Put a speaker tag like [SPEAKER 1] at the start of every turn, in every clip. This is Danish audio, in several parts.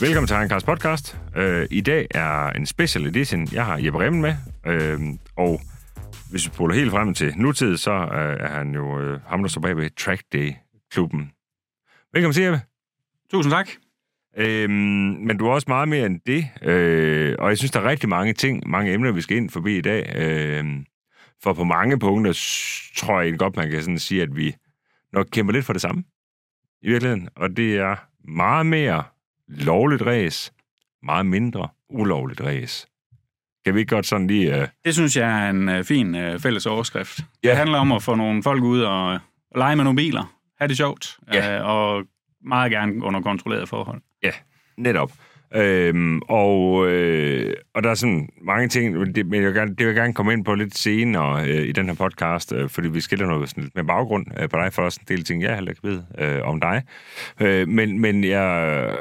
[SPEAKER 1] Velkommen til Kars podcast. Øh, I dag er en special edition. Jeg har Jeppe Remmen med, øh, og hvis vi spoler helt frem til nutid, så øh, er han jo øh, ham, der står bag ved Track Day-klubben. Velkommen til, Jeppe.
[SPEAKER 2] Tusind tak.
[SPEAKER 1] Øhm, men du er også meget mere end det, øh, og jeg synes, der er rigtig mange ting, mange emner, vi skal ind forbi i dag. Øh, for på mange punkter s- tror jeg egentlig godt, man kan sådan sige, at vi nok kæmper lidt for det samme i virkeligheden. Og det er meget mere lovligt ræs, meget mindre ulovligt ræs. Kan vi ikke godt sådan lige... Øh,
[SPEAKER 2] Det synes jeg er en øh, fin øh, fælles overskrift.
[SPEAKER 1] Ja.
[SPEAKER 2] Ja. Det handler om at få nogle folk ud og, og lege med nogle biler, have det sjovt,
[SPEAKER 1] Ja.
[SPEAKER 2] øh, og meget gerne under kontrolleret forhold.
[SPEAKER 1] Netop. Øhm, og, øh, og der er sådan mange ting, men det, men jeg vil gerne, det vil jeg gerne komme ind på lidt senere øh, i den her podcast, øh, fordi vi skiller noget sådan lidt med baggrund øh, på dig, for der er også en del ting, jeg heller ikke ved øh, om dig. Øh, men men jeg,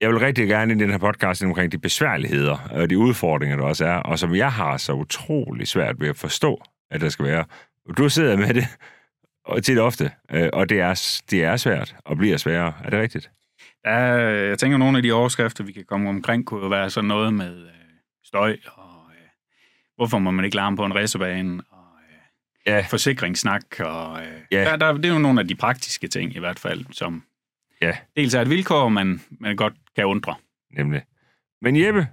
[SPEAKER 1] jeg vil rigtig gerne ind i den her podcast ind omkring de besværligheder og de udfordringer, der også er, og som jeg har så utrolig svært ved at forstå, at der skal være. Du sidder med det og tit ofte, øh, og det er, det er svært og bliver sværere. Er det rigtigt?
[SPEAKER 2] Ja, øh, jeg tænker, at nogle af de overskrifter, vi kan komme omkring, kunne jo være sådan noget med øh, støj, og øh, hvorfor må man ikke larme på en racerbane, og øh,
[SPEAKER 1] Ja,
[SPEAKER 2] forsikringssnak, og øh,
[SPEAKER 1] Ja.
[SPEAKER 2] ja. der, der, det er jo nogle af de praktiske ting i hvert fald, som
[SPEAKER 1] Ja.
[SPEAKER 2] dels er et vilkår, man, man godt kan undre.
[SPEAKER 1] nemlig. Men Jeppe,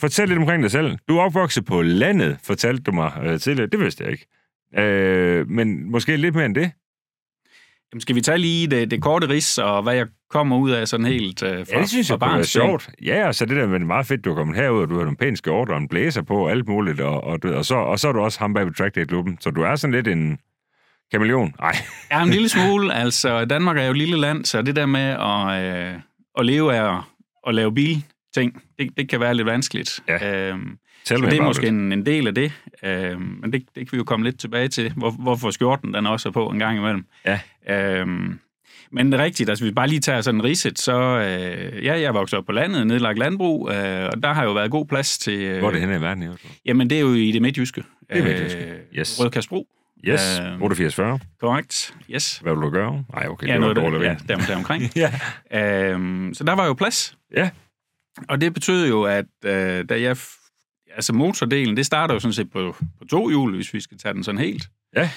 [SPEAKER 1] fortæl lidt omkring dig selv. Du er opvokset på landet, fortalte du mig øh, tidligere. Det vidste jeg ikke. Øh, men måske lidt mere end det.
[SPEAKER 2] Jamen, skal vi tage lige det, det korte ris, og hvad jeg kommer ud af sådan helt øh, fra, fra
[SPEAKER 1] kunne være
[SPEAKER 2] barns ben?
[SPEAKER 1] sjovt. Ja, og så det der med det er meget fedt, du er kommet herud, og du har nogle pæne skjorte og en blæser på og alt muligt. Og, og, du ved, og, så, og så er du også ham bag ved Track Day klubben Så du er sådan lidt en kameleon. Nej,
[SPEAKER 2] Ja, en lille smule. Altså, Danmark er jo et lille land, så det der med at, øh, at leve af at, at lave bilting, det, det kan være lidt vanskeligt.
[SPEAKER 1] Ja.
[SPEAKER 2] Øhm,
[SPEAKER 1] tæl
[SPEAKER 2] så
[SPEAKER 1] mig
[SPEAKER 2] det er
[SPEAKER 1] bare
[SPEAKER 2] måske
[SPEAKER 1] lidt.
[SPEAKER 2] en, en del af det, øhm, men det, det kan vi jo komme lidt tilbage til, hvor, hvorfor skjorten den også er på en gang imellem.
[SPEAKER 1] Ja.
[SPEAKER 2] Øhm, men det er rigtigt, altså hvis vi bare lige tager sådan ridset, så øh, ja, jeg voksede op på landet, nedlagt landbrug, øh, og der har jo været god plads til... Øh,
[SPEAKER 1] Hvor er det henne i verden? i øvrigt?
[SPEAKER 2] Jamen, det er jo i det midtjyske.
[SPEAKER 1] Det er midtjyske.
[SPEAKER 2] Øh,
[SPEAKER 1] Yes.
[SPEAKER 2] Rødkastbro,
[SPEAKER 1] Yes,
[SPEAKER 2] Øhm.
[SPEAKER 1] 8840.
[SPEAKER 2] korrekt. Yes.
[SPEAKER 1] Hvad vil du gøre? Nej, okay, det var
[SPEAKER 2] noget,
[SPEAKER 1] dårligt.
[SPEAKER 2] ja, der, deromkring.
[SPEAKER 1] ja.
[SPEAKER 2] øhm, så der var jo plads.
[SPEAKER 1] ja.
[SPEAKER 2] Og det betød jo, at øh, da jeg... f- Altså motordelen, det starter jo sådan set på, på to hjul, hvis vi skal tage den sådan helt.
[SPEAKER 1] Ja.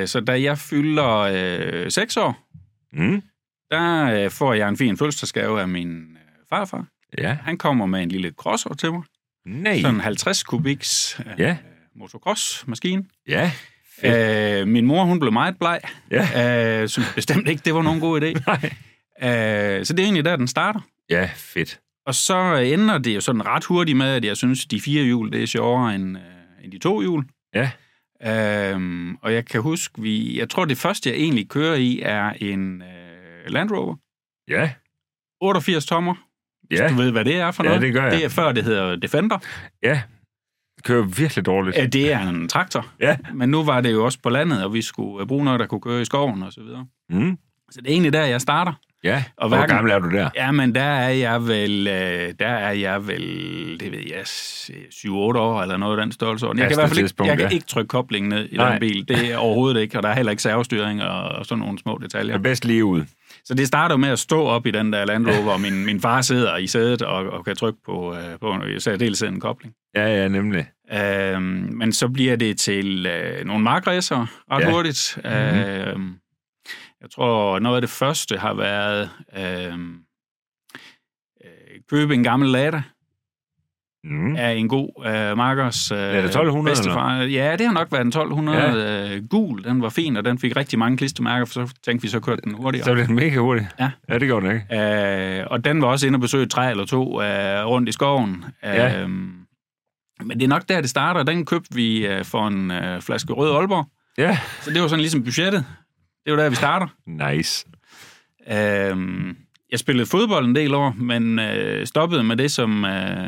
[SPEAKER 2] Øh, så da jeg fylder øh, seks år,
[SPEAKER 1] Mm.
[SPEAKER 2] der øh, får jeg en fin fødselsdagsgave af min øh, farfar.
[SPEAKER 1] Ja.
[SPEAKER 2] Han kommer med en lille crosser til mig.
[SPEAKER 1] Nej.
[SPEAKER 2] Sådan en 50 kubiks øh,
[SPEAKER 1] Ja.
[SPEAKER 2] motocross-maskine.
[SPEAKER 1] Ja.
[SPEAKER 2] Øh, min mor, hun blev meget bleg.
[SPEAKER 1] Ja.
[SPEAKER 2] Øh, synes bestemt ikke, det var nogen god idé.
[SPEAKER 1] Nej.
[SPEAKER 2] Øh, så det er egentlig der, den starter.
[SPEAKER 1] Ja, fedt.
[SPEAKER 2] Og så ender det jo sådan ret hurtigt med, at jeg synes, de fire hjul, det er sjovere end, øh, end de to hjul.
[SPEAKER 1] Ja.
[SPEAKER 2] Øhm, og jeg kan huske, vi, jeg tror, det første, jeg egentlig kører i, er en øh, Land Rover.
[SPEAKER 1] Ja.
[SPEAKER 2] 88 tommer.
[SPEAKER 1] Ja,
[SPEAKER 2] Du ved, hvad det er for
[SPEAKER 1] Ja,
[SPEAKER 2] noget?
[SPEAKER 1] det gør jeg.
[SPEAKER 2] Det er før, det hedder Defender.
[SPEAKER 1] ja. Det kører virkelig dårligt.
[SPEAKER 2] Øh, Det er en traktor.
[SPEAKER 1] Ja.
[SPEAKER 2] Men nu var det jo også på landet, og vi skulle øh, bruge noget, der kunne køre i skoven og så videre.
[SPEAKER 1] Mm.
[SPEAKER 2] Så det er egentlig der, jeg starter.
[SPEAKER 1] Ja, og
[SPEAKER 2] Og
[SPEAKER 1] hvor
[SPEAKER 2] hverken-
[SPEAKER 1] gammel er du der?
[SPEAKER 2] Ja, men der er jeg vel, øh, der er jeg vel, det ved jeg, 7-8 år eller noget af den størrelse. Jeg
[SPEAKER 1] Ja,
[SPEAKER 2] kan i hvert fald ikke,
[SPEAKER 1] tidspunkt,
[SPEAKER 2] jeg kan
[SPEAKER 1] ja.
[SPEAKER 2] ikke trykke koblingen ned i
[SPEAKER 1] Nej.
[SPEAKER 2] den bil. Det er overhovedet ikke, og der er heller ikke servostyring og, og sådan nogle små
[SPEAKER 1] Ja.
[SPEAKER 2] detaljer.
[SPEAKER 1] Bedst lige ud.
[SPEAKER 2] Så det starter jo med at stå op i den der Land Rover, og min, min far sidder i sædet og, og kan trykke på, øh, på en, så dels en kobling.
[SPEAKER 1] Ja, ja, nemlig.
[SPEAKER 2] Øhm, men så bliver det til øh, nogle markræsere ret
[SPEAKER 1] Ja.
[SPEAKER 2] ja. hurtigt.
[SPEAKER 1] Mhm.
[SPEAKER 2] Øhm, jeg tror, noget af det første har været øhm, øh, købe en gammel Lada
[SPEAKER 1] Mm. Ja.
[SPEAKER 2] af en god øh, markers øh,
[SPEAKER 1] Lada 1200
[SPEAKER 2] bedstefar. Ja, det har nok været en 1200 ja. øh, gul. Den var fin, og den fik rigtig mange klistermærker, for så tænkte vi, så kørte den hurtigere.
[SPEAKER 1] Så
[SPEAKER 2] Så...
[SPEAKER 1] blev den mega hurtig.
[SPEAKER 2] Ja.
[SPEAKER 1] ja det gjorde den ikke.
[SPEAKER 2] Øh, og den var også inde og besøge et træ eller to øh, rundt i skoven.
[SPEAKER 1] Ja.
[SPEAKER 2] Øhm, men det er nok der, det starter. Den købte vi øh, for en øh, flaske rød Aalborg.
[SPEAKER 1] Ja.
[SPEAKER 2] Så det var sådan ligesom budgettet. Det var der, vi starter.
[SPEAKER 1] Nice.
[SPEAKER 2] Øhm, jeg spillede fodbold en del år, men øh, stoppede med det, som... Øh,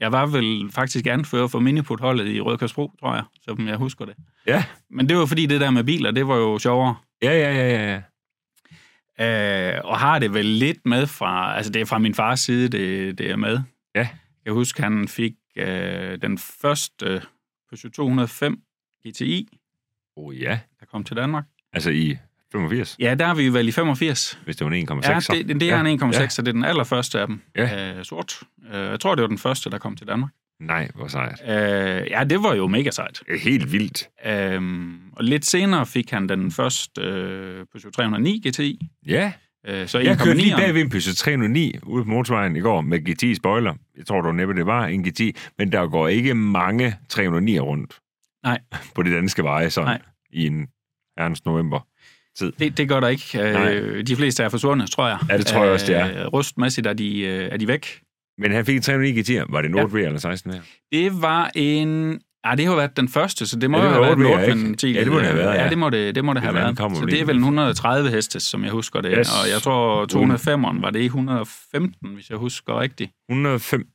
[SPEAKER 2] jeg var vel faktisk anfører for miniputholdet i Rødkørsbro, tror jeg, som jeg husker det.
[SPEAKER 1] Ja.
[SPEAKER 2] Men det var fordi, det der med biler, det var jo sjovere.
[SPEAKER 1] Ja, ja, ja, ja, ja.
[SPEAKER 2] Øh, og har det vel lidt med fra... Altså, det er fra min fars side, det, det er med.
[SPEAKER 1] Ja.
[SPEAKER 2] Jeg husker, han fik øh, den første Peugeot 205 GTI,
[SPEAKER 1] Oh ja.
[SPEAKER 2] der kom til Danmark.
[SPEAKER 1] Altså i 85,
[SPEAKER 2] Ja, der er vi vel i 85.
[SPEAKER 1] hvis det var en 1,6.
[SPEAKER 2] Ja,
[SPEAKER 1] så.
[SPEAKER 2] det, det, det er
[SPEAKER 1] Ja.
[SPEAKER 2] en 1,6,
[SPEAKER 1] Ja.
[SPEAKER 2] ja. så det er den allerførste af dem.
[SPEAKER 1] Ja.
[SPEAKER 2] Øh, sort. Øh, jeg tror, det var den første, der kom til Danmark.
[SPEAKER 1] Nej, hvor sejt.
[SPEAKER 2] Øh, ja, det var jo mega sejt.
[SPEAKER 1] Det er Helt vildt.
[SPEAKER 2] Øhm, og lidt senere fik han den første øh, Peugeot 309 GTI.
[SPEAKER 1] Ja,
[SPEAKER 2] Øh, så
[SPEAKER 1] jeg kørte lige
[SPEAKER 2] 1,9'eren.
[SPEAKER 1] bag ved en Peugeot 309 ude på motorvejen i går med GT spoiler. Jeg tror dog næppe, det var en GT, men der går ikke mange 309'er rundt.
[SPEAKER 2] Nej.
[SPEAKER 1] På de danske veje, sådan
[SPEAKER 2] Nej.
[SPEAKER 1] i en herrens november.
[SPEAKER 2] Det, det gør der ikke.
[SPEAKER 1] Nej.
[SPEAKER 2] Øh, de fleste er forsvundet, tror jeg.
[SPEAKER 1] Ja, det tror jeg også, det
[SPEAKER 2] Øh, rustmæssigt er de, øh, er de væk.
[SPEAKER 1] Men han fik en 309 GT'er. Var det en
[SPEAKER 2] Ja.
[SPEAKER 1] 8V eller 16 her?
[SPEAKER 2] Det var en... Ah, det har jo været den første, så det må
[SPEAKER 1] Ja,
[SPEAKER 2] ja,
[SPEAKER 1] det
[SPEAKER 2] det
[SPEAKER 1] var
[SPEAKER 2] have
[SPEAKER 1] otte,
[SPEAKER 2] været
[SPEAKER 1] ikke?
[SPEAKER 2] en 8
[SPEAKER 1] Ja, det må det have været, ja.
[SPEAKER 2] ja. det må det, det, må det have
[SPEAKER 1] eller andet
[SPEAKER 2] været.
[SPEAKER 1] kommer
[SPEAKER 2] Så
[SPEAKER 1] vel
[SPEAKER 2] det er
[SPEAKER 1] ind.
[SPEAKER 2] vel 130 hestes, som jeg husker det.
[SPEAKER 1] Yes.
[SPEAKER 2] Og jeg tror 205'eren var det i 115, hvis jeg husker rigtigt.
[SPEAKER 1] 105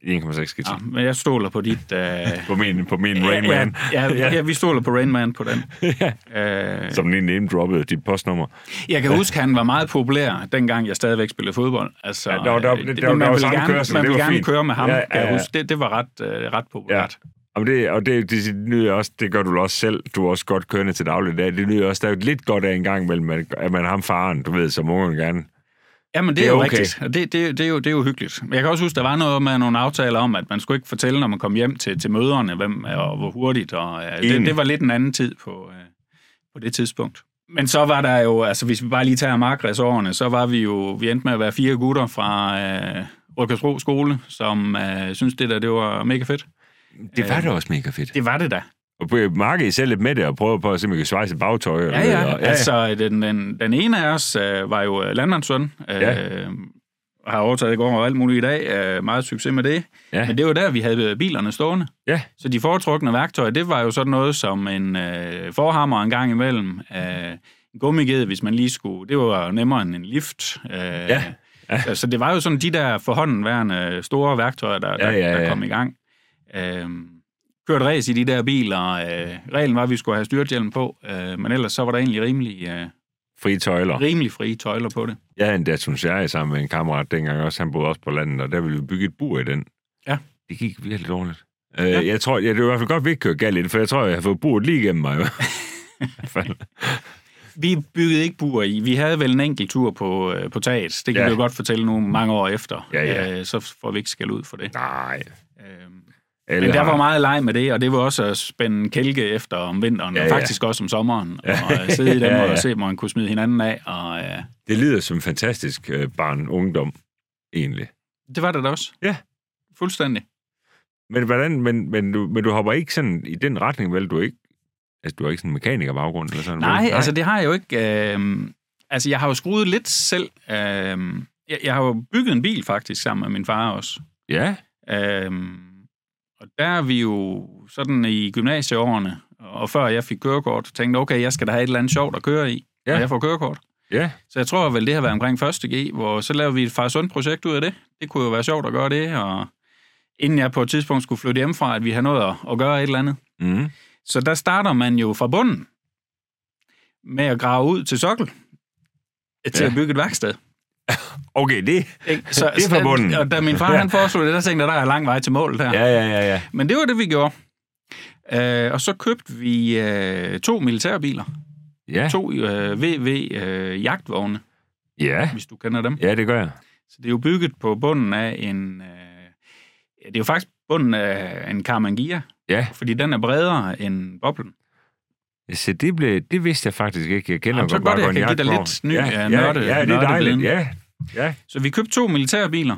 [SPEAKER 1] i 1,6 GT.
[SPEAKER 2] Ja, men jeg stoler på dit... Uh...
[SPEAKER 1] På min, på min Rain Man,
[SPEAKER 2] Ah. Ja, ja, ja, vi stoler på Rain Man på den.
[SPEAKER 1] Ja.
[SPEAKER 2] Øh,
[SPEAKER 1] som lige name droppede dit postnummer.
[SPEAKER 2] Jeg kan huske, at han var meget populær, dengang jeg stadigvæk spillede fodbold. Altså,
[SPEAKER 1] Ja, der var- der var-
[SPEAKER 2] øh,
[SPEAKER 1] der
[SPEAKER 2] det-
[SPEAKER 1] var-
[SPEAKER 2] man
[SPEAKER 1] der var
[SPEAKER 2] ville
[SPEAKER 1] samme
[SPEAKER 2] gerne,
[SPEAKER 1] kørsel,
[SPEAKER 2] man
[SPEAKER 1] det
[SPEAKER 2] ville
[SPEAKER 1] var
[SPEAKER 2] gerne
[SPEAKER 1] fint.
[SPEAKER 2] køre med ham,
[SPEAKER 1] Ja,
[SPEAKER 2] ja,
[SPEAKER 1] ja,
[SPEAKER 2] ja, kan
[SPEAKER 1] ja.
[SPEAKER 2] jeg huske. Det, det var ret, øh, ret populært.
[SPEAKER 1] Og det, og det, det lyder også, det gør du vel også selv, du er også godt kørende til daglig dag. Det lyder også, der er jo lidt godt af en gang mellem, at at man er ham faren, du ved, som ungerne gerne.
[SPEAKER 2] Ja, men det,
[SPEAKER 1] Det
[SPEAKER 2] det
[SPEAKER 1] er
[SPEAKER 2] er jo
[SPEAKER 1] okay.
[SPEAKER 2] okay. rigtigt. Og Det, det, det, er jo, det er jo hyggeligt. Men jeg kan også huske, der var noget med nogle aftaler om, at man skulle ikke fortælle, når man kom hjem til, til møderne, hvem og hvor hurtigt. Og, øh,
[SPEAKER 1] Enig.
[SPEAKER 2] det, det var lidt en anden tid på, øh, på det tidspunkt. Men så var der jo, altså hvis vi bare lige tager markredsårene, så var vi jo, vi endte med at være fire gutter fra øh, Rødkørsbro skole, som øh, synes det der, det var mega fedt.
[SPEAKER 1] Det var
[SPEAKER 2] Øh,
[SPEAKER 1] da også mega fedt.
[SPEAKER 2] Det var det da.
[SPEAKER 1] Og på- Marke I selv lidt med det, og prøve på at se, om I kan svejse et bagtøj. Eller
[SPEAKER 2] Ja,
[SPEAKER 1] noget,
[SPEAKER 2] ja.
[SPEAKER 1] og-
[SPEAKER 2] Altså, den, den, den ene af os øh, var jo øh, landmandssøn. Øh,
[SPEAKER 1] Ja.
[SPEAKER 2] og har overtaget det går og alt muligt i dag. Øh, meget succes med det.
[SPEAKER 1] Ja.
[SPEAKER 2] Men det var der, vi havde øh, bilerne stående.
[SPEAKER 1] Ja.
[SPEAKER 2] Så de foretrukne værktøjer, det var jo sådan noget som en øh, forhammer en gang imellem. Øh, en gummiged, hvis man lige skulle. Det var jo nemmere end en lift. Øh,
[SPEAKER 1] Ja. Ja.
[SPEAKER 2] Så, så Altså, det var jo sådan de der forhåndenværende store værktøjer, der, der,
[SPEAKER 1] Ja, ja, ja.
[SPEAKER 2] der kom i gang. Øh, kørt ræs i de der biler. Øh, reglen var, at vi skulle have styrthjelm på, øh, men ellers så var der egentlig rimelig, øh,
[SPEAKER 1] Frie tøjler.
[SPEAKER 2] rimelig frie tøjler på det.
[SPEAKER 1] Jeg havde en Datsun Serie sammen med en kammerat dengang også. Han boede også på landet, og der ville vi bygge et bur i den.
[SPEAKER 2] Ja.
[SPEAKER 1] Det gik virkelig dårligt. Øh, Jeg tror, ja, det var i hvert fald godt, vi ikke kørte galt i det, for jeg tror, jeg har fået buret lige igennem mig.
[SPEAKER 2] Vi byggede ikke bur i. Vi havde vel en enkelt tur på, øh, på taget. Det kan
[SPEAKER 1] Ja.
[SPEAKER 2] ja. vi jo godt fortælle nu mange år efter.
[SPEAKER 1] Ja, ja.
[SPEAKER 2] Øh, så får vi ikke skæld ud for det.
[SPEAKER 1] Nej.
[SPEAKER 2] Øh,
[SPEAKER 1] Alle
[SPEAKER 2] men der
[SPEAKER 1] har-
[SPEAKER 2] var meget leg med det, og det var også at spænde kælke efter om vinteren,
[SPEAKER 1] Ja,
[SPEAKER 2] ja,
[SPEAKER 1] ja.
[SPEAKER 2] og faktisk også om sommeren, og øh, sidde i dem
[SPEAKER 1] Ja, ja.
[SPEAKER 2] og se, hvor man kunne smide hinanden af. Og, øh,
[SPEAKER 1] Det lyder som en fantastisk øh, barn-ungdom, egentlig.
[SPEAKER 2] det var det da også.
[SPEAKER 1] Ja.
[SPEAKER 2] Fuldstændig.
[SPEAKER 1] Men, hvordan, men, men, du, men du hopper ikke sådan i den retning, vel? Du er ikke, altså, du har ikke sådan en mekaniker-baggrund? Eller sådan,
[SPEAKER 2] Nej,
[SPEAKER 1] vel?
[SPEAKER 2] Nej, altså det har jeg jo ikke. Øh, altså jeg har jo skruet lidt selv. Øh, jeg, jeg har jo bygget en bil faktisk sammen med min far også.
[SPEAKER 1] Ja,
[SPEAKER 2] Øh, og der er vi jo sådan i gymnasieårene, og før jeg fik kørekort, tænkte jeg, okay, jeg skal da have et eller andet sjovt at køre i,
[SPEAKER 1] Ja.
[SPEAKER 2] ja. når jeg får kørekort.
[SPEAKER 1] ja.
[SPEAKER 2] Så jeg tror vel, det har været omkring 1.G, hvor så lavede vi et far sund projekt ud af det. Det kunne jo være sjovt at gøre det, og inden jeg på et tidspunkt skulle flytte hjemmefra, at vi havde noget at, at gøre et eller andet.
[SPEAKER 1] Mm.
[SPEAKER 2] Så der starter man jo fra bunden med at grave ud til sokkel til
[SPEAKER 1] Ja.
[SPEAKER 2] ja. at bygge et værksted.
[SPEAKER 1] Okay, det...
[SPEAKER 2] Ikke?
[SPEAKER 1] Det er fra bunden.
[SPEAKER 2] Og da min far
[SPEAKER 1] Ja.
[SPEAKER 2] han foreslog det, der tænkte jeg, der er lang vej til mål der.
[SPEAKER 1] Ja, ja, ja, ja.
[SPEAKER 2] Men det var det, vi gjorde. Øh, og så købte vi øh, to militærbiler.
[SPEAKER 1] Ja,
[SPEAKER 2] To øh, VV-jagtvogne,
[SPEAKER 1] ja.
[SPEAKER 2] hvis du kender dem.
[SPEAKER 1] ja det gør jeg.
[SPEAKER 2] Så det er jo bygget på bunden af en... Øh, ja, det er jo faktisk bunden af en Karmann Gia,
[SPEAKER 1] Ja,
[SPEAKER 2] fordi den er bredere end boblen.
[SPEAKER 1] så det, blev, det vidste jeg faktisk ikke. Jeg kender
[SPEAKER 2] Jamen, så
[SPEAKER 1] godt bare
[SPEAKER 2] godt, jeg
[SPEAKER 1] godt
[SPEAKER 2] kan
[SPEAKER 1] en
[SPEAKER 2] give dig
[SPEAKER 1] jagtvogn.
[SPEAKER 2] lidt ny,
[SPEAKER 1] ja,
[SPEAKER 2] øh,
[SPEAKER 1] ja,
[SPEAKER 2] nørde-
[SPEAKER 1] ja, det er dejligt.
[SPEAKER 2] nørdeviden.
[SPEAKER 1] Ja, ja.
[SPEAKER 2] Så vi købte to militærbiler.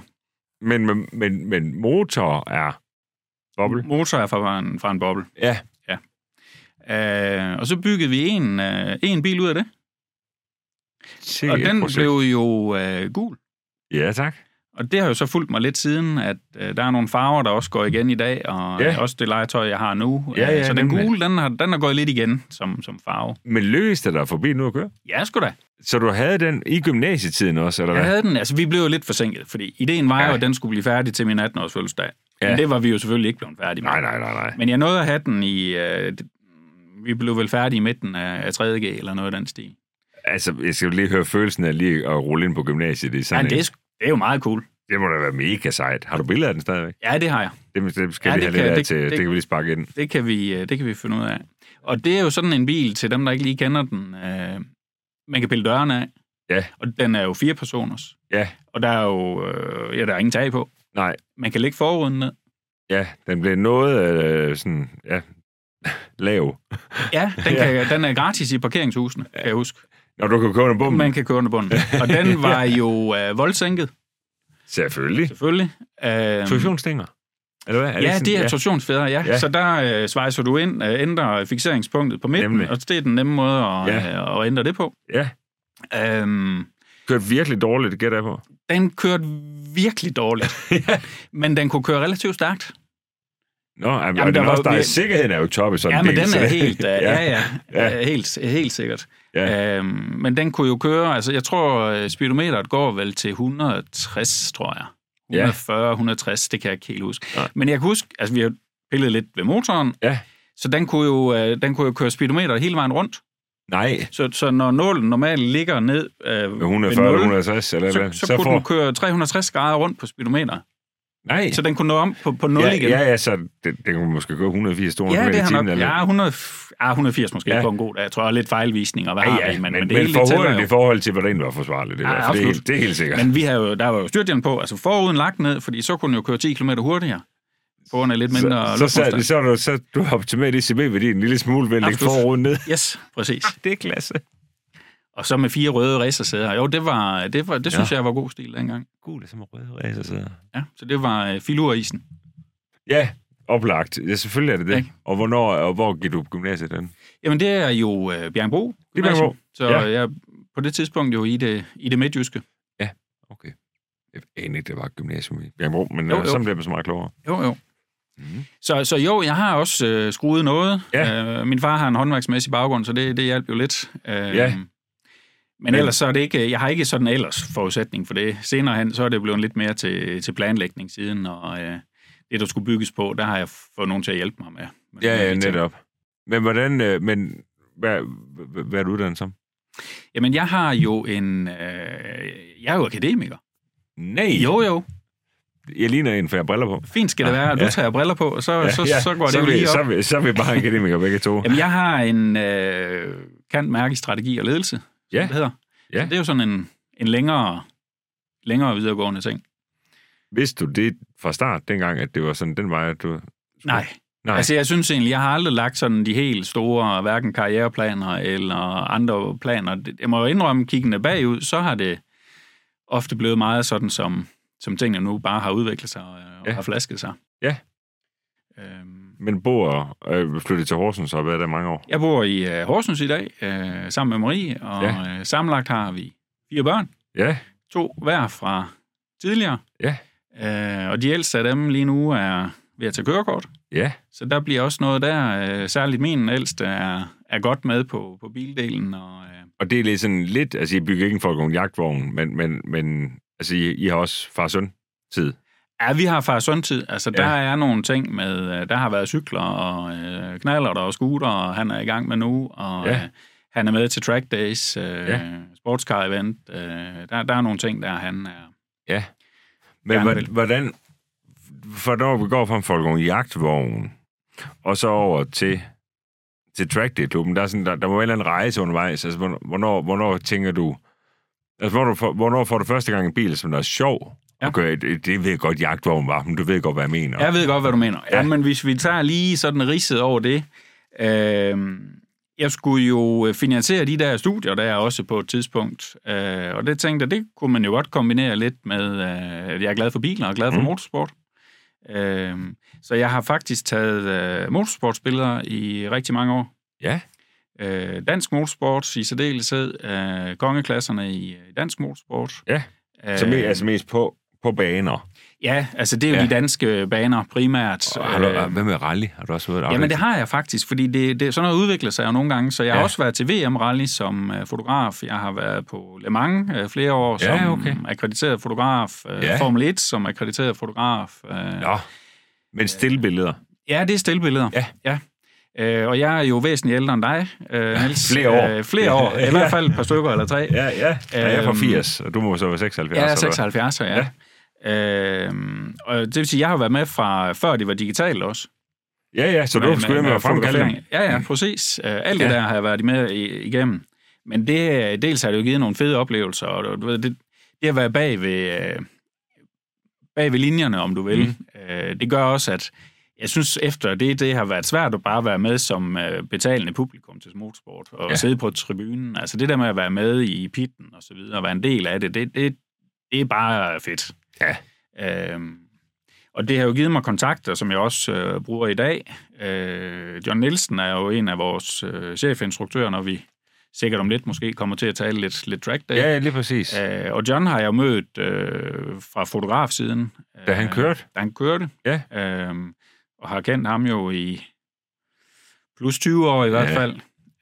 [SPEAKER 1] Men, men, men, men motor er boble.
[SPEAKER 2] Motor er fra en, fra en boble.
[SPEAKER 1] Ja.
[SPEAKER 2] Øh, og så byggede vi en, øh, en bil ud af det,
[SPEAKER 1] Sikke
[SPEAKER 2] og
[SPEAKER 1] et
[SPEAKER 2] den
[SPEAKER 1] projekt.
[SPEAKER 2] blev jo øh, gul.
[SPEAKER 1] Ja, tak.
[SPEAKER 2] Og det har jo så fulgt mig lidt siden, at øh, der er nogle farver, der også går igen i dag, og
[SPEAKER 1] Ja.
[SPEAKER 2] ja. også det legetøj, jeg har nu.
[SPEAKER 1] Ja, ja,
[SPEAKER 2] Øh, så den
[SPEAKER 1] nemlig.
[SPEAKER 2] gule, den har, den har gået lidt igen som, som farve.
[SPEAKER 1] Men lykkedes det dig forbi nu at køre?
[SPEAKER 2] Ja, sgu da.
[SPEAKER 1] Så du havde den i gymnasietiden også, eller
[SPEAKER 2] Jeg
[SPEAKER 1] hvad?
[SPEAKER 2] havde den, altså vi blev jo lidt forsinket, fordi ideen var
[SPEAKER 1] Ja.
[SPEAKER 2] ja. jo, at den skulle blive færdig til min 18-års fødselsdag.
[SPEAKER 1] Ja.
[SPEAKER 2] Ja. Men det var vi jo selvfølgelig ikke blevet færdige med.
[SPEAKER 1] Nej, nej, nej, nej.
[SPEAKER 2] Men jeg nåede at have den i... Øh, det- vi blev vel færdige i midten af, af 3.G eller noget af den stil.
[SPEAKER 1] Altså, jeg skal jo lige høre følelsen af lige at rulle ind på gymnasiet. Det, er
[SPEAKER 2] Ja,
[SPEAKER 1] sådan
[SPEAKER 2] det, er,
[SPEAKER 1] en-
[SPEAKER 2] sgu- det er jo meget cool.
[SPEAKER 1] det må da være mega sejt. Har du billeder af den stadigvæk?
[SPEAKER 2] Ja, det har jeg.
[SPEAKER 1] Det, det skal
[SPEAKER 2] Ja,
[SPEAKER 1] ja, vi have
[SPEAKER 2] det kan-
[SPEAKER 1] lidt af
[SPEAKER 2] det-
[SPEAKER 1] til. Det,
[SPEAKER 2] det-
[SPEAKER 1] kan vi lige sparke ind.
[SPEAKER 2] Det kan, vi, øh, det kan vi finde ud af. Og det er jo sådan en bil, til dem, der ikke lige kender den, øh, Man kan pille dørene af.
[SPEAKER 1] Ja.
[SPEAKER 2] Og den er jo fire personers.
[SPEAKER 1] Ja.
[SPEAKER 2] Og der er jo øh, ja, der er ingen tag på.
[SPEAKER 1] Nej,
[SPEAKER 2] Man kan lægge forruden ned.
[SPEAKER 1] ja, den blev noget øh, sådan, ja, lav.
[SPEAKER 2] Ja, den, kan, ja. den er gratis i parkeringshusene, kan jeg huske.
[SPEAKER 1] Når du kan køre under bomben.
[SPEAKER 2] Man kan køre under bunden. Og den var jo øh, voldsænket,
[SPEAKER 1] Selvfølgelig.
[SPEAKER 2] selvfølgelig. Øhm,
[SPEAKER 1] Torsionsstænger. Eller hvad? Er
[SPEAKER 2] Ja,
[SPEAKER 1] sådan-
[SPEAKER 2] det er torsionsfædre, ja.
[SPEAKER 1] ligesom- Ja.
[SPEAKER 2] ja. Så der øh, svejser du ind, øh, ændrer fixeringspunktet på midten,
[SPEAKER 1] Nemlig.
[SPEAKER 2] Nemlig. og det er den nemme måde
[SPEAKER 1] Ja.
[SPEAKER 2] at, ja. øh, at ændre det på.
[SPEAKER 1] Ja.
[SPEAKER 2] Øhm,
[SPEAKER 1] Kørte virkelig dårligt, gætter jeg på.
[SPEAKER 2] den kørte virkelig dårligt,
[SPEAKER 1] ja.
[SPEAKER 2] men den kunne køre relativt stærkt.
[SPEAKER 1] Nå, jamen,
[SPEAKER 2] der
[SPEAKER 1] jamen, den
[SPEAKER 2] var-
[SPEAKER 1] også, der er,
[SPEAKER 2] vi-
[SPEAKER 1] sikkerheden er jo top i sådan
[SPEAKER 2] Ja,
[SPEAKER 1] en
[SPEAKER 2] men
[SPEAKER 1] bil,
[SPEAKER 2] den
[SPEAKER 1] så
[SPEAKER 2] er
[SPEAKER 1] det-
[SPEAKER 2] helt, øh, ja, ja,
[SPEAKER 1] Ja.
[SPEAKER 2] ja. Øh, helt, helt sikkert.
[SPEAKER 1] ja.
[SPEAKER 2] Øhm, men den kunne jo køre, altså jeg tror, øh, speedometeret går vel til 160, tror jeg.
[SPEAKER 1] Ja.
[SPEAKER 2] 140, 160, det kan jeg ikke helt huske.
[SPEAKER 1] Nej.
[SPEAKER 2] Men jeg kan huske, altså vi har pillet lidt ved motoren,
[SPEAKER 1] Ja.
[SPEAKER 2] så den kunne, jo, øh, den kunne jo køre speedometeret hele vejen rundt.
[SPEAKER 1] Nej,
[SPEAKER 2] Så, så når nålen normalt ligger ned øh,
[SPEAKER 1] med
[SPEAKER 2] ved
[SPEAKER 1] 140 eller
[SPEAKER 2] nul,
[SPEAKER 1] 160 eller hvad.
[SPEAKER 2] så, så, så kunne den køre 360 grader rundt på speedometer.
[SPEAKER 1] Nej.
[SPEAKER 2] Så den kunne nå om på, på 0
[SPEAKER 1] ja,
[SPEAKER 2] igen.
[SPEAKER 1] ja, ja, så det, det kunne måske gå 180 200
[SPEAKER 2] Ja,
[SPEAKER 1] km i
[SPEAKER 2] det har
[SPEAKER 1] timen,
[SPEAKER 2] nok.
[SPEAKER 1] eller-
[SPEAKER 2] Ja, 100, ja, 180 måske
[SPEAKER 1] Ja.
[SPEAKER 2] ja. på en god dag. Jeg tror, der er lidt fejlvisninger. Hvad
[SPEAKER 1] Ja,
[SPEAKER 2] har
[SPEAKER 1] ja,
[SPEAKER 2] vi?
[SPEAKER 1] men, men,
[SPEAKER 2] det
[SPEAKER 1] men
[SPEAKER 2] hele, det tæller
[SPEAKER 1] forhåbentlig
[SPEAKER 2] jo.
[SPEAKER 1] i forhold til, hvordan det var forsvarligt. Det,
[SPEAKER 2] Ja,
[SPEAKER 1] ja, det, er,
[SPEAKER 2] absolut.
[SPEAKER 1] helt- det er helt sikkert.
[SPEAKER 2] Men vi har jo, der var jo styrtjern på, altså foruden lagt ned, fordi så kunne den jo køre 10 km hurtigere. Foran er lidt mindre
[SPEAKER 1] så, så, så,
[SPEAKER 2] luftmodstand.
[SPEAKER 1] så, er du, så du har optimeret ICB ved din en lille smule ved at lægge
[SPEAKER 2] Absolut.
[SPEAKER 1] forruden ned.
[SPEAKER 2] Yes, præcis.
[SPEAKER 1] Det er klasse.
[SPEAKER 2] Og så med fire røde racersæder. Jo, det, var, det, var, det synes jeg var god stil dengang.
[SPEAKER 1] Gul er som røde racer sidder.
[SPEAKER 2] Ja, så det var øh, filurisen.
[SPEAKER 1] Ja, oplagt. Ja, selvfølgelig er det det.
[SPEAKER 2] Ikke?
[SPEAKER 1] Og hvornår og hvor gik du på gymnasiet den?
[SPEAKER 2] Jamen, det er jo øh, Bjergbro.
[SPEAKER 1] Det er Bjerringbro,
[SPEAKER 2] Så
[SPEAKER 1] ja.
[SPEAKER 2] jeg er på det tidspunkt jo i det, i det midtjyske.
[SPEAKER 1] Okay. Jeg anede ikke, det var et gymnasium i Bjergbro, men
[SPEAKER 2] Jo,
[SPEAKER 1] jo, jo.
[SPEAKER 2] jo.
[SPEAKER 1] sådan blev man så meget klogere.
[SPEAKER 2] Jo, jo.
[SPEAKER 1] Mhm.
[SPEAKER 2] Så, så jo, jeg har også øh, skruet noget.
[SPEAKER 1] Ja.
[SPEAKER 2] Øh, min far har en håndværksmæssig baggrund, så det, det hjalp jo lidt. Øh,
[SPEAKER 1] Ja.
[SPEAKER 2] Men ellers så er det ikke, jeg har ikke sådan ellers forudsætning for det. Senere hen, så er det blevet lidt mere til, til planlægning siden, og øh, det, der skulle bygges på, der har jeg fået nogen til at hjælpe mig med. øh, med
[SPEAKER 1] Ja,
[SPEAKER 2] nogle
[SPEAKER 1] ja,
[SPEAKER 2] af de ting.
[SPEAKER 1] netop. Men hvordan, øh, men hvad, hvad, hvad er du uddannet som?
[SPEAKER 2] Jamen, jeg har jo en, øh, jeg er jo akademiker.
[SPEAKER 1] Nej,
[SPEAKER 2] Jo, jo.
[SPEAKER 1] jeg ligner en, for jeg har briller på.
[SPEAKER 2] Fint skal det være, og du
[SPEAKER 1] Ah, Ja.
[SPEAKER 2] tager briller på, og så, ja, så, så går det
[SPEAKER 1] så
[SPEAKER 2] jo
[SPEAKER 1] er vi-
[SPEAKER 2] lige op.
[SPEAKER 1] Så, er vi- så er vi bare akademikere begge to.
[SPEAKER 2] Jamen, jeg har en øh, kant mærke i strategi og ledelse, som
[SPEAKER 1] Ja.
[SPEAKER 2] det hedder.
[SPEAKER 1] Ja.
[SPEAKER 2] Så det er jo sådan en, en længere, længere videregående ting.
[SPEAKER 1] Vidste du det fra start dengang, at det var sådan den vej, at du...
[SPEAKER 2] Nej.
[SPEAKER 1] Nej.
[SPEAKER 2] Altså, jeg synes egentlig, jeg har aldrig lagt sådan de helt store, hverken karriereplaner eller andre planer. Det- Jeg må jo indrømme, kiggende bagud, så har det ofte blevet meget sådan, som, som tingene nu bare har udviklet sig og, øh, og
[SPEAKER 1] Ja.
[SPEAKER 2] ja. har flasket sig.
[SPEAKER 1] Ja.
[SPEAKER 2] Øhm,
[SPEAKER 1] Men bor øh, flyttede til Horsens og har været der i mange år.
[SPEAKER 2] jeg bor i øh, Horsens i dag, øh, sammen med Marie, og
[SPEAKER 1] Ja.
[SPEAKER 2] ja. øh, sammenlagt har vi fire børn.
[SPEAKER 1] Ja,
[SPEAKER 2] to hver fra tidligere.
[SPEAKER 1] Ja.
[SPEAKER 2] Øh, og de ældste af dem lige nu er ved at tage kørekort.
[SPEAKER 1] ja,
[SPEAKER 2] Så der bliver også noget der. Øh, særligt min ældste er, er godt med på, på bildelen. Og, øh,
[SPEAKER 1] og det er lidt sådan lidt... Altså, I bygger ikke en folkevogn jagtvogn, men, men, men altså, I, I har også far søn tid.
[SPEAKER 2] ja, vi har far sundtid. Altså,
[SPEAKER 1] Ja.
[SPEAKER 2] der er nogle ting med... Øh, der har været cykler og øh, knaller og scooter, og han er i gang med nu. Og,
[SPEAKER 1] Ja.
[SPEAKER 2] øh, han er med til track days, øh,
[SPEAKER 1] Ja.
[SPEAKER 2] ja. sportscar event. Øh, der, der er nogle ting, der han er...
[SPEAKER 1] Men
[SPEAKER 2] Gerne
[SPEAKER 1] hvordan,
[SPEAKER 2] vil.
[SPEAKER 1] hvordan... For når vi går fra en folkevogn jagtvogn, og så over til til track day klubben der, er sådan, der, der må være en eller anden rejse undervejs. Altså, hvornår- hvornår, hvornår tænker du... Altså, hvornår, får- hvornår får du første gang en bil, som der er sjov? Ja.
[SPEAKER 2] Ja.
[SPEAKER 1] Okay, det, det ved jeg godt, jagtvogn var, men du ved godt, hvad jeg mener.
[SPEAKER 2] Jeg ved godt, hvad du mener. Ja,
[SPEAKER 1] Ja.
[SPEAKER 2] men hvis vi tager lige sådan ridset over det. Øh, jeg skulle jo øh, finansiere de der studier, der er også på et tidspunkt. Øh, og det tænkte jeg, det kunne man jo godt kombinere lidt med, øh, at jeg er glad for biler og glad for
[SPEAKER 1] Mm.
[SPEAKER 2] mm. motorsport. Øh, så jeg har faktisk taget øh, motorsportsbilleder i rigtig mange år.
[SPEAKER 1] Ja.
[SPEAKER 2] Øh, dansk motorsport i særdeleshed. Øh, kongeklasserne i øh, dansk motorsport. Øh,
[SPEAKER 1] Ja. Så me, altså mest på, på baner.
[SPEAKER 2] Ja, altså det er jo
[SPEAKER 1] Ja.
[SPEAKER 2] ja. de danske baner primært.
[SPEAKER 1] Og har du,
[SPEAKER 2] Øh,
[SPEAKER 1] hvad med rally? Har du også været
[SPEAKER 2] Jamen, det har jeg faktisk, fordi det, det, sådan noget udvikler sig jo nogle gange. Så jeg har
[SPEAKER 1] Ja.
[SPEAKER 2] ja. også været til VM-rally som øh, fotograf. Jeg har været på Le Mans øh, flere år
[SPEAKER 1] Ja,
[SPEAKER 2] som
[SPEAKER 1] okay.
[SPEAKER 2] akkrediteret fotograf. Øh,
[SPEAKER 1] Ja.
[SPEAKER 2] ja. Formel 1 som akkrediteret fotograf. Øh, ja.
[SPEAKER 1] Nå, men stille billeder.
[SPEAKER 2] ja, det er stillbilleder.
[SPEAKER 1] Ja.
[SPEAKER 2] ja. Øh, og jeg er jo væsentligt ældre end dig, øh, Niels.
[SPEAKER 1] Flere år.
[SPEAKER 2] Øh, flere
[SPEAKER 1] Ja.
[SPEAKER 2] år. I
[SPEAKER 1] Ja.
[SPEAKER 2] hvert fald et par stykker eller tre.
[SPEAKER 1] Ja, ja. ja jeg er fra
[SPEAKER 2] Øhm,
[SPEAKER 1] 80, og du må så være 76.
[SPEAKER 2] Jeg er
[SPEAKER 1] eller hvad?
[SPEAKER 2] 76, ja. ja. Øhm, og det vil sige, jeg har været med fra før det var digitalt også. Altså,
[SPEAKER 1] Ja, ja, så du skulle med at fremkalde dem.
[SPEAKER 2] fotografering. Mm. Ja, ja, præcis. Øh, Alt det
[SPEAKER 1] Ja.
[SPEAKER 2] der har jeg været med i- igennem. Men det, dels har det jo givet nogle fede oplevelser, og du ved, det, det at være bag ved, øh, bag ved linjerne, om du vil, mm. øh, det gør også, at jeg synes efter det, det har været svært at bare være med som øh, betalende publikum til motorsport, og
[SPEAKER 1] Ja.
[SPEAKER 2] ja. sidde på tribunen. Altså det der med at være med i pitten og så videre, og være en del af det, det, det, det er bare fedt.
[SPEAKER 1] Ja.
[SPEAKER 2] Øhm, og det har jo givet mig kontakter, som jeg også øh, bruger i dag. Øh, John Nielsen er jo en af vores øh, chefinstruktører, når vi sikkert om lidt måske kommer til at tale lidt, lidt track day.
[SPEAKER 1] Ja, lige præcis. Ja.
[SPEAKER 2] Øh, og John har jeg jo mødt øh, fra fotografsiden. Øh,
[SPEAKER 1] Da han kørte?
[SPEAKER 2] Da han kørte.
[SPEAKER 1] Ja.
[SPEAKER 2] Øh, og har kendt ham jo i plus 20 år i hvert
[SPEAKER 1] Ja.
[SPEAKER 2] fald.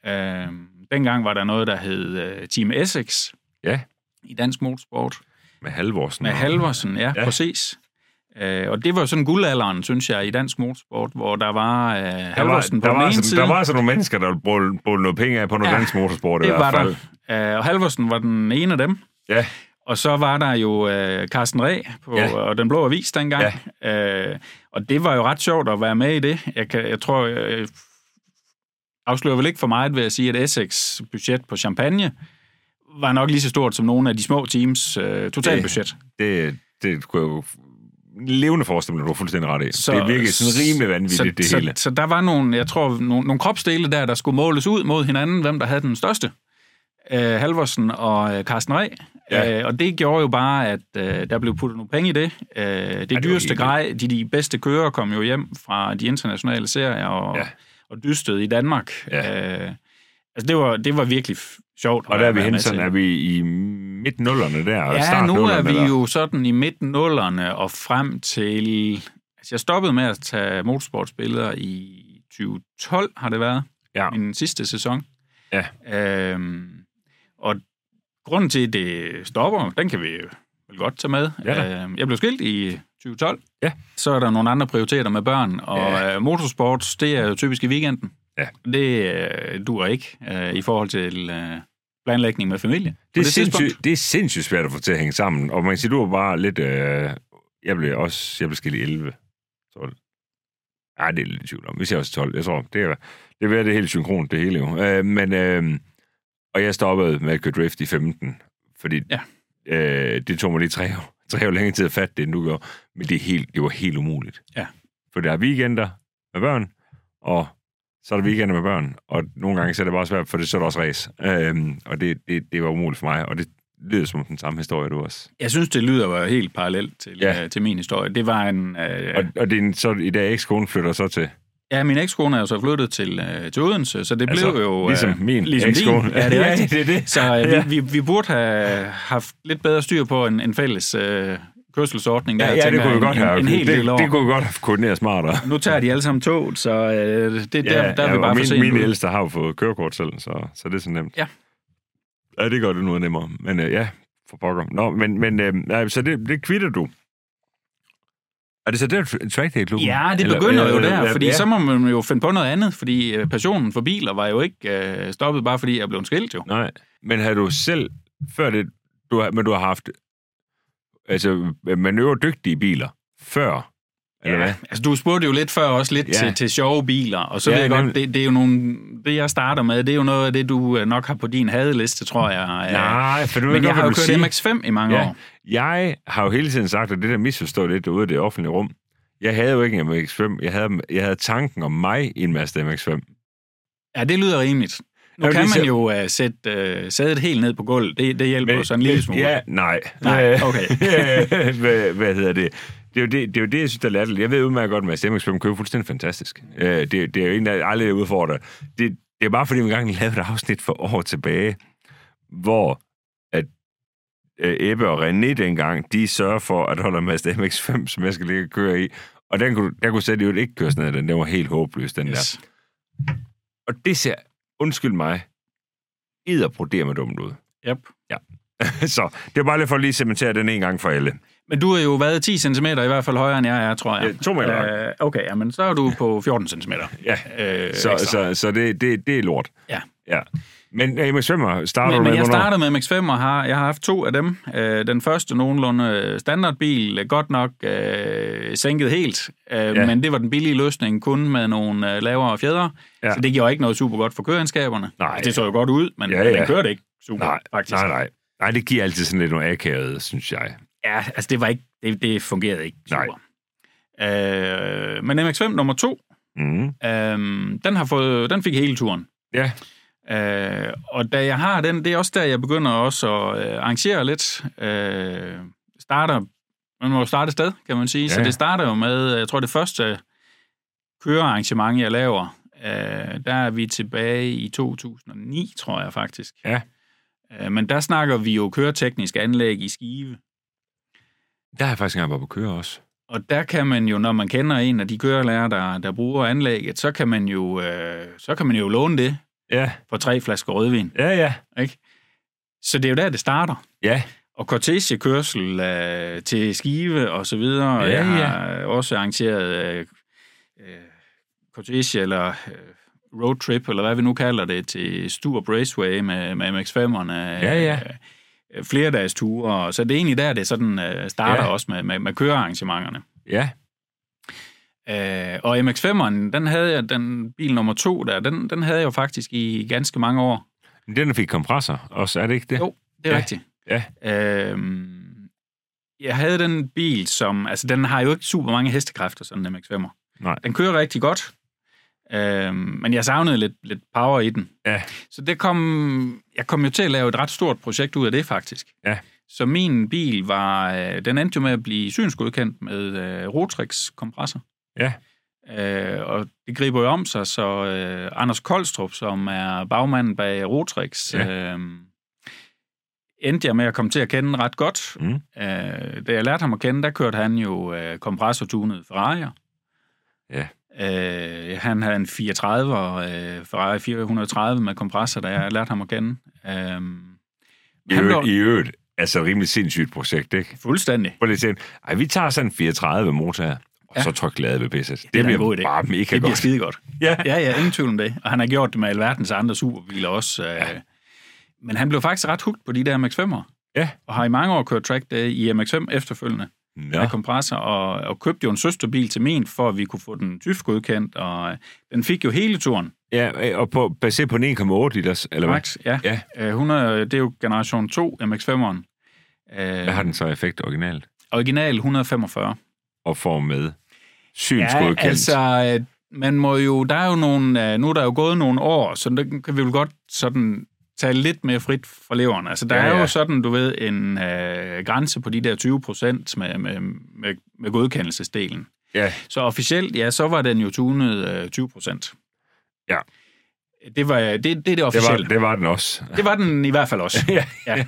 [SPEAKER 2] Øh, dengang var der noget, der hed øh, Team Essex.
[SPEAKER 1] Ja.
[SPEAKER 2] I dansk motorsport.
[SPEAKER 1] Med Halvorsen.
[SPEAKER 2] Med
[SPEAKER 1] og-
[SPEAKER 2] Halvorsen, ja,
[SPEAKER 1] Ja.
[SPEAKER 2] ja. præcis. Øh, og det var jo sådan guldalderen, synes jeg, i dansk motorsport, hvor der var øh,
[SPEAKER 1] Der var,
[SPEAKER 2] Halvorsen på
[SPEAKER 1] der,
[SPEAKER 2] den
[SPEAKER 1] var
[SPEAKER 2] ene
[SPEAKER 1] altså,
[SPEAKER 2] side.
[SPEAKER 1] der var altså nogle mennesker, der brugte brugte noget penge af på noget ja,
[SPEAKER 2] Ja,
[SPEAKER 1] dansk motorsport i
[SPEAKER 2] det
[SPEAKER 1] hvert
[SPEAKER 2] var
[SPEAKER 1] fald.
[SPEAKER 2] der. Øh, og Halvorsen var den ene af dem.
[SPEAKER 1] Ja,
[SPEAKER 2] Og så var der jo øh, Carsten Ræ på
[SPEAKER 1] Ja.
[SPEAKER 2] ja. og Den Blå Avis dengang. Ja. Øh, og det var jo ret sjovt at være med i det. Jeg, kan, jeg tror, jeg afslører vel ikke for meget ved at sige, at Essex budget på champagne var nok lige så stort som nogle af de små teams øh, totalbudget.
[SPEAKER 1] det, det kunne jeg jo levende forestille mig, at du var fuldstændig ret i. Så, det virkelig sådan rimelig vanvittigt, det
[SPEAKER 2] så,
[SPEAKER 1] hele.
[SPEAKER 2] Så, så der var nogle, jeg tror, nogle, nogle kropsdele der, der skulle måles ud mod hinanden, hvem der havde den største. Øh, Halvorsen og øh, Carsten Ræ.
[SPEAKER 1] Ja.
[SPEAKER 2] Ja. Øh, og det gjorde jo bare, at øh, der blev puttet nogle penge i det. Øh, det
[SPEAKER 1] var
[SPEAKER 2] dyreste
[SPEAKER 1] helt
[SPEAKER 2] grej, de, de bedste kører kom jo hjem fra de internationale serier og,
[SPEAKER 1] Ja.
[SPEAKER 2] ja. og dystede i Danmark.
[SPEAKER 1] Ja.
[SPEAKER 2] Øh, altså det var, det var virkelig f- sjovt. at
[SPEAKER 1] Og der er
[SPEAKER 2] være
[SPEAKER 1] vi
[SPEAKER 2] med
[SPEAKER 1] henne,
[SPEAKER 2] til.
[SPEAKER 1] sådan er vi i midt nullerne der, og
[SPEAKER 2] Ja,
[SPEAKER 1] start
[SPEAKER 2] nu er
[SPEAKER 1] nullerne
[SPEAKER 2] vi
[SPEAKER 1] der.
[SPEAKER 2] jo sådan i midten nullerne og frem til... Altså, jeg stoppede med at tage motorsportsbilleder i 2012, har det været.
[SPEAKER 1] Ja.
[SPEAKER 2] Min sidste sæson.
[SPEAKER 1] Ja.
[SPEAKER 2] Øhm, og grunden til, at det stopper, den kan vi jo vel godt tage med.
[SPEAKER 1] Ja
[SPEAKER 2] øhm, jeg blev skilt i 2012.
[SPEAKER 1] Ja.
[SPEAKER 2] Så er der nogle andre prioriteter med børn, og
[SPEAKER 1] Ja.
[SPEAKER 2] ja. øh, motorsport, det er jo typisk i weekenden.
[SPEAKER 1] Ja.
[SPEAKER 2] Det øh, dur ikke øh, i forhold til øh, planlægning med familie. på
[SPEAKER 1] Det er,
[SPEAKER 2] tidspunkt.
[SPEAKER 1] sindssygt, det er sindssygt svært at få til at hænge sammen. Og man kan sige, du var bare lidt... Øh, jeg blev også... Jeg blev skilt i 11. 12. Nej, det er jeg lidt i tvivl om. Vi ser også 12. Jeg tror, det er, det er ved at det er helt synkront, det hele jo. Øh, men... Øh, og jeg stoppede med at køre drift i 15. Fordi
[SPEAKER 2] Ja.
[SPEAKER 1] øh, det tog mig lige tre år. Tre år længere tid at fatte det, end du gjorde. Men det, er helt, det var helt umuligt.
[SPEAKER 2] Ja.
[SPEAKER 1] For der er weekender med børn, og så er der weekender med børn, og nogle gange så er det bare svært, for det så er der også race. Øhm, og det, det, det var umuligt for mig, og det lyder som den samme historie, du også.
[SPEAKER 2] Jeg synes, det lyder jo helt parallelt til,
[SPEAKER 1] Ja.
[SPEAKER 2] ja. øh, til min historie. Det var en... Øh,
[SPEAKER 1] Ja. Og, og det er en, så i dag ekskone flytter så til.
[SPEAKER 2] ja, min ekskone er jo så flyttet til, øh, til Odense, så det
[SPEAKER 1] Altså,
[SPEAKER 2] blev jo... Øh,
[SPEAKER 1] ligesom min
[SPEAKER 2] ligesom
[SPEAKER 1] ekskone.
[SPEAKER 2] Din. Ja, det er
[SPEAKER 1] Ja,
[SPEAKER 2] rigtigt.
[SPEAKER 1] det er det.
[SPEAKER 2] Så øh,
[SPEAKER 1] Ja.
[SPEAKER 2] vi, vi, vi burde have haft lidt bedre styr på en, en fælles øh, kørselsordning. Der, tænker jeg, en, en, en hel
[SPEAKER 1] det,
[SPEAKER 2] del år.
[SPEAKER 1] det kunne vi godt have koordineret smartere.
[SPEAKER 2] Nu tager de alle sammen tog, så øh, det, der, der er vi
[SPEAKER 1] og
[SPEAKER 2] bare for
[SPEAKER 1] min,
[SPEAKER 2] sent.
[SPEAKER 1] Mine
[SPEAKER 2] ude.
[SPEAKER 1] ældste har jo fået kørekort selv, så, så det er så nemt.
[SPEAKER 2] Ja.
[SPEAKER 1] Ja, det gør det noget nemmere. Men øh, ja, for pokker. Nå, men, men øh, nej, så det, det kvitter du. Er det så der track day klubben
[SPEAKER 2] Ja, det
[SPEAKER 1] Eller-
[SPEAKER 2] begynder jo
[SPEAKER 1] eller-
[SPEAKER 2] der,
[SPEAKER 1] eller-
[SPEAKER 2] fordi
[SPEAKER 1] ja.
[SPEAKER 2] så må man jo finde på noget andet, fordi øh, passionen for biler var jo ikke øh, stoppet, bare fordi jeg blev skilt jo.
[SPEAKER 1] Nej, men har du selv, før det, du har, men du har haft, altså manøvredygtige biler, før, eller hvad?
[SPEAKER 2] Altså, du spurgte jo lidt før også lidt
[SPEAKER 1] Ja.
[SPEAKER 2] ja. til, til sjove biler, og så
[SPEAKER 1] Ja,
[SPEAKER 2] ja, ved jeg
[SPEAKER 1] nemlig.
[SPEAKER 2] godt, det, det er jo nogle, det jeg starter med, det er jo noget af det, du øh, nok har på din hadeliste, tror jeg. Øh,
[SPEAKER 1] Nej, for nu
[SPEAKER 2] Men jeg har jo kørt
[SPEAKER 1] sige.
[SPEAKER 2] MX-5 i mange
[SPEAKER 1] Ja.
[SPEAKER 2] år.
[SPEAKER 1] Jeg har jo hele tiden sagt, at det der misforstået lidt ude i det offentlige rum, jeg havde jo ikke en MX-5, jeg havde, jeg havde tanken om mig i en Mazda MX-5.
[SPEAKER 2] Ja, det lyder rimeligt. Nu
[SPEAKER 1] Jamen,
[SPEAKER 2] kan
[SPEAKER 1] det er
[SPEAKER 2] man jo uh, sætte uh, sædet helt ned på gulvet. Det, det hjælper jo sådan en lille smule.
[SPEAKER 1] Ja, nej. Øh,
[SPEAKER 2] Nej, okay.
[SPEAKER 1] hvad, hvad hedder det? Det er, jo det, det er jo det, jeg synes, der er latterligt. Jeg ved udmærket godt, at Mads MX-5 kører fuldstændig fantastisk. Øh, Det, det er jo en, der aldrig er udfordret. Det, det er bare, fordi vi engang lavede et afsnit for år tilbage, hvor at øh, Ebbe og René dengang, de sørger for at holde Mads MX-5, som jeg skal ligge og køre i. Og den kunne, der kunne sætte jo ikke køre sådan noget. Den, den var helt håbløs, den yes. der.
[SPEAKER 2] Yes.
[SPEAKER 1] Og det ser, undskyld mig, edderbroderer med dumt ud.
[SPEAKER 2] Yep.
[SPEAKER 1] Så det er bare lige for at lige cementere den en gang for alle.
[SPEAKER 2] Men du har jo været 10 cm i hvert fald højere, end jeg er, tror jeg.
[SPEAKER 1] Ja, to meter.
[SPEAKER 2] Øh, okay, ja, men så er du på 14 cm.
[SPEAKER 1] Ja.
[SPEAKER 2] Øh,
[SPEAKER 1] Så,
[SPEAKER 2] ekstra.
[SPEAKER 1] så, så det, det, det er lort.
[SPEAKER 2] Ja.
[SPEAKER 1] ja. Men øh, Max Femmer starter
[SPEAKER 2] Men,
[SPEAKER 1] du
[SPEAKER 2] men
[SPEAKER 1] med,
[SPEAKER 2] jeg
[SPEAKER 1] hvornår?
[SPEAKER 2] startede med MX-5, og har, jeg har haft to af dem. Øh, den første nogenlunde øh, standardbil, godt nok øh, sænket helt, øh,
[SPEAKER 1] Ja.
[SPEAKER 2] ja. men det var den billige løsning, kun med nogle øh, lavere fjeder.
[SPEAKER 1] Ja.
[SPEAKER 2] Ja. Så det gjorde ikke noget super godt for køreegenskaberne.
[SPEAKER 1] Nej.
[SPEAKER 2] Altså, det så jo godt ud, men
[SPEAKER 1] Ja,
[SPEAKER 2] ja,
[SPEAKER 1] ja.
[SPEAKER 2] ja. den kørte ikke super,
[SPEAKER 1] Nej,
[SPEAKER 2] faktisk.
[SPEAKER 1] nej, nej. Nej, det giver altid sådan lidt noget akavet, synes jeg.
[SPEAKER 2] Ja, altså det, var ikke, det, det fungerede ikke
[SPEAKER 1] Nej.
[SPEAKER 2] super. Øh, men MX-5 nummer to,
[SPEAKER 1] Mm.
[SPEAKER 2] øh, den, har fået, den fik hele turen.
[SPEAKER 1] Ja,
[SPEAKER 2] Øh, og da jeg har den, det er også der, jeg begynder også at øh, arrangere lidt. Øh, starter, man må jo starte et sted, kan man sige. Ja. Så
[SPEAKER 1] Ja.
[SPEAKER 2] det starter jo med, jeg tror det første kørearrangement, jeg laver, øh, der er vi tilbage i 2009, tror jeg faktisk.
[SPEAKER 1] Ja.
[SPEAKER 2] Øh, men der snakker vi jo køreteknisk anlæg i Skive.
[SPEAKER 1] der har jeg faktisk engang været på køre også.
[SPEAKER 2] Og der kan man jo, når man kender en af de kørelærer, der, der bruger anlægget, så kan, man jo, øh, så kan man jo låne det
[SPEAKER 1] Ja,
[SPEAKER 2] for tre flasker rødvin.
[SPEAKER 1] ja, ja.
[SPEAKER 2] Så det er jo der, det starter.
[SPEAKER 1] Ja,
[SPEAKER 2] Og kortegekørsel øh, til Skive og så videre.
[SPEAKER 1] Ja,
[SPEAKER 2] Ja, jeg har ja. også arrangeret øh, øh, kortege eller øh, roadtrip, eller hvad vi nu kalder det, til Stuer Raceway med, med MX-5'erne.
[SPEAKER 1] Ja, ja.
[SPEAKER 2] Øh, flere dages ture. Så det er egentlig der, det sådan øh, starter
[SPEAKER 1] Ja.
[SPEAKER 2] ja. også med, med, med kørearrangementerne.
[SPEAKER 1] ja.
[SPEAKER 2] Øh, og MX-5'eren, den havde jeg, den bil nummer to der, den, den havde jeg jo faktisk i ganske mange år.
[SPEAKER 1] Men Den der fik kompressor også, er det ikke det?
[SPEAKER 2] Jo. Det er
[SPEAKER 1] Ja.
[SPEAKER 2] ja. rigtigt.
[SPEAKER 1] Ja.
[SPEAKER 2] Øhm, jeg havde den bil, som... Altså, den har jo ikke super mange hestekræfter, sådan en MX-5'er.
[SPEAKER 1] Nej.
[SPEAKER 2] Den kører rigtig godt, øhm, men jeg savnede lidt, lidt power i den.
[SPEAKER 1] Ja.
[SPEAKER 2] Så det kom... Jeg kom jo til at lave et ret stort projekt ud af det, faktisk.
[SPEAKER 1] Ja.
[SPEAKER 2] Så min bil var... Øh, den endte jo med at blive synsgodkendt med øh, Rotrix-kompressor.
[SPEAKER 1] Ja.
[SPEAKER 2] Øh, og det griber jo om sig, så øh, Anders Koldstrup, som er bagmanden bag Rotrix, ja. øh, endte jeg med at komme til at kende ret godt.
[SPEAKER 1] Mm.
[SPEAKER 2] Mm. Øh, da jeg lærte ham at kende, der kørte han jo øh, kompressortunede Ferrari'er.
[SPEAKER 1] Ja.
[SPEAKER 2] Øh, han havde en 34 øh, Ferrari 430 med kompressor, da jeg lærte ham at kende. Øh,
[SPEAKER 1] I
[SPEAKER 2] han
[SPEAKER 1] øvrigt,
[SPEAKER 2] var
[SPEAKER 1] i øvrigt, altså rimelig sindssygt projekt, ikke?
[SPEAKER 2] fuldstændig
[SPEAKER 1] Prøv lige at tænke, ej, vi tager sådan en 34 motor her, og
[SPEAKER 2] Ja.
[SPEAKER 1] så tryk lade ved pisset. Det,
[SPEAKER 2] da
[SPEAKER 1] det
[SPEAKER 2] en
[SPEAKER 1] bliver
[SPEAKER 2] god idé.
[SPEAKER 1] bare mega
[SPEAKER 2] Det bliver
[SPEAKER 1] godt.
[SPEAKER 2] skide godt.
[SPEAKER 1] Ja.
[SPEAKER 2] ja, ja, ingen tvivl om det. Og han har gjort det med alverdens andre superbiler også. Ja. Men han blev faktisk ret hugt på de der MX-5'er.
[SPEAKER 1] Ja.
[SPEAKER 2] Og har i mange år kørt track day i MX-5 efterfølgende ja.
[SPEAKER 1] Nå,
[SPEAKER 2] med kompressor, og, og købte jo en søsterbil til min, for at vi kunne få den tysk godkendt, og øh, den fik jo hele turen.
[SPEAKER 1] ja, og på, baseret på en 1,8 liters, eller hvad?
[SPEAKER 2] Max, ja.
[SPEAKER 1] Ja.
[SPEAKER 2] Øh, 100, det er jo generation 2 MX-5'eren.
[SPEAKER 1] Hvad har
[SPEAKER 2] Øh,
[SPEAKER 1] den så i effekt originalt?
[SPEAKER 2] original 145.
[SPEAKER 1] Og får med synsgodkendt.
[SPEAKER 2] Ja, altså, øh, man må jo, der er jo nogle, øh, nu er der jo gået nogle år, så der kan vi jo godt sådan tage lidt mere frit fra leveren. Altså, der
[SPEAKER 1] Ja,
[SPEAKER 2] ja, ja. er
[SPEAKER 1] ja.
[SPEAKER 2] jo sådan, du ved, en øh, grænse på de der 20 procent med, med, med, med godkendelsesdelen.
[SPEAKER 1] Ja,
[SPEAKER 2] Så officielt, ja, så var den jo tunet øh, 20 procent.
[SPEAKER 1] Ja.
[SPEAKER 2] Det, var, det, det er det
[SPEAKER 1] det var,
[SPEAKER 2] officielle. Det
[SPEAKER 1] det var den også.
[SPEAKER 2] var, det var den i hvert fald også.
[SPEAKER 1] ja.
[SPEAKER 2] ja.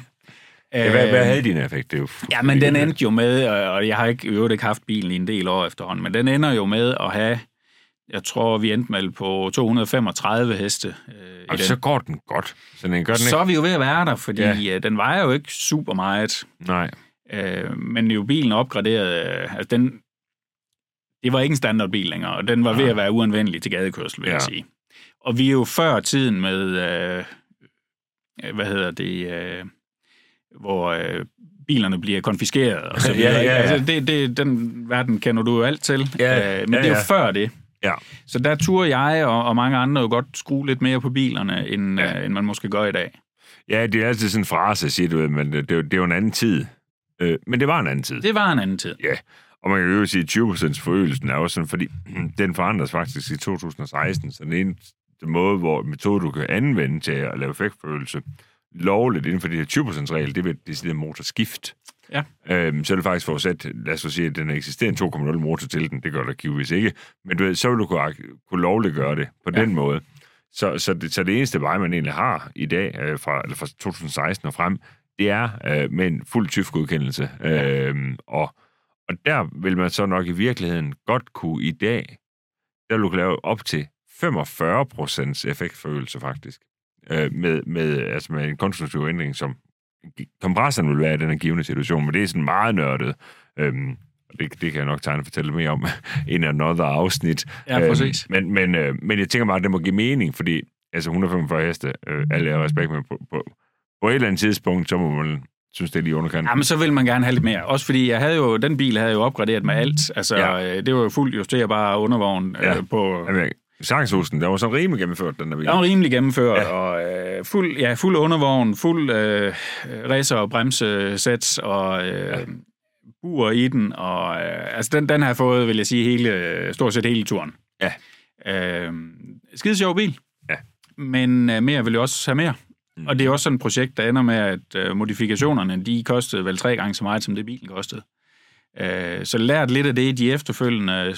[SPEAKER 1] Ja, hvad, hvad
[SPEAKER 2] Øh,
[SPEAKER 1] havde din effekt? Det er jo
[SPEAKER 2] Ja, men den endte jo med, og og jeg har ikke, i øvrigt ikke haft bilen i en del år efterhånden, men den ender jo med at have, jeg tror, vi endte med på 235 heste. Øh, i den.
[SPEAKER 1] Og så går den godt. Så den gør den
[SPEAKER 2] så
[SPEAKER 1] ikke?
[SPEAKER 2] er vi jo ved at være der, fordi
[SPEAKER 1] Ja.
[SPEAKER 2] ja. den vejer jo ikke super meget,
[SPEAKER 1] Nej.
[SPEAKER 2] øh, men jo bilen er opgraderet, øh, altså den, det var ikke en standardbil længere, og den var ved
[SPEAKER 1] Nej.
[SPEAKER 2] at være uanvendelig til gadekørsel, vil ja. jeg
[SPEAKER 1] Ja.
[SPEAKER 2] sige. Og vi er jo før tiden med, øh, øh, hvad hedder det, øh, hvor øh, bilerne bliver konfiskeret og så
[SPEAKER 1] Ja,
[SPEAKER 2] videre.
[SPEAKER 1] ja, ja.
[SPEAKER 2] Altså, det, det, den verden kender du jo alt til,
[SPEAKER 1] Ja,
[SPEAKER 2] øh, men
[SPEAKER 1] ja,
[SPEAKER 2] det er jo
[SPEAKER 1] ja.
[SPEAKER 2] før det.
[SPEAKER 1] Ja.
[SPEAKER 2] Så der turde jeg og, og mange andre jo godt skrue lidt mere på bilerne, end,
[SPEAKER 1] Ja.
[SPEAKER 2] ja. øh, end man måske gør i dag.
[SPEAKER 1] Ja, det er altid sådan en frase, siger du, men det, det, er jo- det er jo en anden tid. Øh, men det var en anden tid.
[SPEAKER 2] Det var en anden tid.
[SPEAKER 1] Og man kan jo sige, at 20% forøgelsen er også sådan, fordi den forandres faktisk i 2016, så den eneste måde, hvor metode, du kan anvende til at lave effektforøgelse lovligt inden for de her 20%-regel, det vil decideret motorskift.
[SPEAKER 2] Ja.
[SPEAKER 1] Øhm, så er det faktisk forudsat, lad os så sige, at den eksisterer en 2,0 motor til den, det gør der givetvis ikke, men du ved, så vil du kunne, ak- kunne lovligt gøre det på ja.
[SPEAKER 2] Ja.
[SPEAKER 1] den måde. Så, så, det, så det eneste vej, man egentlig har i dag, øh, fra, eller fra 2016 og frem, det er øh, med en fuld TÜV-godkendelse. Øh, og, og der vil man så nok i virkeligheden godt kunne i dag, der vil du kunne lave op til 45 procents effektforøgelse faktisk. Øh, med, med, altså med en konstruktiv ændring, som kompressoren vil være i den her givende situation, men det er sådan meget nørdet. Øhm, og det, det kan jeg nok tegne og fortælle mere om i en another afsnit.
[SPEAKER 2] Ja, præcis.
[SPEAKER 1] Øhm, men, men, øh, men jeg tænker bare, at det må give mening, fordi altså 145 heste, øh, alle er respekt med på, på, på et eller andet tidspunkt, så må man synes, det er lige underkant.
[SPEAKER 2] Jamen, så vil man gerne have lidt mere. Også fordi jeg havde jo, den bil havde jeg jo opgraderet med alt. Altså,
[SPEAKER 1] Ja.
[SPEAKER 2] ja. det var jo fuldt justerbar undervogn ja.
[SPEAKER 1] Ja.
[SPEAKER 2] øh, på...
[SPEAKER 1] Jamen, Sangshusen, der var sådan rimelig gennemført, den der bil.
[SPEAKER 2] Den var rimelig gennemført,
[SPEAKER 1] Ja.
[SPEAKER 2] ja. og øh, fuld, ja, fuld undervogn, fuld øh, racer- og bremsesæt, og øh,
[SPEAKER 1] Ja.
[SPEAKER 2] ja. bur i den, og øh, altså den, den har jeg fået, vil jeg sige, hele, stort set hele turen.
[SPEAKER 1] Ja.
[SPEAKER 2] Øh, skide sjov bil.
[SPEAKER 1] Ja.
[SPEAKER 2] Men øh, mere vil jeg også have mere.
[SPEAKER 1] Mm.
[SPEAKER 2] Mm. Og det er også sådan et projekt, der ender med, at øh, modifikationerne, de kostede vel tre gange så meget, som det bilen kostede. Øh, så lært lidt af det, de efterfølgende øh,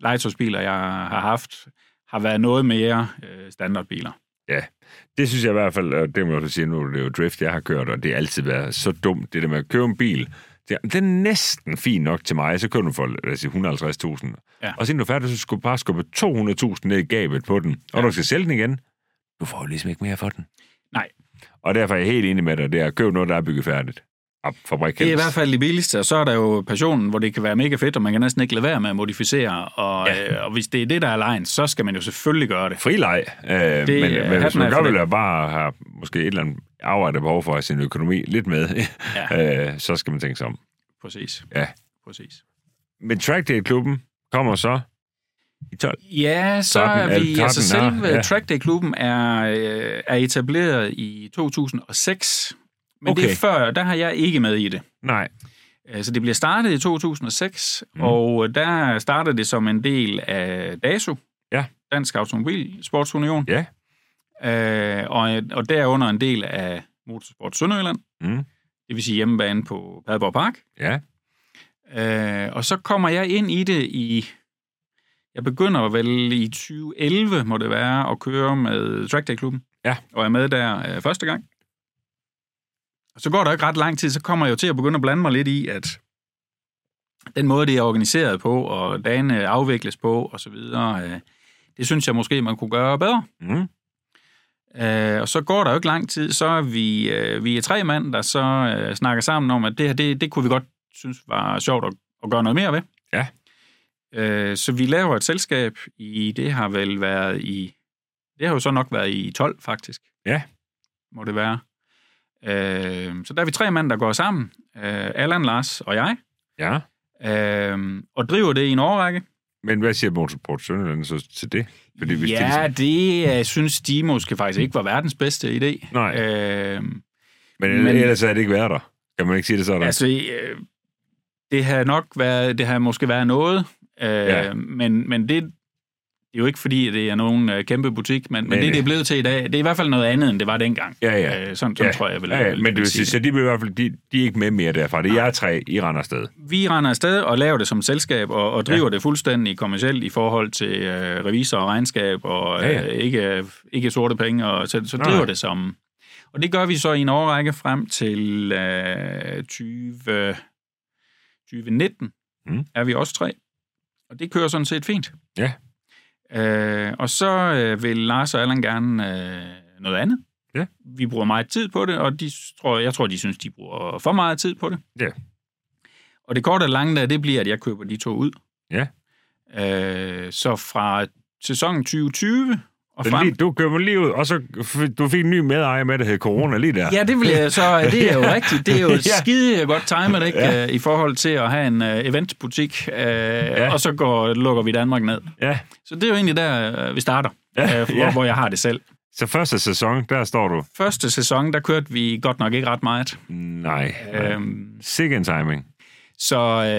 [SPEAKER 2] legetøjsbiler, jeg har haft, har været noget mere øh, standardbiler.
[SPEAKER 1] Det synes jeg i hvert fald, og det må jeg så sige nu, det er jo drift, jeg har kørt, og det har altid været så dumt, det der med at købe en bil. Det er, det er næsten fint nok til mig, så køber du for lad os sige, 150.000.
[SPEAKER 2] Ja.
[SPEAKER 1] Og så du er færdig, så skal du bare skubbe 200.000 ned i gabet på den, og ja.
[SPEAKER 2] Ja.
[SPEAKER 1] du skal sælge den igen. Du får jo ligesom ikke mere for den.
[SPEAKER 2] Nej.
[SPEAKER 1] Og derfor er jeg helt enig med dig, det er at købe noget, der er bygget færdigt. Op, fabrik
[SPEAKER 2] Det er i hvert fald det billigste, og så er der jo passionen, hvor det kan være mega fedt, og man kan næsten ikke lade være med at modificere. Og,
[SPEAKER 1] Ja.
[SPEAKER 2] ja. øh, og hvis det er det, der er lejen, så skal man jo selvfølgelig gøre det.
[SPEAKER 1] frileg. Øh, det, men,
[SPEAKER 2] er-
[SPEAKER 1] men hvis
[SPEAKER 2] hatten
[SPEAKER 1] man
[SPEAKER 2] af
[SPEAKER 1] gør,
[SPEAKER 2] for
[SPEAKER 1] vil
[SPEAKER 2] det.
[SPEAKER 1] jeg bare have måske et eller andet arbejde behov for at have sin økonomi lidt med, ja. øh, så skal man tænke sig om.
[SPEAKER 2] Præcis.
[SPEAKER 1] Ja.
[SPEAKER 2] Præcis.
[SPEAKER 1] Men Track Day-klubben kommer så i 12.
[SPEAKER 2] Ja, så
[SPEAKER 1] Toppen
[SPEAKER 2] er
[SPEAKER 1] af-
[SPEAKER 2] vi... Altså
[SPEAKER 1] toppen af-
[SPEAKER 2] selve
[SPEAKER 1] ja.
[SPEAKER 2] ja. Track Day-klubben er, øh, er etableret i 2006, men okay. det
[SPEAKER 1] Okay.
[SPEAKER 2] er før, der har jeg ikke med i det.
[SPEAKER 1] Nej.
[SPEAKER 2] Øh, Så det bliver startet i 2006,
[SPEAKER 1] Mm.
[SPEAKER 2] mm. og der startede det som en del af DASU,
[SPEAKER 1] Ja.
[SPEAKER 2] Dansk Automobil Sportsunion,
[SPEAKER 1] Ja.
[SPEAKER 2] øh, og, og derunder en del af Motorsport Sønderjylland,
[SPEAKER 1] Mm.
[SPEAKER 2] det vil sige hjemmebane på Padborg Park.
[SPEAKER 1] Ja.
[SPEAKER 2] Øh, og så kommer jeg ind i det i... Jeg begynder vel i 2011, må det være, at køre med Track Day-klubben.
[SPEAKER 1] Ja.
[SPEAKER 2] Og er med der øh, første gang. Og så går der ikke ret lang tid, så kommer jeg jo til at begynde at blande mig lidt i, at den måde, det er organiseret på, og dagene afvikles på, og så videre, øh, det synes jeg måske, man kunne gøre bedre.
[SPEAKER 1] Mm.
[SPEAKER 2] Øh, og så går der jo ikke lang tid, så er vi, øh, vi er tre mænd, der så øh, snakker sammen om, at det her, det, det kunne vi godt synes var sjovt at, at gøre noget mere ved.
[SPEAKER 1] Ja.
[SPEAKER 2] Øh, så vi laver et selskab i, det har vel været i, det har jo så nok været i 12 faktisk.
[SPEAKER 1] Ja.
[SPEAKER 2] Må det være. Øh, så der er vi tre mænd, der går sammen. Øh, Allan, Lars og jeg.
[SPEAKER 1] Ja.
[SPEAKER 2] Øh, og driver det i en årrække. Men
[SPEAKER 1] Men hvad siger Motorsport Sønderland så til det? Fordi hvis det
[SPEAKER 2] ja,
[SPEAKER 1] ligesom,
[SPEAKER 2] det, det øh, synes de måske faktisk ikke var verdens bedste idé.
[SPEAKER 1] Nej.
[SPEAKER 2] Øh,
[SPEAKER 1] men, men
[SPEAKER 2] men-
[SPEAKER 1] ellers er det ikke været der. Kan man ikke sige det sådan?
[SPEAKER 2] Altså, øh, det har nok været, det har måske været noget, øh,
[SPEAKER 1] Ja.
[SPEAKER 2] ja. men, men det, det er jo ikke fordi, at det er nogen øh, kæmpe butik, men, men
[SPEAKER 1] Nej,
[SPEAKER 2] det, det
[SPEAKER 1] nej.
[SPEAKER 2] er blevet til i dag, det er i hvert fald noget andet, end det var dengang.
[SPEAKER 1] ja, ja.
[SPEAKER 2] Øh, sådan
[SPEAKER 1] Ja.
[SPEAKER 2] sådan tror jeg, jeg vil,
[SPEAKER 1] Ja, ja,
[SPEAKER 2] vil-
[SPEAKER 1] men det
[SPEAKER 2] vil
[SPEAKER 1] vil sige,
[SPEAKER 2] sige
[SPEAKER 1] så
[SPEAKER 2] det.
[SPEAKER 1] de er i hvert fald de, de er ikke med mere derfra. Det er jer tre, I render afsted.
[SPEAKER 2] Vi render afsted og laver det som selskab, og, og driver ja. det fuldstændig kommercielt i forhold til øh, revisor og regnskab, og
[SPEAKER 1] Ja,
[SPEAKER 2] ja,
[SPEAKER 1] ja.
[SPEAKER 2] ja. Øh, ikke, ikke sorte penge, og så, så
[SPEAKER 1] Nej,
[SPEAKER 2] driver
[SPEAKER 1] nej.
[SPEAKER 2] det som... Og det gør vi så i en årrække frem til øh, 20, 2019,
[SPEAKER 1] Mm.
[SPEAKER 2] mm. er vi også tre. Og det kører sådan set fint.
[SPEAKER 1] Ja.
[SPEAKER 2] Øh, og så øh, vil Lars og Allan gerne øh, noget andet.
[SPEAKER 1] Ja.
[SPEAKER 2] Vi bruger meget tid på det, og de tror, jeg tror, de synes, de bruger for meget tid på det.
[SPEAKER 1] Ja.
[SPEAKER 2] Og det korte og lange der, det bliver, at jeg køber de to ud.
[SPEAKER 1] Ja.
[SPEAKER 2] Øh, så fra sæsonen 2020 og
[SPEAKER 1] Så
[SPEAKER 2] frem...
[SPEAKER 1] lige, du køber lige ud, og så f- du fik en ny medejer med, der hed Corona lige der.
[SPEAKER 2] Ja, det, vil jeg, så, øh, det er jo rigtigt. Det er jo
[SPEAKER 1] Ja.
[SPEAKER 2] et skide godt timet, ikke? Ja. I forhold til at have en uh, eventbutik, uh, ja. og så går, lukker vi Danmark ned.
[SPEAKER 1] ja.
[SPEAKER 2] Så det er jo egentlig der, øh, vi starter,
[SPEAKER 1] Ja,
[SPEAKER 2] ja. uh, hvor,
[SPEAKER 1] ja.
[SPEAKER 2] hvor jeg har det selv.
[SPEAKER 1] Så første sæson, der står du.
[SPEAKER 2] Første sæson, der kørte vi godt nok ikke ret meget. Øhm,
[SPEAKER 1] Nej.
[SPEAKER 2] Ja.
[SPEAKER 1] Sikke en timing.
[SPEAKER 2] Så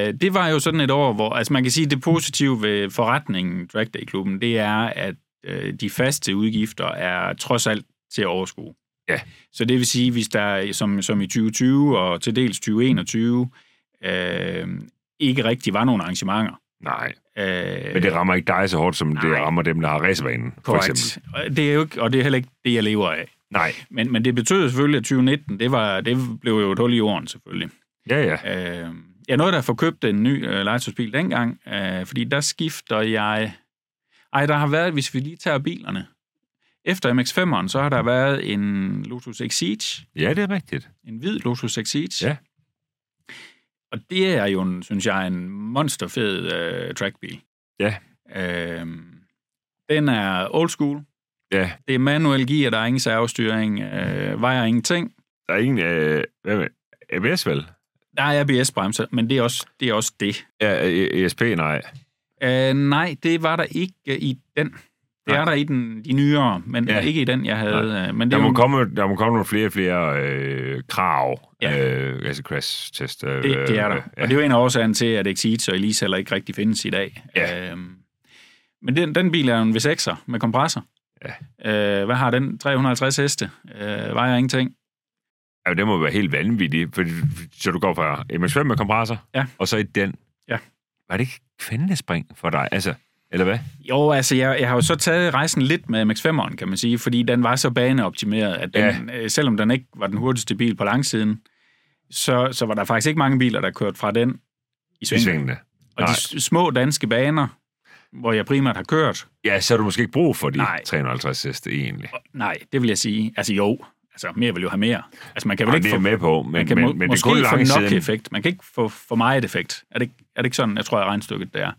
[SPEAKER 2] øh, det var jo sådan et år, hvor altså man kan sige, at det positive ved forretningen Drag Day-klubben, det er, at øh, de faste udgifter er trods alt til at overskue.
[SPEAKER 1] Ja.
[SPEAKER 2] Så det vil sige, hvis der som, som i 2020 og til dels 2021 øh, ikke rigtig var nogen arrangementer.
[SPEAKER 1] Nej.
[SPEAKER 2] Øh,
[SPEAKER 1] Men det rammer ikke dig så hårdt, som det
[SPEAKER 2] Nej.
[SPEAKER 1] rammer dem, der har racerbanen, for eksempel.
[SPEAKER 2] korrekt. Og Det er jo ikke, og det er heller ikke det, jeg lever af.
[SPEAKER 1] Nej.
[SPEAKER 2] Men, men det betød selvfølgelig, at 2019, det, var, det blev jo et hul i jorden selvfølgelig.
[SPEAKER 1] Ja, ja.
[SPEAKER 2] Øh, jeg nåede da at få købt en ny øh, legetøjsbil dengang, øh, fordi der skifter jeg... Ej, der har været, hvis vi lige tager bilerne. Efter MX-5'eren, så har der været en Lotus Exige,
[SPEAKER 1] Ja, det er rigtigt.
[SPEAKER 2] en hvid Lotus Exige.
[SPEAKER 1] Ja.
[SPEAKER 2] Og det er jo, en, synes jeg, en monsterfed øh, trackbil.
[SPEAKER 1] Ja.
[SPEAKER 2] Øh, den er old school.
[SPEAKER 1] Ja,
[SPEAKER 2] Det er manuel gear, der er ingen servostyring, øh, vejer ingenting.
[SPEAKER 1] der er ingen... Øh, hvad med? ABS vel?
[SPEAKER 2] Der er ABS-bremser, men det er også det. Er også det.
[SPEAKER 1] Ja, øh, ESP, nej.
[SPEAKER 2] Øh, nej, det var der ikke øh, i den. Det
[SPEAKER 1] Nej.
[SPEAKER 2] er der i den, de nyere, men
[SPEAKER 1] Ja.
[SPEAKER 2] ja. ikke i den, jeg havde. øh, Men det
[SPEAKER 1] Der
[SPEAKER 2] er
[SPEAKER 1] må,
[SPEAKER 2] jo,
[SPEAKER 1] komme, der må komme nogle flere og flere øh, krav.
[SPEAKER 2] Ja.
[SPEAKER 1] Øh, altså crash-test. Øh,
[SPEAKER 2] det, det er der.
[SPEAKER 1] Ja.
[SPEAKER 2] Og det er jo en af årsagen til, at Exit og Elise heller ikke rigtig findes i dag.
[SPEAKER 1] Ja.
[SPEAKER 2] Øhm, men den, den bil er jo en V6'er med kompressor. Ja. Øh, hvad har den? 350 heste. Øh, vejer ingenting.
[SPEAKER 1] Ja, det må være helt vanvittigt. For, så du går fra MX-5 med kompressor,
[SPEAKER 2] Ja.
[SPEAKER 1] og så i den.
[SPEAKER 2] Ja.
[SPEAKER 1] Var det ikke kvindespring for dig? Altså, eller hvad?
[SPEAKER 2] Jo, altså, jeg, jeg har jo så taget rejsen lidt med MX-5'eren, kan man sige, fordi den var så baneoptimeret, at den, ja. øh, selvom den ikke var den hurtigste bil på langsiden, så, så var der faktisk ikke mange biler, der kørte fra den i
[SPEAKER 1] I
[SPEAKER 2] sving.
[SPEAKER 1] svingene.
[SPEAKER 2] Og
[SPEAKER 1] Nej.
[SPEAKER 2] de s- små danske baner, hvor jeg primært har kørt,
[SPEAKER 1] Ja, så har du måske ikke brug for de
[SPEAKER 2] Nej.
[SPEAKER 1] 350 heste egentlig.
[SPEAKER 2] nej, det vil jeg sige, altså jo, altså mere vil jo have mere. Altså man kan vel
[SPEAKER 1] Og
[SPEAKER 2] ikke
[SPEAKER 1] det er
[SPEAKER 2] få,
[SPEAKER 1] jeg med på,
[SPEAKER 2] man
[SPEAKER 1] men,
[SPEAKER 2] kan må,
[SPEAKER 1] men, men det er
[SPEAKER 2] måske
[SPEAKER 1] kun lang
[SPEAKER 2] få nok
[SPEAKER 1] siden,
[SPEAKER 2] effekt, man kan ikke få for meget effekt. Er det, ikke- er det ikke sådan, jeg tror, jeg regnstykket der?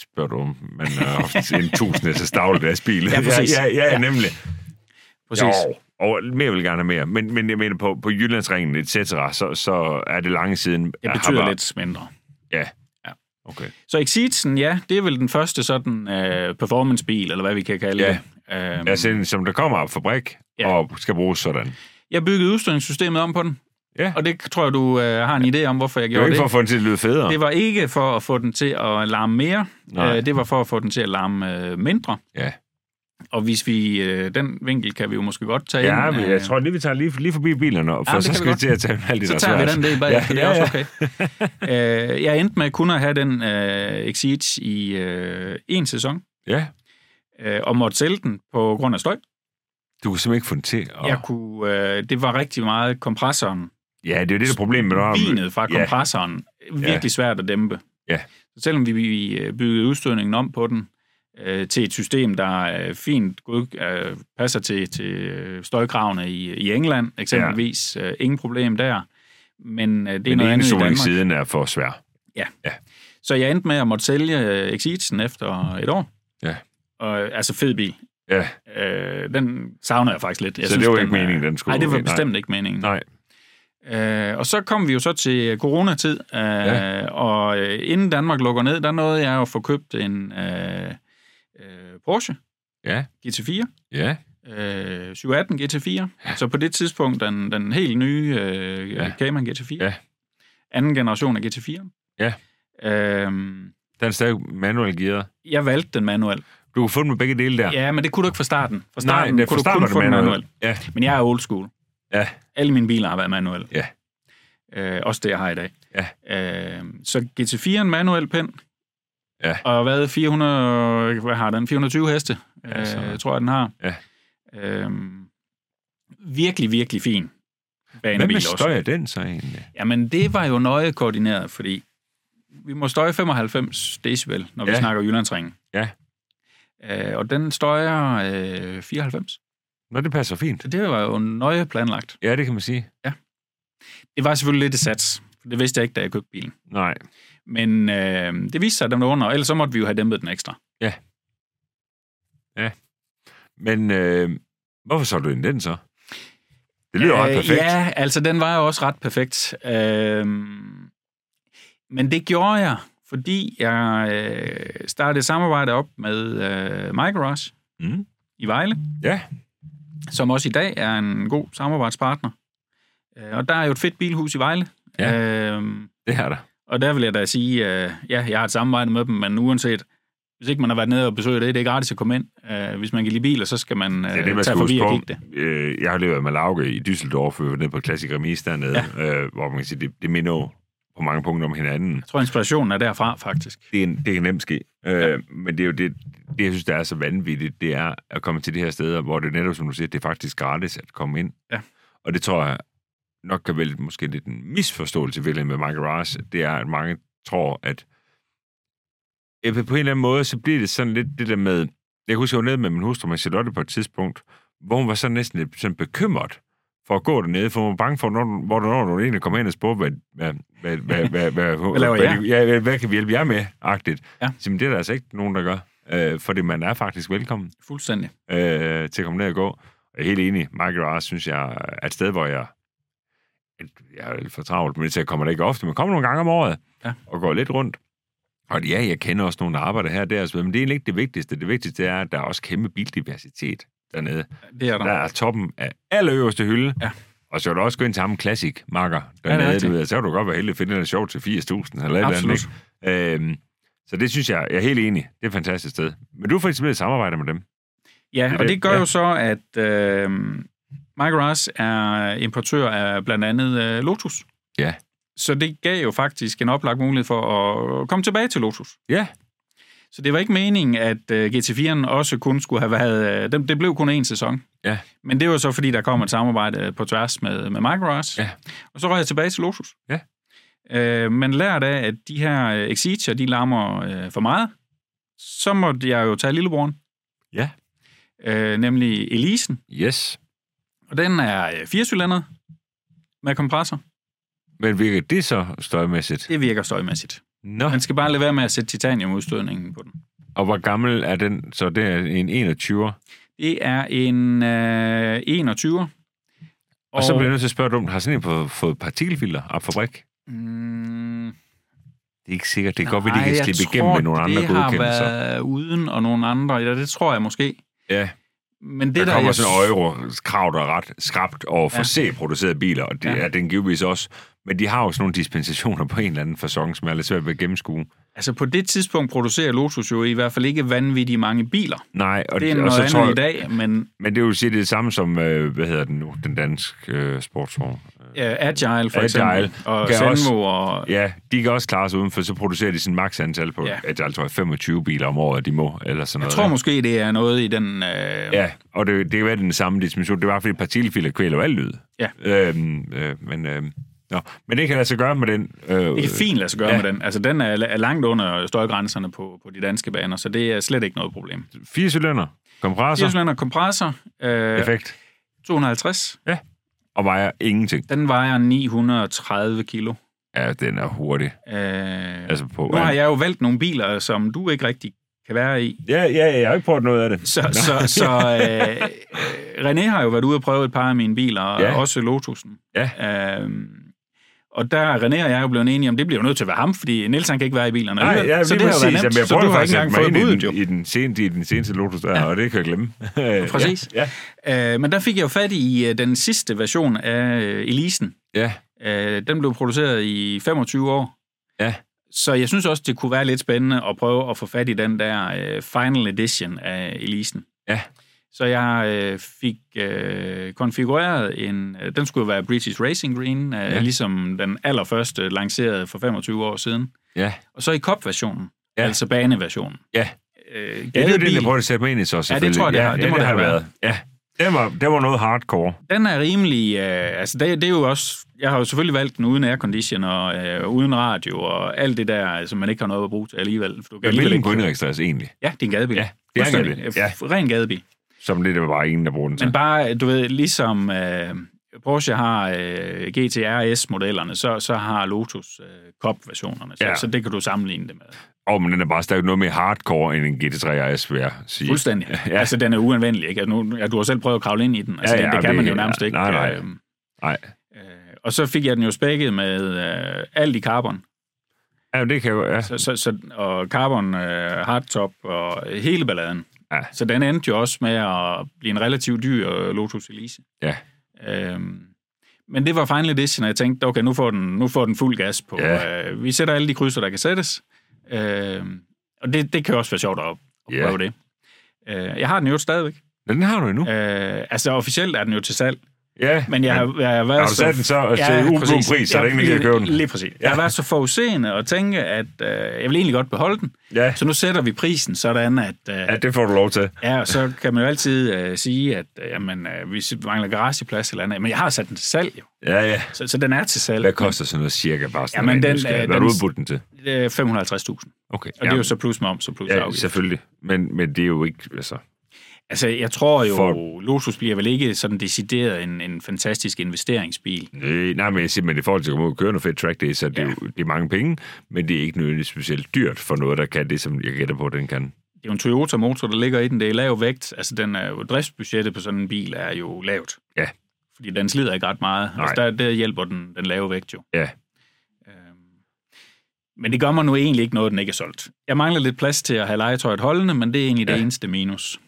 [SPEAKER 1] spørger du, om man har haft en tusinde så stavle deres bil.
[SPEAKER 2] Ja, præcis.
[SPEAKER 1] ja, ja, ja,
[SPEAKER 2] Ja.
[SPEAKER 1] nemlig.
[SPEAKER 2] Præcis.
[SPEAKER 1] Jo, og mere vil gerne have mere. Men, men jeg mener, på, på Jyllandsringen, et cetera, så, så er det lange siden.
[SPEAKER 2] Det
[SPEAKER 1] har
[SPEAKER 2] betyder
[SPEAKER 1] bare-
[SPEAKER 2] lidt mindre.
[SPEAKER 1] Ja.
[SPEAKER 2] Ja.
[SPEAKER 1] Okay.
[SPEAKER 2] Så Exitsen, ja, det er vel den første sådan øh, performancebil, eller hvad vi kan kalde
[SPEAKER 1] Ja.
[SPEAKER 2] det. Øhm,
[SPEAKER 1] Altså, en, som der kommer af fabrik
[SPEAKER 2] Ja.
[SPEAKER 1] og skal bruges sådan.
[SPEAKER 2] Jeg byggede udstødningssystemet om på den,
[SPEAKER 1] Ja.
[SPEAKER 2] og det tror jeg, du øh, har en idé om, hvorfor jeg
[SPEAKER 1] Det er jo
[SPEAKER 2] gjorde
[SPEAKER 1] ikke
[SPEAKER 2] det.
[SPEAKER 1] for at få den til at lyde federe.
[SPEAKER 2] Det var ikke for at få den til at larme mere,
[SPEAKER 1] Nej.
[SPEAKER 2] øh, det var for at få den til at larme øh, mindre.
[SPEAKER 1] Ja.
[SPEAKER 2] Og hvis vi, øh, den vinkel kan vi jo måske godt tage
[SPEAKER 1] Ja,
[SPEAKER 2] ind. øh,
[SPEAKER 1] men jeg tror lige, vi tager lige, lige forbi bilerne, for
[SPEAKER 2] Ja,
[SPEAKER 1] ja,
[SPEAKER 2] det
[SPEAKER 1] så
[SPEAKER 2] kan vi
[SPEAKER 1] skal vi
[SPEAKER 2] godt.
[SPEAKER 1] til at tage en halv
[SPEAKER 2] så
[SPEAKER 1] liter
[SPEAKER 2] tager vi
[SPEAKER 1] svært.
[SPEAKER 2] den del bagefter,
[SPEAKER 1] Ja,
[SPEAKER 2] ja, det er
[SPEAKER 1] ja,
[SPEAKER 2] også okay. øh, jeg endte med kun at have den øh, Exit i øh, en sæson,
[SPEAKER 1] Ja,
[SPEAKER 2] øh, og måtte sælge den på grund af støj.
[SPEAKER 1] du kunne simpelthen ikke få den til. At...
[SPEAKER 2] Jeg kunne, øh, det var rigtig meget kompressoren,
[SPEAKER 1] Ja, det er jo det, der er problemet med
[SPEAKER 2] vinet fra
[SPEAKER 1] ja.
[SPEAKER 2] kompressoren, virkelig svært at dæmpe.
[SPEAKER 1] Ja.
[SPEAKER 2] Så selvom vi- vi øh, byggede udstødningen om på den øh, til et system, der øh, fint god, øh, passer til, til øh, støjkravene i, i England, eksempelvis. Ja. Øh, ingen problem der. Men øh, det er
[SPEAKER 1] Men
[SPEAKER 2] noget andet i Danmark.
[SPEAKER 1] siden er for svær.
[SPEAKER 2] Så jeg endte med at måtte sælge Exitsen efter et år.
[SPEAKER 1] Ja.
[SPEAKER 2] Og, øh, altså fed bil.
[SPEAKER 1] Ja.
[SPEAKER 2] Øh, den savner jeg faktisk lidt. Jeg
[SPEAKER 1] Så det var
[SPEAKER 2] den
[SPEAKER 1] ikke
[SPEAKER 2] er-
[SPEAKER 1] meningen, den skulle-
[SPEAKER 2] Nej, det var
[SPEAKER 1] nej.
[SPEAKER 2] bestemt ikke meningen.
[SPEAKER 1] Nej.
[SPEAKER 2] Øh, og så kom vi jo så til coronatid, øh,
[SPEAKER 1] Ja.
[SPEAKER 2] ja. og øh, inden Danmark lukker ned, der nåede jeg jo at få købt en øh, øh, Porsche
[SPEAKER 1] Ja.
[SPEAKER 2] GT4,
[SPEAKER 1] Ja.
[SPEAKER 2] øh, 718 GT4. Ja. Så på det tidspunkt den, den helt nye øh,
[SPEAKER 1] Ja.
[SPEAKER 2] ja. Cayman GT4.
[SPEAKER 1] Ja.
[SPEAKER 2] Anden generation af GT4.
[SPEAKER 1] Ja.
[SPEAKER 2] Øhm,
[SPEAKER 1] Den er stadig manuel gearet.
[SPEAKER 2] jeg valgte den manuel.
[SPEAKER 1] Du kunne få den med begge dele der.
[SPEAKER 2] Ja. ja, men det kunne du ikke fra starten.
[SPEAKER 1] Nej,
[SPEAKER 2] Fra starten
[SPEAKER 1] det
[SPEAKER 2] kunne
[SPEAKER 1] forstår
[SPEAKER 2] du kun
[SPEAKER 1] man
[SPEAKER 2] få den manuel.
[SPEAKER 1] Ja.
[SPEAKER 2] Men jeg er old school.
[SPEAKER 1] Ja.
[SPEAKER 2] Alle mine biler har været manuelle.
[SPEAKER 1] Ja.
[SPEAKER 2] Øh, også det, jeg har i dag.
[SPEAKER 1] Ja.
[SPEAKER 2] Øh, så GT4 en manuel pind.
[SPEAKER 1] Ja.
[SPEAKER 2] Og hvad, 400, hvad har den? 420 heste,
[SPEAKER 1] Ja,
[SPEAKER 2] ja,
[SPEAKER 1] sådan
[SPEAKER 2] øh,
[SPEAKER 1] noget.
[SPEAKER 2] tror jeg, den har.
[SPEAKER 1] Ja.
[SPEAKER 2] Øh, virkelig, virkelig fin
[SPEAKER 1] Hvad
[SPEAKER 2] banebil
[SPEAKER 1] med
[SPEAKER 2] også.
[SPEAKER 1] støj er den så egentlig?
[SPEAKER 2] Jamen, det var jo nøje koordineret, fordi vi må støje 95 decibel, når vi
[SPEAKER 1] Ja.
[SPEAKER 2] ja. snakker Jyllandsringen.
[SPEAKER 1] Ja.
[SPEAKER 2] Øh, og den støjer øh, 94.
[SPEAKER 1] Nå, det passer fint.
[SPEAKER 2] Så det var jo nøje planlagt.
[SPEAKER 1] Ja, det kan man sige.
[SPEAKER 2] Det var selvfølgelig lidt et sats, for det vidste jeg ikke, da jeg købte bilen.
[SPEAKER 1] Nej.
[SPEAKER 2] Men øh, det viste sig, at den var under, ellers så måtte vi jo have dæmpet den ekstra.
[SPEAKER 1] Men øh, hvorfor så du ind i den så? Det lyder ret perfekt.
[SPEAKER 2] Ja, altså den var jo også ret perfekt. Øh, men det gjorde jeg, fordi jeg øh, startede et samarbejde op med øh, MyGarage
[SPEAKER 1] Mm.
[SPEAKER 2] i Vejle.
[SPEAKER 1] Ja.
[SPEAKER 2] som også i dag er en god samarbejdspartner. Øh, Og der er jo et fedt bilhus i Vejle.
[SPEAKER 1] Ja.
[SPEAKER 2] Øhm,
[SPEAKER 1] Det er der.
[SPEAKER 2] og der vil jeg da sige, øh, ja, jeg har et samarbejde med dem, men uanset, hvis ikke man har været nede og besøgt det, det er gratis at komme ind. Øh, hvis man kan lide biler, så skal man, øh,
[SPEAKER 1] Det er det, man
[SPEAKER 2] tage
[SPEAKER 1] skal
[SPEAKER 2] forbi
[SPEAKER 1] huske
[SPEAKER 2] og
[SPEAKER 1] på.
[SPEAKER 2] kigge det.
[SPEAKER 1] Øh, Jeg har levet med Lauke i Düsseldorf, øh, nede på Classic Remis dernede, øh, hvor man kan sige, det, det minder jo på mange punkter om hinanden.
[SPEAKER 2] Jeg tror, inspirationen er derfra, faktisk.
[SPEAKER 1] det, er en, det kan nemt ske. Øh, Men det er jo det, det, jeg synes, der er så vanvittigt, det er at komme til de her steder, hvor det netop, som du siger, det er faktisk gratis at komme ind.
[SPEAKER 2] Ja.
[SPEAKER 1] Og det tror jeg nok kan vel måske lidt en misforståelse i virkeligheden med Michael Rars, det er, at mange tror, at Ja, på en eller anden måde, så bliver det sådan lidt det der med, jeg kan huske, jeg var nede med min hustru, med Charlotte, på et tidspunkt, hvor hun var sådan næsten lidt sådan bekymret for at gå dernede, for hun var bange for, når, du- hvor du, når du egentlig kommer ind og spørger, hvad, hvad, hvad, hvad, hvad, hvad,
[SPEAKER 2] laver
[SPEAKER 1] hvad,
[SPEAKER 2] jeg?
[SPEAKER 1] ja, hvad, hvad kan vi hjælpe jer med, agtigt.
[SPEAKER 2] Ja.
[SPEAKER 1] Så, men det er der altså ikke nogen, der gør. øh, fordi man er faktisk velkommen
[SPEAKER 2] Fuldstændig.
[SPEAKER 1] øh, til at komme ned og gå. Jeg er helt enig. Market Ras, synes jeg, er et sted, hvor jeg... Jeg er lidt for travlt, men jeg kommer der ikke ofte, men kommer nogle gange om året
[SPEAKER 2] Ja.
[SPEAKER 1] og går lidt rundt. Og ja, jeg kender også nogle, der arbejder her og der, og så videre, men det er egentlig ikke det vigtigste. Det vigtigste er, at der er også kæmpe bildiversitet dernede.
[SPEAKER 2] Det er der.
[SPEAKER 1] Der er toppen af allerøverste hylde.
[SPEAKER 2] Ja.
[SPEAKER 1] Og så er du også gå ind til ham Classic Marker dernede, ja,
[SPEAKER 2] rigtigt.
[SPEAKER 1] du ved, så kan du godt være heldig at finde noget sjovt til 80.000 eller et eller andet.
[SPEAKER 2] Absolut.
[SPEAKER 1] ikke? Øhm, så det synes jeg, jeg er helt enig. Det er et fantastisk sted. Men du får faktisk blevet samarbejde med dem.
[SPEAKER 2] Ja,
[SPEAKER 1] Det er
[SPEAKER 2] og
[SPEAKER 1] det.
[SPEAKER 2] det gør
[SPEAKER 1] Ja.
[SPEAKER 2] jo så, at øh, Mike Ross er importør af blandt andet øh, Lotus.
[SPEAKER 1] Ja.
[SPEAKER 2] Så det gav jo faktisk en oplagt mulighed for at komme tilbage til Lotus.
[SPEAKER 1] Ja.
[SPEAKER 2] Så det var ikke meningen, at øh, GT4'en også kun skulle have været... Øh, det, det blev kun en sæson.
[SPEAKER 1] Ja.
[SPEAKER 2] Men det var så, fordi der kom et samarbejde på tværs med, med Mike Ross.
[SPEAKER 1] Ja.
[SPEAKER 2] Og så røg jeg tilbage til Lotus.
[SPEAKER 1] Ja.
[SPEAKER 2] Øh, men lærte af, at de her øh, Exitia, de larmer øh, for meget, så måtte jeg jo tage lillebroren
[SPEAKER 1] Ja.
[SPEAKER 2] øh, nemlig Elisen.
[SPEAKER 1] Yes.
[SPEAKER 2] Og den er øh, firecylindret med kompressor.
[SPEAKER 1] Men virker det så støjmæssigt?
[SPEAKER 2] Det virker støjmæssigt.
[SPEAKER 1] Nå,
[SPEAKER 2] Man skal bare lade være med at sætte titaniumudstødningen på den.
[SPEAKER 1] og hvor gammel er den? Så det er en 21'er.
[SPEAKER 2] Det er en øh, 21. Og,
[SPEAKER 1] Og, og så bliver jeg nødt til at spørge dig om, har sådan en på, fået partikelfilter op fabrik?
[SPEAKER 2] Mm,
[SPEAKER 1] Det er ikke sikkert. Det er godt, at de
[SPEAKER 2] nej,
[SPEAKER 1] kan
[SPEAKER 2] jeg
[SPEAKER 1] slippe
[SPEAKER 2] tror,
[SPEAKER 1] igennem med nogle andre
[SPEAKER 2] det har
[SPEAKER 1] godkendelser.
[SPEAKER 2] været uden og nogle andre. Ja, det tror jeg måske.
[SPEAKER 1] Ja.
[SPEAKER 2] Men det
[SPEAKER 1] Det, der, kommer
[SPEAKER 2] jeg-
[SPEAKER 1] sådan en euro-krav, der er ret skrabt over for
[SPEAKER 2] Ja.
[SPEAKER 1] C-producerede biler, og det
[SPEAKER 2] Ja.
[SPEAKER 1] ja. er den givetvis også. Men de har jo sådan nogle dispensationer på en eller anden fasong, som jeg er lidt svært ved at gennemskue.
[SPEAKER 2] Altså på det tidspunkt producerer Lotus jo i hvert fald ikke vanvittigt mange biler.
[SPEAKER 1] Nej, og
[SPEAKER 2] Det er
[SPEAKER 1] og
[SPEAKER 2] noget
[SPEAKER 1] tror
[SPEAKER 2] andet i dag, men øh,
[SPEAKER 1] Men det vil sige, det er det samme som, øh, hvad hedder den nu, den danske øh, sportsvogn.
[SPEAKER 2] Agile for
[SPEAKER 1] Agile
[SPEAKER 2] eksempel, og
[SPEAKER 1] kan også-
[SPEAKER 2] Zenvo og
[SPEAKER 1] Ja, de kan også klare sig udenfor, så producerer de sådan maks antal på,
[SPEAKER 2] Ja.
[SPEAKER 1] ja. jeg tror, 25 biler om året, de må, eller sådan
[SPEAKER 2] Jeg
[SPEAKER 1] noget.
[SPEAKER 2] tror måske, det er noget i den... Øh,
[SPEAKER 1] Ja, og det, det kan være den samme dimension. Det var fordi partikelfilter kvæler jo alt lyd.
[SPEAKER 2] Ja.
[SPEAKER 1] Øhm, øh, men, øh, nå. men det kan lade sig gøre med den. Øh,
[SPEAKER 2] Det kan fint lade sig gøre
[SPEAKER 1] Ja.
[SPEAKER 2] ja. med den. Altså, den er, er langt under støjgrænserne på, på de danske baner, så det er slet ikke noget problem.
[SPEAKER 1] Fire cylinder, kompressor,
[SPEAKER 2] Firecylinder kompressor, øh,
[SPEAKER 1] effekt,
[SPEAKER 2] 250.
[SPEAKER 1] og vejer ingenting.
[SPEAKER 2] Den vejer 930 kilo.
[SPEAKER 1] Ja, den er hurtig.
[SPEAKER 2] Øh, altså,
[SPEAKER 1] Altså på,
[SPEAKER 2] nu har jeg jo valgt nogle biler, som du ikke rigtig kan være i.
[SPEAKER 1] Ja, ja, jeg har ikke prøvet noget af det.
[SPEAKER 2] Så, så, så øh, øh, René har jo været ude og prøve et par af mine biler,
[SPEAKER 1] Ja.
[SPEAKER 2] ja. også Lotusen.
[SPEAKER 1] Ja.
[SPEAKER 2] Øh, og der er René og jeg jo blevet enige om, det bliver jo nødt til at være ham, fordi Niels han kan ikke være i bilerne.
[SPEAKER 1] Nej,
[SPEAKER 2] alligevel.
[SPEAKER 1] ja,
[SPEAKER 2] så det har jo været
[SPEAKER 1] præcis.
[SPEAKER 2] nemt,
[SPEAKER 1] Jamen, jeg
[SPEAKER 2] så
[SPEAKER 1] prøver
[SPEAKER 2] du har
[SPEAKER 1] faktisk
[SPEAKER 2] ikke
[SPEAKER 1] at sætte
[SPEAKER 2] engang fået
[SPEAKER 1] mig ind i
[SPEAKER 2] budet, jo.
[SPEAKER 1] den, i, den sen, i den seneste Lotus der, ja. og det kan jeg glemme.
[SPEAKER 2] Præcis.
[SPEAKER 1] Ja,
[SPEAKER 2] Øh, men der fik jeg jo fat i øh, den sidste version af øh, Elisen.
[SPEAKER 1] ja.
[SPEAKER 2] Øh, den blev produceret i 25 år.
[SPEAKER 1] Ja.
[SPEAKER 2] Så jeg synes også, det kunne være lidt spændende at prøve at få fat i den der øh, final edition af Elisen.
[SPEAKER 1] Ja.
[SPEAKER 2] Så jeg øh, fik øh, konfigureret en... Øh, den skulle jo være British Racing Green, øh,
[SPEAKER 1] Ja.
[SPEAKER 2] ja. ligesom den allerførste lancerede for 25 år siden.
[SPEAKER 1] Ja.
[SPEAKER 2] Og så i COP-versionen,
[SPEAKER 1] Ja.
[SPEAKER 2] ja. altså baneversionen.
[SPEAKER 1] Ja.
[SPEAKER 2] Øh,
[SPEAKER 1] Ja, det er jo
[SPEAKER 2] gadebil.
[SPEAKER 1] det, jeg prøver at sætte mig ind i så selvfølgelig.
[SPEAKER 2] tror jeg, det
[SPEAKER 1] ja,
[SPEAKER 2] har- det
[SPEAKER 1] ja,
[SPEAKER 2] må det
[SPEAKER 1] har
[SPEAKER 2] have
[SPEAKER 1] været. Ja, det var, det var noget hardcore.
[SPEAKER 2] Den er rimelig... Øh, altså, det, det er jo også... Jeg har jo selvfølgelig valgt den uden aircondition og øh, uden radio og alt det der, som altså, man ikke har noget at bruge til alligevel. For du kan
[SPEAKER 1] Men
[SPEAKER 2] alligevel
[SPEAKER 1] hvilken kunne
[SPEAKER 2] ikke...
[SPEAKER 1] indregistreres egentlig?
[SPEAKER 2] Ja, det er en gadebil.
[SPEAKER 1] Ja, det er en
[SPEAKER 2] Fuldstændig.
[SPEAKER 1] gadebil. Ja.
[SPEAKER 2] F- Ren gadebil.
[SPEAKER 1] Som det, der var bare ingen, der brugte den til.
[SPEAKER 2] Men bare, du ved, ligesom øh, Porsche har øh, GTR S-modellerne, så, så har Lotus øh, Cup-versionerne. Så,
[SPEAKER 1] Ja.
[SPEAKER 2] ja. så det kan du sammenligne det med.
[SPEAKER 1] Åh, oh, men den er bare stadig noget mere hardcore end en GT3 RS, vil jeg sige.
[SPEAKER 2] Fuldstændig.
[SPEAKER 1] Ja.
[SPEAKER 2] Ja. Altså, den er uanvendelig. Ikke? Altså, nu, ja, du har selv prøvet at kravle ind i den. Altså,
[SPEAKER 1] Ja,
[SPEAKER 2] ja,
[SPEAKER 1] ja,
[SPEAKER 2] ja, det kan
[SPEAKER 1] det-
[SPEAKER 2] man jo nærmest
[SPEAKER 1] ja,
[SPEAKER 2] ikke.
[SPEAKER 1] nej, nej.
[SPEAKER 2] øhm.
[SPEAKER 1] Nej.
[SPEAKER 2] Øh, og så fik jeg den jo spækket med øh, alt i carbon.
[SPEAKER 1] Ja, men det kan jo... Ja.
[SPEAKER 2] Så, så, så, og carbon, øh, hardtop og hele balladen.
[SPEAKER 1] Ja.
[SPEAKER 2] Så den endte jo også med at blive en relativt dyr øh, Lotus Elise.
[SPEAKER 1] Ja.
[SPEAKER 2] Øhm, men det var Final Edition, og jeg tænkte, okay, nu får den, nu får den fuld gas på.
[SPEAKER 1] Ja.
[SPEAKER 2] Øh, vi sætter alle de krydser, der kan sættes. Øhm, og det, det kan også være sjovt at, at
[SPEAKER 1] Ja.
[SPEAKER 2] prøve det. Øh, jeg har den jo stadigvæk.
[SPEAKER 1] Den har du endnu. Ja.
[SPEAKER 2] Øh, altså officielt er den jo til salg,
[SPEAKER 1] ja.
[SPEAKER 2] men jeg, har- jeg har været
[SPEAKER 1] Har du sat den så og til ublu
[SPEAKER 2] præcis.
[SPEAKER 1] pris, så er der
[SPEAKER 2] Ja,
[SPEAKER 1] ingen, der kan
[SPEAKER 2] lige-
[SPEAKER 1] købe den?
[SPEAKER 2] Lige præcis. Ja. Jeg har været så forudseende og tænke, at øh, jeg vil egentlig godt beholde den,
[SPEAKER 1] Ja.
[SPEAKER 2] så nu sætter vi prisen sådan, at
[SPEAKER 1] ja,
[SPEAKER 2] øh,
[SPEAKER 1] det får du lov til.
[SPEAKER 2] ja, og så kan man jo altid øh, sige, at øh, jamen, øh, vi mangler garageplads eller andet, men jeg har sat den til salg jo,
[SPEAKER 1] Ja, ja.
[SPEAKER 2] så, så den er til salg.
[SPEAKER 1] Hvad koster sådan noget cirka bare sådan
[SPEAKER 2] Jamen,
[SPEAKER 1] rent
[SPEAKER 2] den,
[SPEAKER 1] nysgerrighed?
[SPEAKER 2] øh,
[SPEAKER 1] Hvad har du
[SPEAKER 2] den-
[SPEAKER 1] udbudt den til?
[SPEAKER 2] Øh, 550.000, og
[SPEAKER 1] Okay.
[SPEAKER 2] det er jo så plus moms og plus
[SPEAKER 1] ja,
[SPEAKER 2] afgift.
[SPEAKER 1] selvfølgelig. Men, men det er jo ikke... Altså,
[SPEAKER 2] Altså, jeg tror jo,
[SPEAKER 1] For-
[SPEAKER 2] For... Lotus bliver vel ikke sådan decideret en, en fantastisk investeringsbil.
[SPEAKER 1] øh, nej, men jeg siger, men i forhold til at komme ud og køre noget fedt track day, så er det, ja.
[SPEAKER 2] Ja.
[SPEAKER 1] jo, det er mange penge, men det er ikke nødvendigvis specielt dyrt for noget, der kan det, som jeg gætter på, den kan.
[SPEAKER 2] det er jo en Toyota-motor, der ligger i den. Det er lav vægt. Altså, den er jo, driftsbudgettet på sådan en bil er jo lavt.
[SPEAKER 1] Ja.
[SPEAKER 2] Fordi den slider ikke ret meget.
[SPEAKER 1] Nej.
[SPEAKER 2] Altså, der, der hjælper den, den lave vægt jo.
[SPEAKER 1] Ja.
[SPEAKER 2] Øhm, Men det gør mig nu egentlig ikke noget, den ikke er solgt. Jeg mangler lidt plads til at have legetøjet holdende, men det er egentlig ja.
[SPEAKER 1] Ja.
[SPEAKER 2] det eneste minus.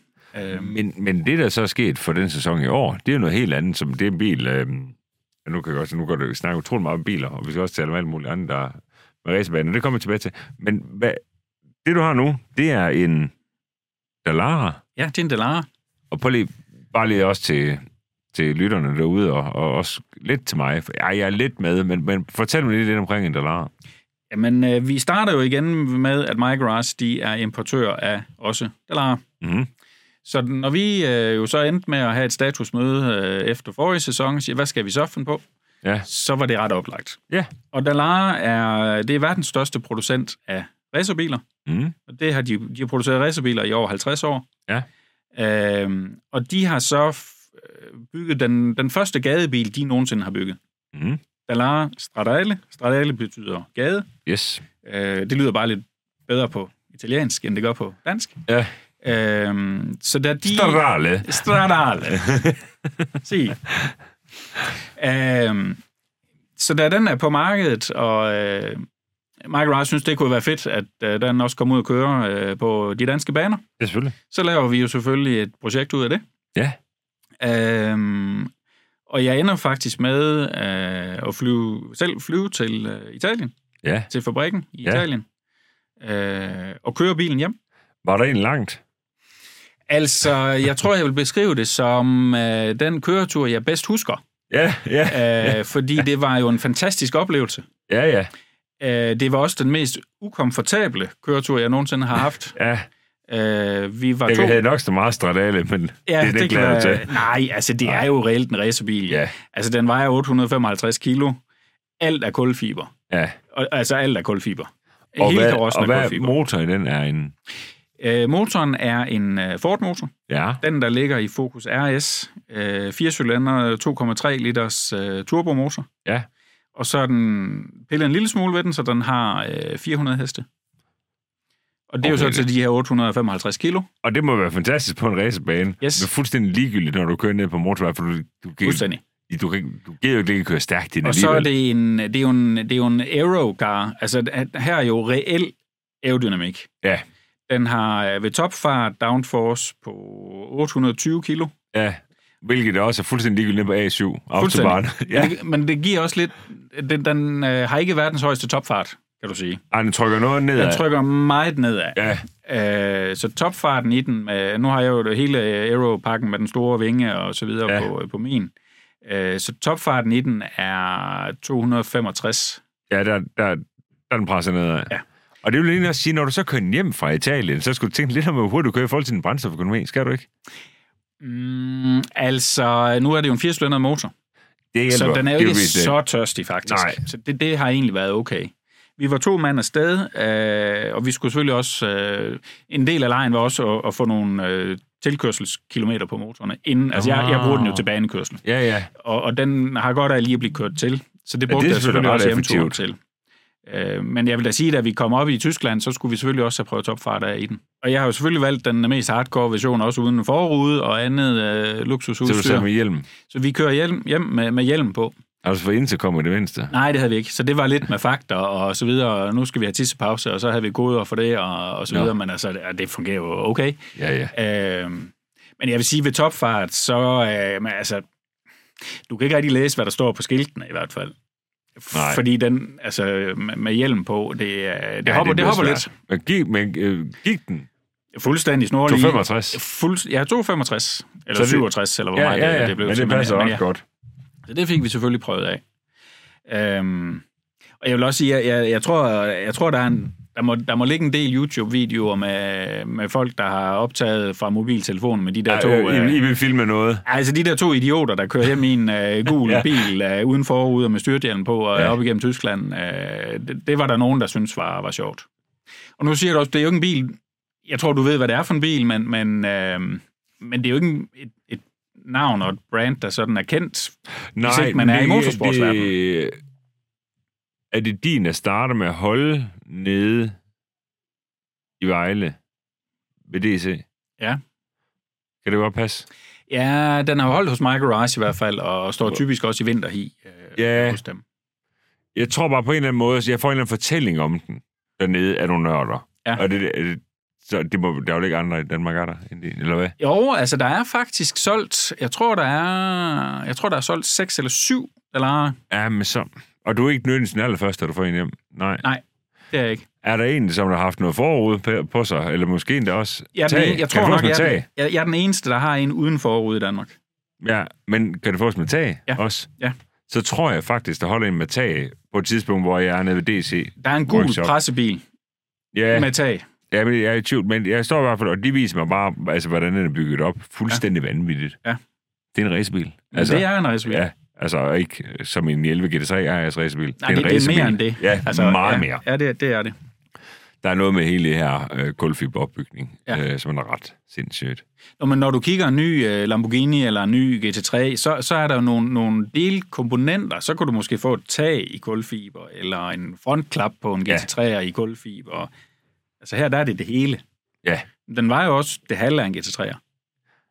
[SPEAKER 2] Øhm,
[SPEAKER 1] Men, men det, der så er sket for den sæson i år, det er jo noget helt andet, som det er en bil... Øh, ja, nu kan jeg også nu går det snakke utrolig meget om biler, og vi skal også tale om alt muligt andet, der med racerbanen, og det kommer jeg tilbage til. Men hvad, det, du har nu, det er en Dallara,
[SPEAKER 2] Ja, det er en Dallara.
[SPEAKER 1] og prøv lige, bare lige også til, til lytterne derude, og, og også lidt til mig. Ja, jeg er lidt med, men, men fortæl mig lige lidt omkring en Dallara.
[SPEAKER 2] Jamen, øh, vi starter jo igen med, at MyGrass, de er importør af også Dallara.
[SPEAKER 1] Mm-hmm.
[SPEAKER 2] Så når vi øh, jo så endte med at have et statusmøde øh, efter forrige sæson, og siger, hvad skal vi så finde på?
[SPEAKER 1] Ja.
[SPEAKER 2] Så var det ret oplagt.
[SPEAKER 1] Ja.
[SPEAKER 2] Og Dallara er, det er verdens største producent af racerbiler.
[SPEAKER 1] Mm.
[SPEAKER 2] Og det har de, de har produceret racerbiler i over 50 år.
[SPEAKER 1] Ja.
[SPEAKER 2] Øhm, og de har så f- øh, bygget den, den første gadebil, de nogensinde har bygget.
[SPEAKER 1] Mm.
[SPEAKER 2] Dallara Stradale. Stradale betyder gade.
[SPEAKER 1] Yes.
[SPEAKER 2] Øh, det lyder bare lidt bedre på italiensk, end det gør på dansk.
[SPEAKER 1] Ja.
[SPEAKER 2] Øhm, så da de...
[SPEAKER 1] Stradale.
[SPEAKER 2] Stradale. Sig. Øhm, så da den er på markedet, og øh, Michael Rice synes, det kunne være fedt, at øh, den også kom ud og køre øh, på de danske baner,
[SPEAKER 1] Ja, selvfølgelig.
[SPEAKER 2] så laver vi jo selvfølgelig et projekt ud af det.
[SPEAKER 1] Ja.
[SPEAKER 2] Øhm, og jeg ender faktisk med øh, at flyve, selv flyve til øh, Italien,
[SPEAKER 1] Ja.
[SPEAKER 2] til fabrikken i
[SPEAKER 1] Ja.
[SPEAKER 2] Italien, øh, og køre bilen hjem.
[SPEAKER 1] Var der en langt?
[SPEAKER 2] Altså, jeg tror, jeg vil beskrive det som øh, den køretur, jeg bedst husker.
[SPEAKER 1] Ja, ja.
[SPEAKER 2] Øh, fordi det var jo en fantastisk oplevelse.
[SPEAKER 1] Ja, ja.
[SPEAKER 2] Øh, det var også den mest ukomfortable køretur, jeg nogensinde har haft.
[SPEAKER 1] Ja,
[SPEAKER 2] Øh, vi var
[SPEAKER 1] jeg
[SPEAKER 2] to...
[SPEAKER 1] havde nok så meget stradale, men ja, det er det, det
[SPEAKER 2] kan
[SPEAKER 1] glæder jeg
[SPEAKER 2] være-
[SPEAKER 1] til.
[SPEAKER 2] Nej, altså det er jo reelt en racerbil.
[SPEAKER 1] Ja,
[SPEAKER 2] Altså den vejer 855 kilo. Alt er kulfiber.
[SPEAKER 1] ja.
[SPEAKER 2] Og, altså alt er kulfiber.
[SPEAKER 1] Og
[SPEAKER 2] Hele
[SPEAKER 1] hvad,
[SPEAKER 2] karossen
[SPEAKER 1] og
[SPEAKER 2] er
[SPEAKER 1] hvad
[SPEAKER 2] kulfiber.
[SPEAKER 1] motor i den er en...
[SPEAKER 2] Øh, motoren er en øh, Ford-motor.
[SPEAKER 1] Ja,
[SPEAKER 2] Den, der ligger i Focus RS. Øh, 4 cylinder, 2,3 liters øh, turbomotor.
[SPEAKER 1] ja.
[SPEAKER 2] Og så er den pillet en lille smule ved den, så den har øh, 400 heste. Og det er jo så
[SPEAKER 1] Okay.
[SPEAKER 2] til de her 855 kilo.
[SPEAKER 1] Og det må være fantastisk på en racerbane.
[SPEAKER 2] Yes.
[SPEAKER 1] Det er fuldstændig ligegyldigt, når du kører ned på motorvej, for du, du, kan,
[SPEAKER 2] Fuldstændig.
[SPEAKER 1] du, kan, du gider jo ikke køre stærkt i den
[SPEAKER 2] Og så er
[SPEAKER 1] alligevel.
[SPEAKER 2] det, en, det, er jo en, det er jo en aerogar. Altså, at- her er jo reel aerodynamik.
[SPEAKER 1] Ja,
[SPEAKER 2] Den har øh, ved topfart downforce på 820 kilo.
[SPEAKER 1] ja. Hvilket også er fuldstændig ligegyldigt ned på A7. Autobahn.
[SPEAKER 2] Ja.
[SPEAKER 1] ja.
[SPEAKER 2] Men, det, men det giver også lidt... Den, den øh, har ikke verdens højeste topfart, kan du sige.
[SPEAKER 1] Ej, den trykker noget ned.
[SPEAKER 2] Den trykker meget nedad.
[SPEAKER 1] Ja,
[SPEAKER 2] Øh, så topfarten i den, øh, nu har jeg jo det hele Aero-pakken med den store vinge og så videre
[SPEAKER 1] Ja.
[SPEAKER 2] ja. på, på min. Øh, så topfarten i den er 265.
[SPEAKER 1] ja der, der, der er den presser nedad.
[SPEAKER 2] Ja.
[SPEAKER 1] Og det vil jeg egentlig også sige, når du så kører hjem fra Italien, så skulle du tænke lidt om, hvor hurtigt du kører i forhold til din brændstoføkonomi. Skal du ikke?
[SPEAKER 2] Mm, altså, nu er det jo en 80 motor,
[SPEAKER 1] Det hjælper.
[SPEAKER 2] så den er jo
[SPEAKER 1] Det
[SPEAKER 2] ikke
[SPEAKER 1] vigtigt.
[SPEAKER 2] så tørstig faktisk.
[SPEAKER 1] Nej.
[SPEAKER 2] Så det, det har egentlig været okay. Vi var to mand afsted, øh, og vi skulle selvfølgelig også... Øh, en del af lejen var også at, at få nogle øh, tilkørselskilometer på motorerne. Inden, altså, jeg, jeg bruger den jo til banekørsel.
[SPEAKER 1] Ja, ja.
[SPEAKER 2] og, og den har godt af lige at blive kørt til. Så det
[SPEAKER 1] Ja,
[SPEAKER 2] brugte
[SPEAKER 1] det er
[SPEAKER 2] ja, jeg selvfølgelig
[SPEAKER 1] selvfølgelig ret
[SPEAKER 2] også hjemturen til. Øh, men jeg vil da sige, at da vi kom op i Tyskland, så skulle vi selvfølgelig også have prøvet topfart af i den. Og jeg har jo selvfølgelig valgt den mest hardcore version, også uden forrude og andet øh,
[SPEAKER 1] Så du
[SPEAKER 2] luksusudstyr.
[SPEAKER 1] sidder med
[SPEAKER 2] Så,
[SPEAKER 1] hjelm.
[SPEAKER 2] så vi kører hjem, hjem med, med hjelm på.
[SPEAKER 1] Altså for intercom i det mindste.
[SPEAKER 2] Nej, det havde vi ikke. Så det var lidt med fakter og så videre. Og nu skal vi have tissepause, og så havde vi koder for det og, og så
[SPEAKER 1] Nå.
[SPEAKER 2] videre. Men altså, det- det fungerer jo okay.
[SPEAKER 1] Ja, ja.
[SPEAKER 2] Øh, men jeg vil sige, ved topfart, så øh, men altså, du kan ikke rigtig læse, hvad der står på skiltene i hvert fald.
[SPEAKER 1] Nej.
[SPEAKER 2] Fordi den, altså, med med hjelm på, det, er- det ja, hopper, det
[SPEAKER 1] bliver
[SPEAKER 2] hopper
[SPEAKER 1] svært.
[SPEAKER 2] lidt.
[SPEAKER 1] Men gik, men, øh, gik den?
[SPEAKER 2] Fuldstændig snorlig.
[SPEAKER 1] 265.
[SPEAKER 2] Fuld, ja, 265. Eller
[SPEAKER 1] Så det-
[SPEAKER 2] 67, eller hvor
[SPEAKER 1] Ja,
[SPEAKER 2] meget
[SPEAKER 1] ja, ja.
[SPEAKER 2] det, det blev.
[SPEAKER 1] men det
[SPEAKER 2] til,
[SPEAKER 1] passer
[SPEAKER 2] men,
[SPEAKER 1] også
[SPEAKER 2] ja,
[SPEAKER 1] godt.
[SPEAKER 2] Så det fik vi selvfølgelig prøvet af. Øhm, og jeg vil også sige, jeg, jeg, jeg tror, jeg tror der, er en, der, må, der må ligge en del YouTube-videoer med, med folk, der har optaget fra mobiltelefonen med de der
[SPEAKER 1] Ja,
[SPEAKER 2] to... øh,
[SPEAKER 1] øh, I, I vil filme noget.
[SPEAKER 2] Altså de der to idioter, der kører hjem i en øh, gul
[SPEAKER 1] Ja.
[SPEAKER 2] ja. bil øh, uden forud og med styrthjelm på og
[SPEAKER 1] Ja.
[SPEAKER 2] ja. op igennem Tyskland, øh, det, det var der nogen, der synes var, var sjovt. Og nu siger du også, det er jo ikke en bil, jeg tror du ved, hvad det er for en bil, men, men, øh, men det er jo ikke en- et, et navn og et brand, der sådan er kendt.
[SPEAKER 1] Nej,
[SPEAKER 2] ikke man er i
[SPEAKER 1] men det-
[SPEAKER 2] motorsportsverdenen.
[SPEAKER 1] det- Er det din at starte med at holde nede i Vejle? ved DC?
[SPEAKER 2] Ja.
[SPEAKER 1] Kan det godt passe?
[SPEAKER 2] Ja, den har jo holdt hos My Garage i hvert fald, og står typisk også i vinterhi øh,
[SPEAKER 1] Ja.
[SPEAKER 2] hos dem.
[SPEAKER 1] Jeg tror bare på en eller anden måde, at jeg får en eller anden fortælling om den dernede af nogle nørder.
[SPEAKER 2] Ja.
[SPEAKER 1] Og det, det, det, så det må, der er jo ikke andre i Danmark, er der? end de- Eller hvad?
[SPEAKER 2] Jo, altså der er faktisk solgt, jeg tror der er, jeg tror der er solgt 6 eller 7 eller
[SPEAKER 1] Ja, men så... Og du er ikke nødvendigvis den allerførste, der får en hjem. Nej.
[SPEAKER 2] nej, det er jeg ikke.
[SPEAKER 1] Er der en, som har haft noget forud på, på sig? Eller måske endda også
[SPEAKER 2] Jeg, er den
[SPEAKER 1] tag?
[SPEAKER 2] ene-
[SPEAKER 1] kan
[SPEAKER 2] jeg tror
[SPEAKER 1] det fås
[SPEAKER 2] nok,
[SPEAKER 1] med
[SPEAKER 2] jeg, er
[SPEAKER 1] tag?
[SPEAKER 2] den- jeg, jeg er den eneste, der har en uden forud i Danmark.
[SPEAKER 1] Ja, men kan det fås med tag
[SPEAKER 2] Ja.
[SPEAKER 1] også?
[SPEAKER 2] Ja.
[SPEAKER 1] Så tror jeg faktisk, der holder en med tag på et tidspunkt, hvor jeg er nede ved DC.
[SPEAKER 2] Der er en gul
[SPEAKER 1] Workshop.
[SPEAKER 2] pressebil
[SPEAKER 1] Ja,
[SPEAKER 2] med tag.
[SPEAKER 1] ja men jeg er i tvivl, men jeg står i hvert fald, og de viser mig bare, altså, hvordan den er bygget op. Fuldstændig ja. vanvittigt.
[SPEAKER 2] Ja.
[SPEAKER 1] Det er en racebil.
[SPEAKER 2] Altså, det er en racebil.
[SPEAKER 1] Ja, altså og ikke som en 11 GT3 RS racebil.
[SPEAKER 2] Nej, det, det er mere end det.
[SPEAKER 1] Ja, altså, meget
[SPEAKER 2] ja,
[SPEAKER 1] mere.
[SPEAKER 2] Ja, det, det er det.
[SPEAKER 1] Der er noget med hele det her øh, kulfiberopbygning,
[SPEAKER 2] Ja.
[SPEAKER 1] ja. øh, som er ret sindssygt.
[SPEAKER 2] Nå, men når du kigger en ny øh, Lamborghini eller en ny GT3, så, så er der jo nogle, nogle delkomponenter. Så kan du måske få et tag i kulfiber, eller en frontklap på en
[SPEAKER 1] Ja.
[SPEAKER 2] GT3'er i kulfiber. Altså her, der er det det hele.
[SPEAKER 1] Ja.
[SPEAKER 2] Den var jo også det halve af en GT3'er.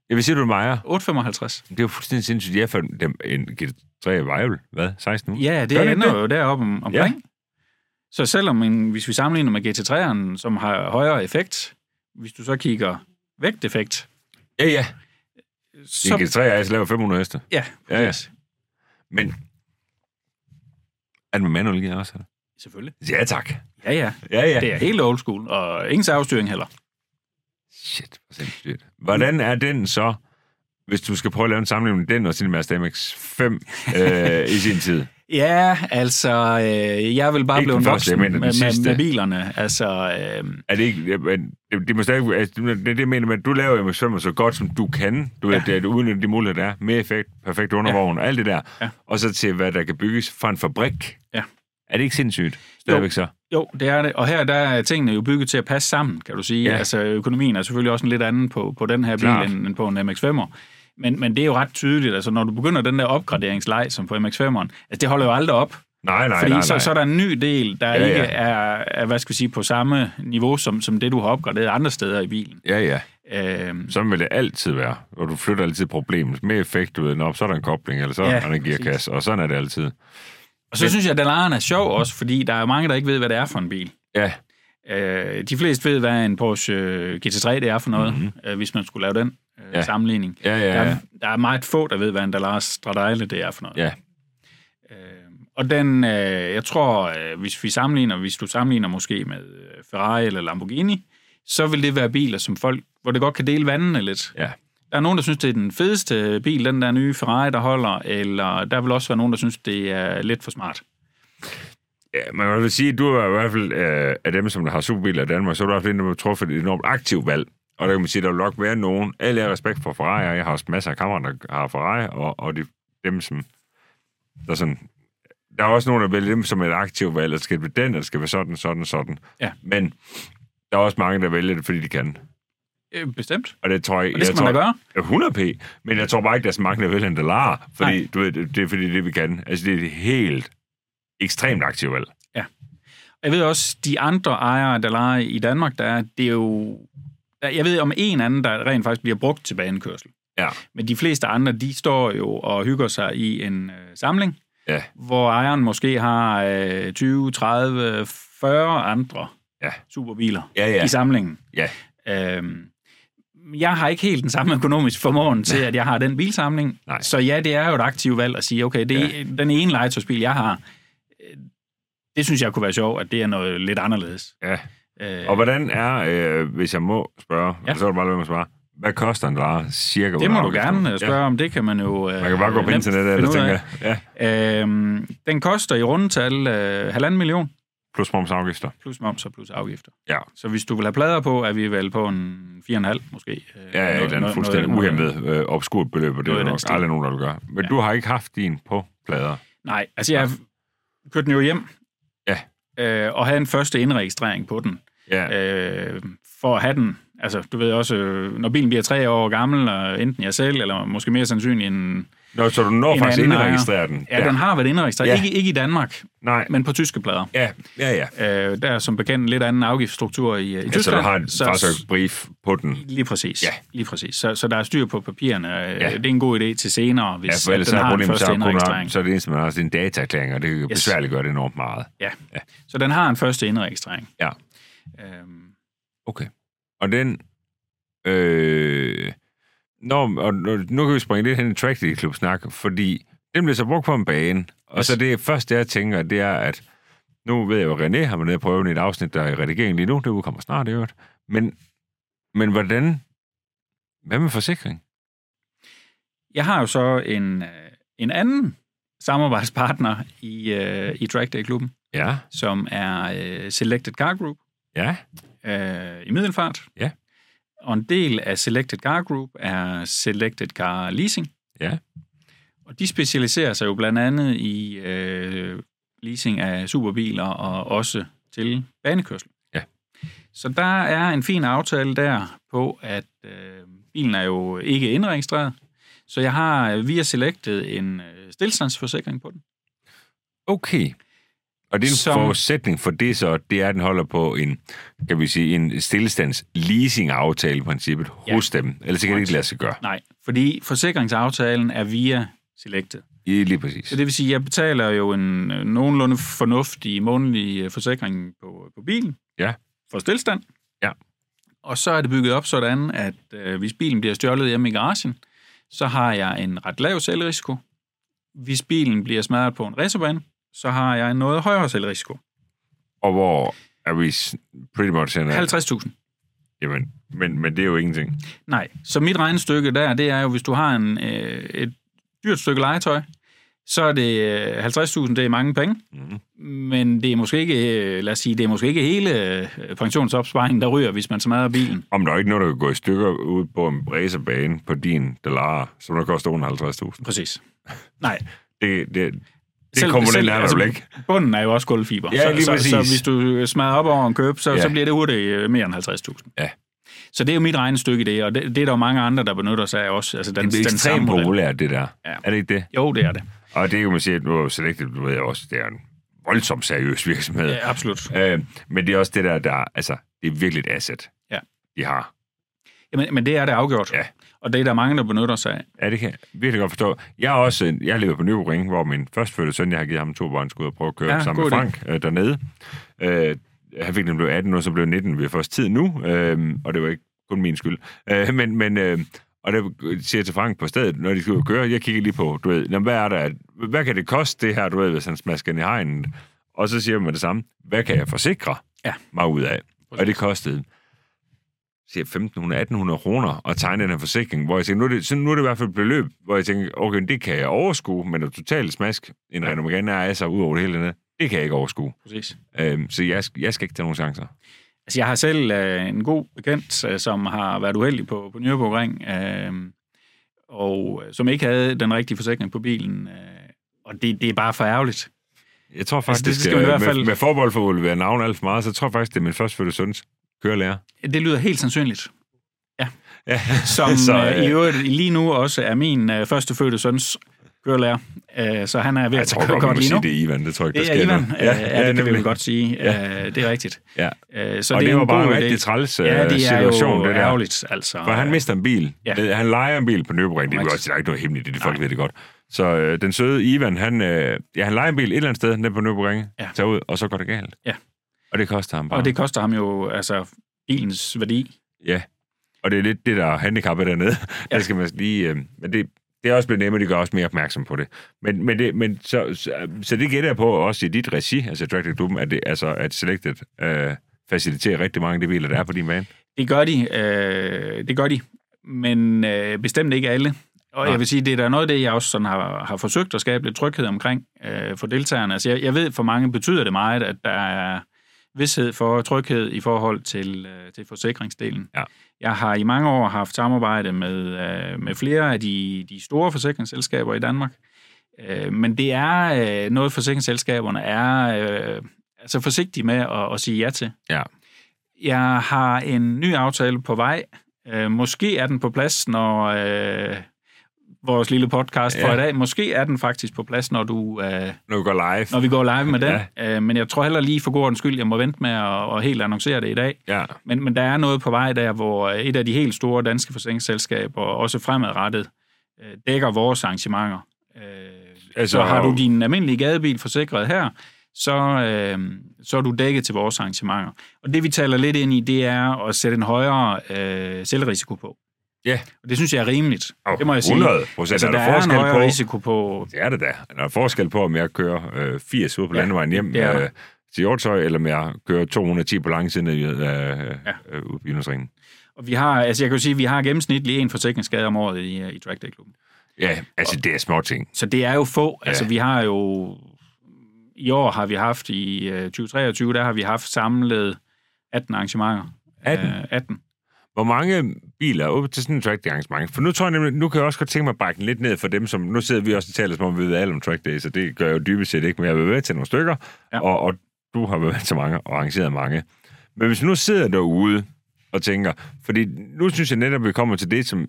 [SPEAKER 1] Jeg vil sige, du Maja,
[SPEAKER 2] 855.
[SPEAKER 1] det er jo fuldstændig sindssygt. Jeg fandt dem, en GT3 Vival, hvad, 16 uger?
[SPEAKER 2] Ja, det
[SPEAKER 1] Gør den
[SPEAKER 2] ender
[SPEAKER 1] det?
[SPEAKER 2] jo deroppe om, omkring. Ja. Så selvom, en, hvis vi sammenligner med GT3'eren, som har højere effekt, hvis du så kigger vægteffekt,
[SPEAKER 1] Ja, ja. En
[SPEAKER 2] så...
[SPEAKER 1] GT3 RS laver 500 heste.
[SPEAKER 2] Ja,
[SPEAKER 1] Ja, ja.
[SPEAKER 2] præcis.
[SPEAKER 1] Men er den med manuel gear også? eller?
[SPEAKER 2] Selvfølgelig.
[SPEAKER 1] Ja, tak.
[SPEAKER 2] Ja, ja.
[SPEAKER 1] Ja, ja.
[SPEAKER 2] Det er helt old school, og ingen særstyring heller.
[SPEAKER 1] Shit, hvor sindssygt. Hvordan er den så, hvis du skal prøve at lave en sammenligning med den og sin Mazda MX-5 øh, i sin tid?
[SPEAKER 2] Ja, altså, øh, jeg vil bare
[SPEAKER 1] Ikke
[SPEAKER 2] blive
[SPEAKER 1] den
[SPEAKER 2] en
[SPEAKER 1] første, jeg
[SPEAKER 2] voksen med,
[SPEAKER 1] mener den
[SPEAKER 2] med,
[SPEAKER 1] sidste.
[SPEAKER 2] med bilerne. Altså, øh,
[SPEAKER 1] Er det ikke... ja, men Det, det, må stadig, altså, det, det, er det jeg mener med, at du laver MX-5 så godt, som du kan. Du ved,
[SPEAKER 2] Ja.
[SPEAKER 1] ja. det, du udnytter de muligheder, der er. Mere effekt, perfekt undervogn og alt det der.
[SPEAKER 2] Ja.
[SPEAKER 1] Og så til, hvad der kan bygges fra en fabrik.
[SPEAKER 2] Ja.
[SPEAKER 1] Er det ikke sindssygt? Stadigvæk så.
[SPEAKER 2] jo, det er det. Og her der er tingene jo bygget til at passe sammen, kan du sige.
[SPEAKER 1] Ja.
[SPEAKER 2] Ja. Altså, økonomien er selvfølgelig også en lidt anden på, på den her bil,
[SPEAKER 1] Klart.
[SPEAKER 2] end, end på en MX-5'er. Men, men det er jo leg ret tydeligt. Altså, når du begynder den der opgraderingsleg, som på MX-5'eren, altså, det holder jo aldrig op.
[SPEAKER 1] Nej, nej,
[SPEAKER 2] fordi
[SPEAKER 1] nej, nej.
[SPEAKER 2] Så, så er der en ny del, der ja,
[SPEAKER 1] Ja,
[SPEAKER 2] ikke
[SPEAKER 1] ja.
[SPEAKER 2] Er, er, hvad skal vi sige, på samme niveau, som, som det, du har opgraderet andre steder i bilen.
[SPEAKER 1] Ja, ja.
[SPEAKER 2] Øh,
[SPEAKER 1] Sådan vil det altid være, og du flytter altid problemet. Med effekt, du ved, nå, så er der en kobling, eller så er
[SPEAKER 2] Ja,
[SPEAKER 1] der en gearkasse, og sådan er det altid.
[SPEAKER 2] Og så synes jeg, at Dalaren er sjov også, fordi der er jo mange, der ikke ved, hvad det er for en bil.
[SPEAKER 1] Ja,
[SPEAKER 2] Øh, de fleste ved, hvad en Porsche øh, GT3 det er for noget, mm-hmm. øh, hvis man skulle lave den øh,
[SPEAKER 1] Mhm. Ja.
[SPEAKER 2] ja. sammenligning.
[SPEAKER 1] ja, ja, ja.
[SPEAKER 2] Der, er, der er meget få, der ved, hvad en Dallara Stradale det er for noget.
[SPEAKER 1] ja.
[SPEAKER 2] Øh, og den, øh, jeg tror, øh, hvis vi sammenligner, hvis du sammenligner måske med øh, Ferrari eller Lamborghini, så vil det være biler, som folk, hvor det godt kan dele vandene lidt.
[SPEAKER 1] ja.
[SPEAKER 2] Der er nogen, der synes, det er den fedeste bil, den der nye Ferrari, der holder, eller der vil også være nogen, der synes, det er lidt for smart.
[SPEAKER 1] Ja, men man vil sige, at du er i hvert fald øh, af dem, som der har superbiler i Danmark, så er du også en, der har truffet et enormt aktivt valg. Og der kan man sige, at der vil nok være nogen. Alle har respekt for Ferrari, og jeg har også masser af kammerater, der har Ferrari, og, og de, dem, som... Der er, sådan, der er også nogen, der vælger dem som et aktivt valg, at det skal være den, eller det skal være sådan, sådan, sådan.
[SPEAKER 2] Ja.
[SPEAKER 1] Men der er også mange, der vælger det, fordi de kan.
[SPEAKER 2] Øh, bestemt.
[SPEAKER 1] Og det tror jeg,
[SPEAKER 2] Og det
[SPEAKER 1] jeg
[SPEAKER 2] skal
[SPEAKER 1] tror,
[SPEAKER 2] man da gøre.
[SPEAKER 1] 100 p, men jeg tror bare ikke, der er så mange, der vælger en dollar, fordi
[SPEAKER 2] Nej.
[SPEAKER 1] du ved, det, det er fordi det, vi kan. Altså, det er et helt ekstremt aktivt valg.
[SPEAKER 2] Jeg ved også, de andre ejere af Dalai i Danmark, der er, det er jo... der- Jeg ved om en anden, der rent faktisk bliver brugt til banekørsel.
[SPEAKER 1] Ja.
[SPEAKER 2] Men de fleste andre, de står jo og hygger sig i en øh, samling,
[SPEAKER 1] Ja.
[SPEAKER 2] hvor ejeren måske har øh, 20, 30, 40 andre
[SPEAKER 1] Ja.
[SPEAKER 2] superbiler
[SPEAKER 1] Ja, ja.
[SPEAKER 2] i samlingen.
[SPEAKER 1] Ja.
[SPEAKER 2] Øhm, jeg har ikke helt den samme økonomiske formåen til, at jeg har den bilsamling.
[SPEAKER 1] Nej.
[SPEAKER 2] Så ja, det er jo et aktivt valg at sige, okay, det er, den ene legetøjsbil, jeg har, øh, det synes jeg kunne være sjovt, at det er noget lidt anderledes.
[SPEAKER 1] Ja.
[SPEAKER 2] Øh,
[SPEAKER 1] Og hvordan er, øh, hvis jeg må spørge, ja.
[SPEAKER 2] Ja.
[SPEAKER 1] så er det bare, hvad man svarer, hvad koster en dollar cirka?
[SPEAKER 2] det
[SPEAKER 1] uden
[SPEAKER 2] må du
[SPEAKER 1] afgift?
[SPEAKER 2] gerne øh, spørge ja. om, det kan man jo... øh,
[SPEAKER 1] Man kan bare gå på internettet, eller tænker jeg. Ja.
[SPEAKER 2] Øhm, den koster i rundetal øh, halvanden million,
[SPEAKER 1] Plus momsafgifter.
[SPEAKER 2] plus moms og plus afgifter.
[SPEAKER 1] Ja.
[SPEAKER 2] Så hvis du vil have plader på, er vi vel på en 4,5 måske. Øh,
[SPEAKER 1] Ja, ja, et eller andet fuldstændig uhemmet øh, obskurt beløb, og det
[SPEAKER 2] noget
[SPEAKER 1] er
[SPEAKER 2] i den
[SPEAKER 1] nok
[SPEAKER 2] stil.
[SPEAKER 1] aldrig nogen, der vil gøre. Men ja.
[SPEAKER 2] Ja.
[SPEAKER 1] du har ikke haft din på plader.
[SPEAKER 2] Nej, altså jeg kørte den jo hjem.
[SPEAKER 1] Ja.
[SPEAKER 2] Øh, og havde en første indregistrering på den.
[SPEAKER 1] Ja,
[SPEAKER 2] Øh, for at have den. Altså, du ved også, øh, når bilen bliver tre år gammel, og enten jeg selv, eller måske mere sandsynligt en,
[SPEAKER 1] Nå, så du når
[SPEAKER 2] En
[SPEAKER 1] faktisk
[SPEAKER 2] anden
[SPEAKER 1] indregistrere den.
[SPEAKER 2] Ja, ja. den har været indregistreret.
[SPEAKER 1] Ja.
[SPEAKER 2] Ja. Ikke, ikke i Danmark,
[SPEAKER 1] Nej.
[SPEAKER 2] men på tyske plader.
[SPEAKER 1] Ja, ja, ja.
[SPEAKER 2] Øh, der er som bekendt en lidt anden afgiftsstruktur i, i
[SPEAKER 1] ja så
[SPEAKER 2] Tyskland.
[SPEAKER 1] Altså, du har en, faktisk et brief på den.
[SPEAKER 2] Lige præcis.
[SPEAKER 1] Ja.
[SPEAKER 2] Lige præcis. Så, så der er styr på papirerne. Ja.
[SPEAKER 1] Ja.
[SPEAKER 2] Det er en god idé til senere, hvis
[SPEAKER 1] Ja, for
[SPEAKER 2] at
[SPEAKER 1] ellers
[SPEAKER 2] den
[SPEAKER 1] er
[SPEAKER 2] har den
[SPEAKER 1] problemet, så,
[SPEAKER 2] første
[SPEAKER 1] er kun,
[SPEAKER 2] indregistrering.
[SPEAKER 1] har- så er det eneste, man har, sin dataerklæring, og det kan yes. besværligt gøre det enormt meget.
[SPEAKER 2] Ja.
[SPEAKER 1] Ja.
[SPEAKER 2] Så den har en første indregistrering.
[SPEAKER 1] Ja.
[SPEAKER 2] Øhm,
[SPEAKER 1] Okay. Og den... Øh, nå, og nu, nu kan vi springe lidt hen i Tragedy Club snak, fordi den blev så brugt på en bane, og
[SPEAKER 2] Yes.
[SPEAKER 1] så det første, jeg tænker, det er, at nu ved jeg jo, at René har været nede og prøve i et afsnit, der er i redigering lige nu, det udkommer snart i øvrigt, men, men hvordan... Hvad med forsikring?
[SPEAKER 2] Jeg har jo så en, øh, en anden samarbejdspartner i, øh, i Drag Day-klubben,
[SPEAKER 1] Ja,
[SPEAKER 2] som er øh, Selected Car Group
[SPEAKER 1] ja,
[SPEAKER 2] øh, i Middelfart.
[SPEAKER 1] Ja.
[SPEAKER 2] Og en del af Selected Car Group er Selected Car Leasing.
[SPEAKER 1] Ja.
[SPEAKER 2] Og de specialiserer sig jo blandt andet i øh, leasing af superbiler og også til banekørsel.
[SPEAKER 1] Ja.
[SPEAKER 2] Så der er en fin aftale der på, at øh, bilen er jo ikke indregistreret, så jeg har øh, via Selected en øh, stillstandsforsikring på den.
[SPEAKER 1] okay. Og det er en
[SPEAKER 2] Som-
[SPEAKER 1] Som... forudsætning for det så, det er, at den holder på en, kan vi sige, en stillestands leasing-aftale i princippet
[SPEAKER 2] Ja.
[SPEAKER 1] hos dem. Ellers kan det ikke lade sig gøre.
[SPEAKER 2] Nej, fordi forsikringsaftalen er via Selected.
[SPEAKER 1] Ja, lige præcis.
[SPEAKER 2] Så det vil sige, at jeg betaler jo en øh, nogenlunde fornuftig månedlig øh, forsikring på, på bilen.
[SPEAKER 1] Ja.
[SPEAKER 2] For stillstand.
[SPEAKER 1] Ja.
[SPEAKER 2] Og så er det bygget op sådan, at øh, hvis bilen bliver stjålet hjemme i garagen, så har jeg en ret lav selvrisiko. Hvis bilen bliver smadret på en racerbane, så har jeg en noget højere selvrisiko.
[SPEAKER 1] Og hvor er vi s- pretty much henne?
[SPEAKER 2] 50.000.
[SPEAKER 1] Jamen, men, men det er jo ingenting.
[SPEAKER 2] Nej. Så mit regnestykke der, det er jo, hvis du har en, øh, et dyrt stykke legetøj, så er det øh, 50.000, det er mange penge.
[SPEAKER 1] Mm.
[SPEAKER 2] Men det er måske ikke, øh, lad os sige, det er måske ikke hele øh, pensionsopsparingen, der ryger, hvis man smadrer bilen.
[SPEAKER 1] Om der er ikke noget, der kan gå i stykker ud på en racerbane på din dollar, som der koster under 50.000.
[SPEAKER 2] Præcis. Nej.
[SPEAKER 1] Det, det, det kommer den her altså, ikke.
[SPEAKER 2] Bunden er jo også gulvfiber.
[SPEAKER 1] Ja, lige
[SPEAKER 2] så, så,
[SPEAKER 1] præcis.
[SPEAKER 2] så, hvis du smadrer op over en køb, så, ja.
[SPEAKER 1] Ja.
[SPEAKER 2] så bliver det hurtigt øh, mere end 50.000.
[SPEAKER 1] Ja.
[SPEAKER 2] Så det er jo mit regnestykke i det, og det, det er der jo mange andre, der benytter sig af også. Altså den,
[SPEAKER 1] Det er
[SPEAKER 2] den samme
[SPEAKER 1] ekstremt
[SPEAKER 2] model.
[SPEAKER 1] populært, det der.
[SPEAKER 2] Ja.
[SPEAKER 1] Er det ikke det?
[SPEAKER 2] Jo, det er det.
[SPEAKER 1] Og det kan man sige, at nu er Selective, du ved jeg også, det er en voldsomt seriøs virksomhed.
[SPEAKER 2] Ja, absolut.
[SPEAKER 1] Øh, men det er også det der, der altså, det er virkelig et asset,
[SPEAKER 2] Ja.
[SPEAKER 1] de har.
[SPEAKER 2] Jamen, men det er det afgjort.
[SPEAKER 1] Ja.
[SPEAKER 2] Og det er der mange, der benytter sig af.
[SPEAKER 1] Ja, det kan jeg virkelig godt forstå. Jeg, er også, en- jeg lever på Nybring, hvor min førstfødte søn, jeg har givet ham to børn, skulle ud og prøve at køre
[SPEAKER 2] Ja,
[SPEAKER 1] ja, sammen med
[SPEAKER 2] god idé.
[SPEAKER 1] Frank øh, dernede. Øh, han fik den blev 18, og så blev 19 ved først tid nu, øh, og det var ikke kun min skyld. Øh, men, men, øh, og der siger jeg til Frank på stedet, når de skal ud og køre, jeg kigger lige på, du ved, "Nå, hvad er der, hvad kan det koste det her, du ved, hvis han smasker ind i hegnet? Og så siger man det samme, hvad kan jeg forsikre
[SPEAKER 2] Ja.
[SPEAKER 1] mig ud af? Og det
[SPEAKER 2] Præcis.
[SPEAKER 1] kostede siger 1.500-1.800 kroner at tegne den her forsikring, hvor jeg tænker, nu er det, så nu er det i hvert fald et beløb, hvor jeg tænker, okay, det kan jeg overskue, men at totalt smask, en Renault Megane er altså ud over det hele andet, det kan jeg ikke overskue.
[SPEAKER 2] Præcis.
[SPEAKER 1] Øhm, så jeg, jeg skal ikke tage nogen chancer.
[SPEAKER 2] Altså, jeg har selv øh, en god bekendt, øh, som har været uheldig på, på Nørrebro Ring, øh, og øh, som ikke havde den rigtige forsikring på bilen. Øh, og det, det er bare for ærgerligt.
[SPEAKER 1] Jeg tror
[SPEAKER 2] det
[SPEAKER 1] faktisk, altså, det
[SPEAKER 2] skal
[SPEAKER 1] skal
[SPEAKER 2] man i hvert
[SPEAKER 1] med,
[SPEAKER 2] fald-
[SPEAKER 1] med, med forbold for at være navn alt for meget, så jeg tror faktisk, det er min førstfødte søns kørelærer.
[SPEAKER 2] Det lyder helt sandsynligt. Ja.
[SPEAKER 1] Ja.
[SPEAKER 2] Som
[SPEAKER 1] Så,
[SPEAKER 2] øh, i
[SPEAKER 1] øh,
[SPEAKER 2] øvrigt lige nu også er min øh, førstefødte søns kørelærer. Øh, så han er ved
[SPEAKER 1] Jeg
[SPEAKER 2] at
[SPEAKER 1] tror
[SPEAKER 2] køre
[SPEAKER 1] godt, man
[SPEAKER 2] godt
[SPEAKER 1] må
[SPEAKER 2] lige nu.
[SPEAKER 1] sige, det er Ivan. Det tror jeg ikke,
[SPEAKER 2] Det
[SPEAKER 1] der
[SPEAKER 2] er
[SPEAKER 1] sker
[SPEAKER 2] Ivan,
[SPEAKER 1] noget.
[SPEAKER 2] ja, ja, det kan vi
[SPEAKER 1] nemlig.
[SPEAKER 2] vel godt sige. Ja. Øh, det er rigtigt.
[SPEAKER 1] Ja.
[SPEAKER 2] Øh, så
[SPEAKER 1] Og det,
[SPEAKER 2] er
[SPEAKER 1] var
[SPEAKER 2] en
[SPEAKER 1] bare
[SPEAKER 2] god
[SPEAKER 1] en
[SPEAKER 2] idé.
[SPEAKER 1] rigtig træls
[SPEAKER 2] Ja,
[SPEAKER 1] ja,
[SPEAKER 2] det er
[SPEAKER 1] øh, situation,
[SPEAKER 2] jo
[SPEAKER 1] det der.
[SPEAKER 2] ærgerligt, altså.
[SPEAKER 1] For han mister en bil.
[SPEAKER 2] Ja.
[SPEAKER 1] Ja. Han leger en bil på Nørrebring. Det er jo
[SPEAKER 2] Rigtigt.
[SPEAKER 1] også, der er ikke noget hemmeligt i det, folk
[SPEAKER 2] Nej.
[SPEAKER 1] ved det godt. Så øh, den søde Ivan, han, øh, ja, han leger en bil et eller andet sted nede på Nørrebring,
[SPEAKER 2] Ja.
[SPEAKER 1] ja. tager ud, og så går det galt.
[SPEAKER 2] Ja.
[SPEAKER 1] Og det koster ham bare.
[SPEAKER 2] Og det koster ham jo altså bilens værdi.
[SPEAKER 1] Ja. Og det er lidt det, der er handicappet dernede.
[SPEAKER 2] Ja.
[SPEAKER 1] Ja. Der skal man lige... Øh, men det, det er også blevet nemmere, de gør også mere opmærksom på det. Men, men, det, men så, så, så, det gætter jeg på også i dit regi, altså Directed Klubben, at, det, altså, at Selected øh, faciliterer rigtig mange af de biler, der er på din bane.
[SPEAKER 2] Det gør de, øh, det gør de, men øh, bestemt ikke alle. Og
[SPEAKER 1] Nej.
[SPEAKER 2] jeg vil sige, det er da noget af det, jeg også sådan har, har forsøgt at skabe lidt tryghed omkring øh, for deltagerne. Altså, jeg, jeg ved, for mange betyder det meget, at der er vidshed for tryghed i forhold til, øh, til forsikringsdelen.
[SPEAKER 1] Ja.
[SPEAKER 2] Jeg har i mange år haft samarbejde med, øh, med flere af de, de store forsikringsselskaber i Danmark. Øh, men det er øh, noget, forsikringsselskaberne er øh, altså forsigtige med at, at sige ja til.
[SPEAKER 1] Ja.
[SPEAKER 2] Jeg har en ny aftale på vej. Øh, måske er den på plads, når øh, vores lille podcast for
[SPEAKER 1] Ja.
[SPEAKER 2] i dag. Måske er den faktisk på plads, når du øh,
[SPEAKER 1] Når vi går live.
[SPEAKER 2] når vi går live med den. Ja. Øh, men jeg tror heller lige for god ordens skyld, jeg må vente med at, at helt annoncere det i dag.
[SPEAKER 1] Ja.
[SPEAKER 2] Men, men der er noget på vej der, hvor øh, et af de helt store danske forsikringsselskaber, også fremadrettet, øh, dækker vores arrangementer. Øh,
[SPEAKER 1] Altså,
[SPEAKER 2] så har du
[SPEAKER 1] og-
[SPEAKER 2] din almindelige gadebil forsikret her, så, øh, så er du dækket til vores arrangementer. Og det vi taler lidt ind i, det er at sætte en højere øh, selvrisiko på.
[SPEAKER 1] Ja.
[SPEAKER 2] Og det synes jeg er rimeligt.
[SPEAKER 1] Og
[SPEAKER 2] det må jeg sige.
[SPEAKER 1] 100 procent.
[SPEAKER 2] Altså, der, er en
[SPEAKER 1] forskel
[SPEAKER 2] højere
[SPEAKER 1] på...
[SPEAKER 2] risiko på...
[SPEAKER 1] Det er det da. Der er forskel på, om jeg kører øh, 80 ude på
[SPEAKER 2] Ja,
[SPEAKER 1] ja, landevejen hjem
[SPEAKER 2] det er der.
[SPEAKER 1] øh, til Hjortøj, eller om jeg kører 210 på langsiden af øh,
[SPEAKER 2] Ja.
[SPEAKER 1] ja. øh, ude på Jyllandsringen.
[SPEAKER 2] Og vi har, altså jeg kan jo sige, at vi har gennemsnitlig en forsikringsskade om året i, øh, i Track Day Klubben.
[SPEAKER 1] Ja, altså det er små ting.
[SPEAKER 2] Så det er jo få.
[SPEAKER 1] Ja.
[SPEAKER 2] Altså, vi har jo... I år har vi haft, i øh, 2023, der har vi haft samlet 18 arrangementer.
[SPEAKER 1] 18?
[SPEAKER 2] Øh, 18.
[SPEAKER 1] Hvor mange biler er ude til sådan en track day arrangement? For nu tror jeg nemlig, nu kan jeg også godt tænke mig at brække den lidt ned for dem, som nu sidder vi også og taler, som om vi ved alt om track day, så det gør jeg jo dybest set ikke, men jeg har været med til nogle stykker,
[SPEAKER 2] Ja.
[SPEAKER 1] ja. og, og, du har været med til mange og arrangeret mange. Men hvis nu sidder derude og tænker, fordi nu synes jeg netop, at vi kommer til det, som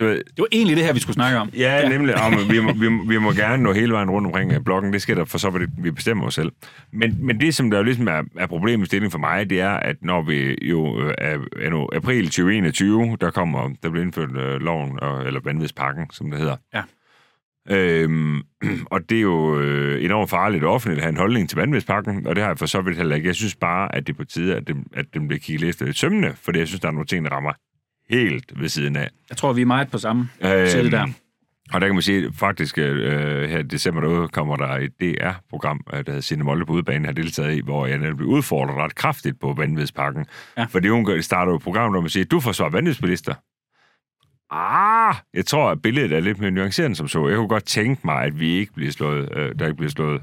[SPEAKER 1] du ved,
[SPEAKER 2] Det var egentlig det her, vi skulle snakke om.
[SPEAKER 1] Ja, ja. nemlig. Om, vi, må, vi, må, vi må gerne nå hele vejen rundt omkring øh, blokken. Det skal der for så vidt, vi bestemmer os selv. Men, men det, som der jo ligesom er, er problemet stilling for mig, det er, at når vi jo øh, er, er nu, april 2021, der kommer, der bliver indført øh, loven, og, eller vanvidspakken, som det hedder.
[SPEAKER 2] Ja.
[SPEAKER 1] Øhm, og det er jo øh, enormt farligt offentligt at have en holdning til vanvidspakken, og det har jeg for så vidt heller ikke. Jeg synes bare, at det er på tide, at dem, at dem bliver kigget lidt efter i sømmene, fordi jeg synes, der er nogle ting, der rammer helt ved siden af.
[SPEAKER 2] Jeg tror, vi er meget på samme
[SPEAKER 1] Øhm,
[SPEAKER 2] side der.
[SPEAKER 1] Og der kan man sige, at faktisk øh, her i december derude kommer der et DR-program, øh, der hedder Signe Molde på udebane, har deltaget i, hvor jeg netop blev udfordret ret kraftigt på vanvidspakken.
[SPEAKER 2] Ja.
[SPEAKER 1] Ja. Fordi hun gør- starter jo et program, hvor man siger, du forsvarer vanvidsbilister. Ah, jeg tror, at billedet er lidt mere nuanceret end som så. Jeg kunne godt tænke mig, at vi ikke bliver slået, øh, der ikke bliver slået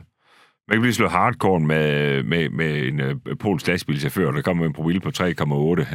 [SPEAKER 1] man kan blive slået hardcore med, med, med en øh, polsk lastbilchauffør, der kommer med en promille på 3,8,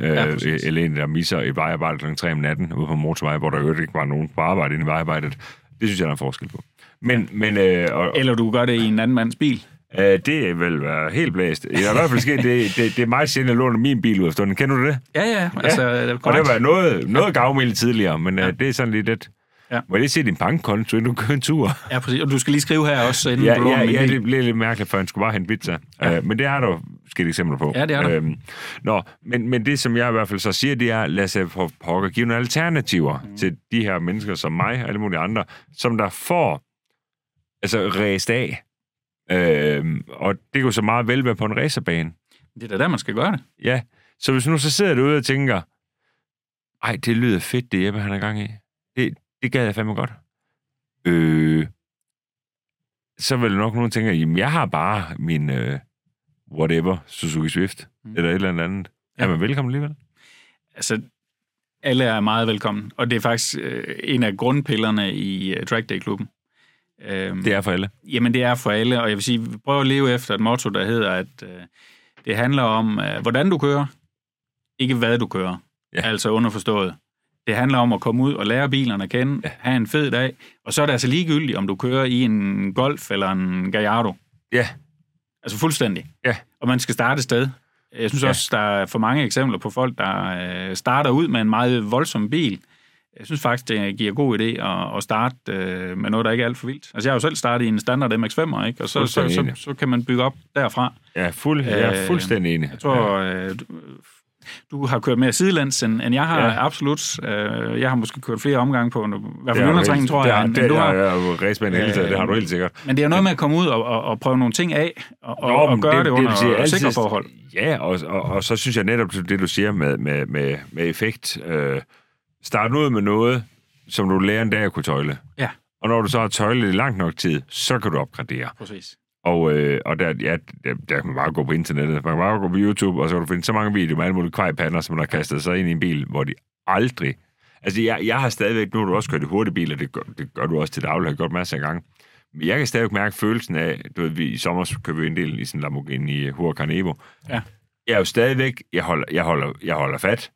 [SPEAKER 2] Ja,
[SPEAKER 1] øh,
[SPEAKER 2] præcis.
[SPEAKER 1] eller en, der misser et vejarbejde kl. 3 om natten ude på en motorvej, hvor der jo ikke var nogen på arbejde inde i vejarbejdet. Det synes jeg, der er en forskel på. Men, men øh, og,
[SPEAKER 2] Eller du gør det i en anden mands bil.
[SPEAKER 1] øh, det vil være helt blæst. I hvert fald sket, det, det, det er meget sjældent, at jeg låner min bil ud af stunden. Kender du det?
[SPEAKER 2] Ja, ja. Altså, ja.
[SPEAKER 1] Og det var noget, noget gavmild tidligere, men øh, det er sådan lidt, at
[SPEAKER 2] Ja.
[SPEAKER 1] ja. må jeg lige se din bankkonto, inden du kører en tur?
[SPEAKER 2] Ja, præcis. Og du skal lige skrive her også, inden
[SPEAKER 1] Ja,
[SPEAKER 2] du låner
[SPEAKER 1] ja,
[SPEAKER 2] min
[SPEAKER 1] ja,
[SPEAKER 2] bil.
[SPEAKER 1] det blev lidt mærkeligt, for han skulle bare hente pizza. Ja. Øh, men det er der jo sket eksempler på.
[SPEAKER 2] Ja, det er der.
[SPEAKER 1] Øhm, nå, men, men det, som jeg i hvert fald så siger, det er, lad os for pokker give nogle alternativer mm. til de her mennesker som mig og alle mulige andre, som der får altså ræst af. Øhm, og det kunne så meget vel være på en racerbane.
[SPEAKER 2] Det er da der, man skal gøre det.
[SPEAKER 1] Ja, så hvis nu så sidder du ude og tænker, ej, det lyder fedt, det Jeppe han er gang i. Det, det gad jeg fandme godt. Øh, så vil nok nogen tænke, jamen jeg har bare min øh, whatever, Suzuki Swift,
[SPEAKER 2] Mm.
[SPEAKER 1] mm. eller et eller andet. Ja.
[SPEAKER 2] Ja.
[SPEAKER 1] Er man velkommen alligevel?
[SPEAKER 2] Altså, alle er meget velkommen. Og det er faktisk øh, en af grundpillerne i øh, Track Day-klubben. Øhm,
[SPEAKER 1] Det er for alle.
[SPEAKER 2] Jamen, det er for alle, og jeg vil sige, vi prøver at leve efter et motto, der hedder, at øh, det handler om, øh, hvordan du kører, ikke hvad du kører. Ja.
[SPEAKER 1] Ja.
[SPEAKER 2] Altså underforstået. Det handler om at komme ud og lære bilerne at kende, ja. have en fed dag, og så er det altså ligegyldigt, om du kører i en Golf eller en Gallardo.
[SPEAKER 1] Ja,
[SPEAKER 2] Altså fuldstændig.
[SPEAKER 1] Ja.
[SPEAKER 2] Og man skal starte et sted. Jeg synes ja.
[SPEAKER 1] Ja.
[SPEAKER 2] også, der er for mange eksempler på folk, der øh, starter ud med en meget voldsom bil. Jeg synes faktisk, det giver god idé at, at starte øh, med noget, der ikke er alt for vildt. Altså, jeg har jo selv startet i en standard MX-5'er, ikke? Og så, så,
[SPEAKER 1] Fuldstændig
[SPEAKER 2] så,
[SPEAKER 1] enig.
[SPEAKER 2] så kan man bygge op derfra.
[SPEAKER 1] jeg er, fuld, jeg
[SPEAKER 2] Øh,
[SPEAKER 1] er fuldstændig enig.
[SPEAKER 2] Jeg tror, øh, du, du har kørt mere sidelands, end, end jeg har, ja.
[SPEAKER 1] Ja.
[SPEAKER 2] absolut. Øh, jeg har måske kørt flere omgange på, en- i hvert
[SPEAKER 1] Det
[SPEAKER 2] fald
[SPEAKER 1] har du
[SPEAKER 2] Jyllandsringen,
[SPEAKER 1] helt-
[SPEAKER 2] tror
[SPEAKER 1] det
[SPEAKER 2] jeg,
[SPEAKER 1] har-
[SPEAKER 2] end,
[SPEAKER 1] Det
[SPEAKER 2] end du har.
[SPEAKER 1] har jeg jo race med en hele taget, det har du helt sikkert.
[SPEAKER 2] Men det er jo noget med at komme ud og, og, og prøve nogle ting af, og, og, og
[SPEAKER 1] men
[SPEAKER 2] gøre det, det under
[SPEAKER 1] vil sige, altid-
[SPEAKER 2] sikre forhold.
[SPEAKER 1] Ja, og, og, og så synes jeg netop det, du siger med, med, med, med effekt. Øh, start ud med noget, som du lærer en dag at kunne tøjle.
[SPEAKER 2] Ja.
[SPEAKER 1] Og når du så har tøjlet i langt nok tid, så kan du opgradere.
[SPEAKER 2] Præcis.
[SPEAKER 1] Og, øh, og der, ja, der, der kan man bare gå på internettet, man kan bare gå på YouTube, og så kan du finde så mange videoer med alle mulige kvejpander, som man har kastet sig ind i en bil, hvor de aldrig... Altså, jeg, jeg har stadigvæk... Nu har du også kørt i hurtige biler, det gør, det gør du også til daglig, har jeg gjort masser af gange. Men jeg kan stadigvæk mærke følelsen af... Du ved, vi, i sommer købte vi en del i sådan en Lamborghini Huracan Evo.
[SPEAKER 2] Ja.
[SPEAKER 1] Jeg er jo stadigvæk... Jeg holder, jeg holder, jeg holder fat.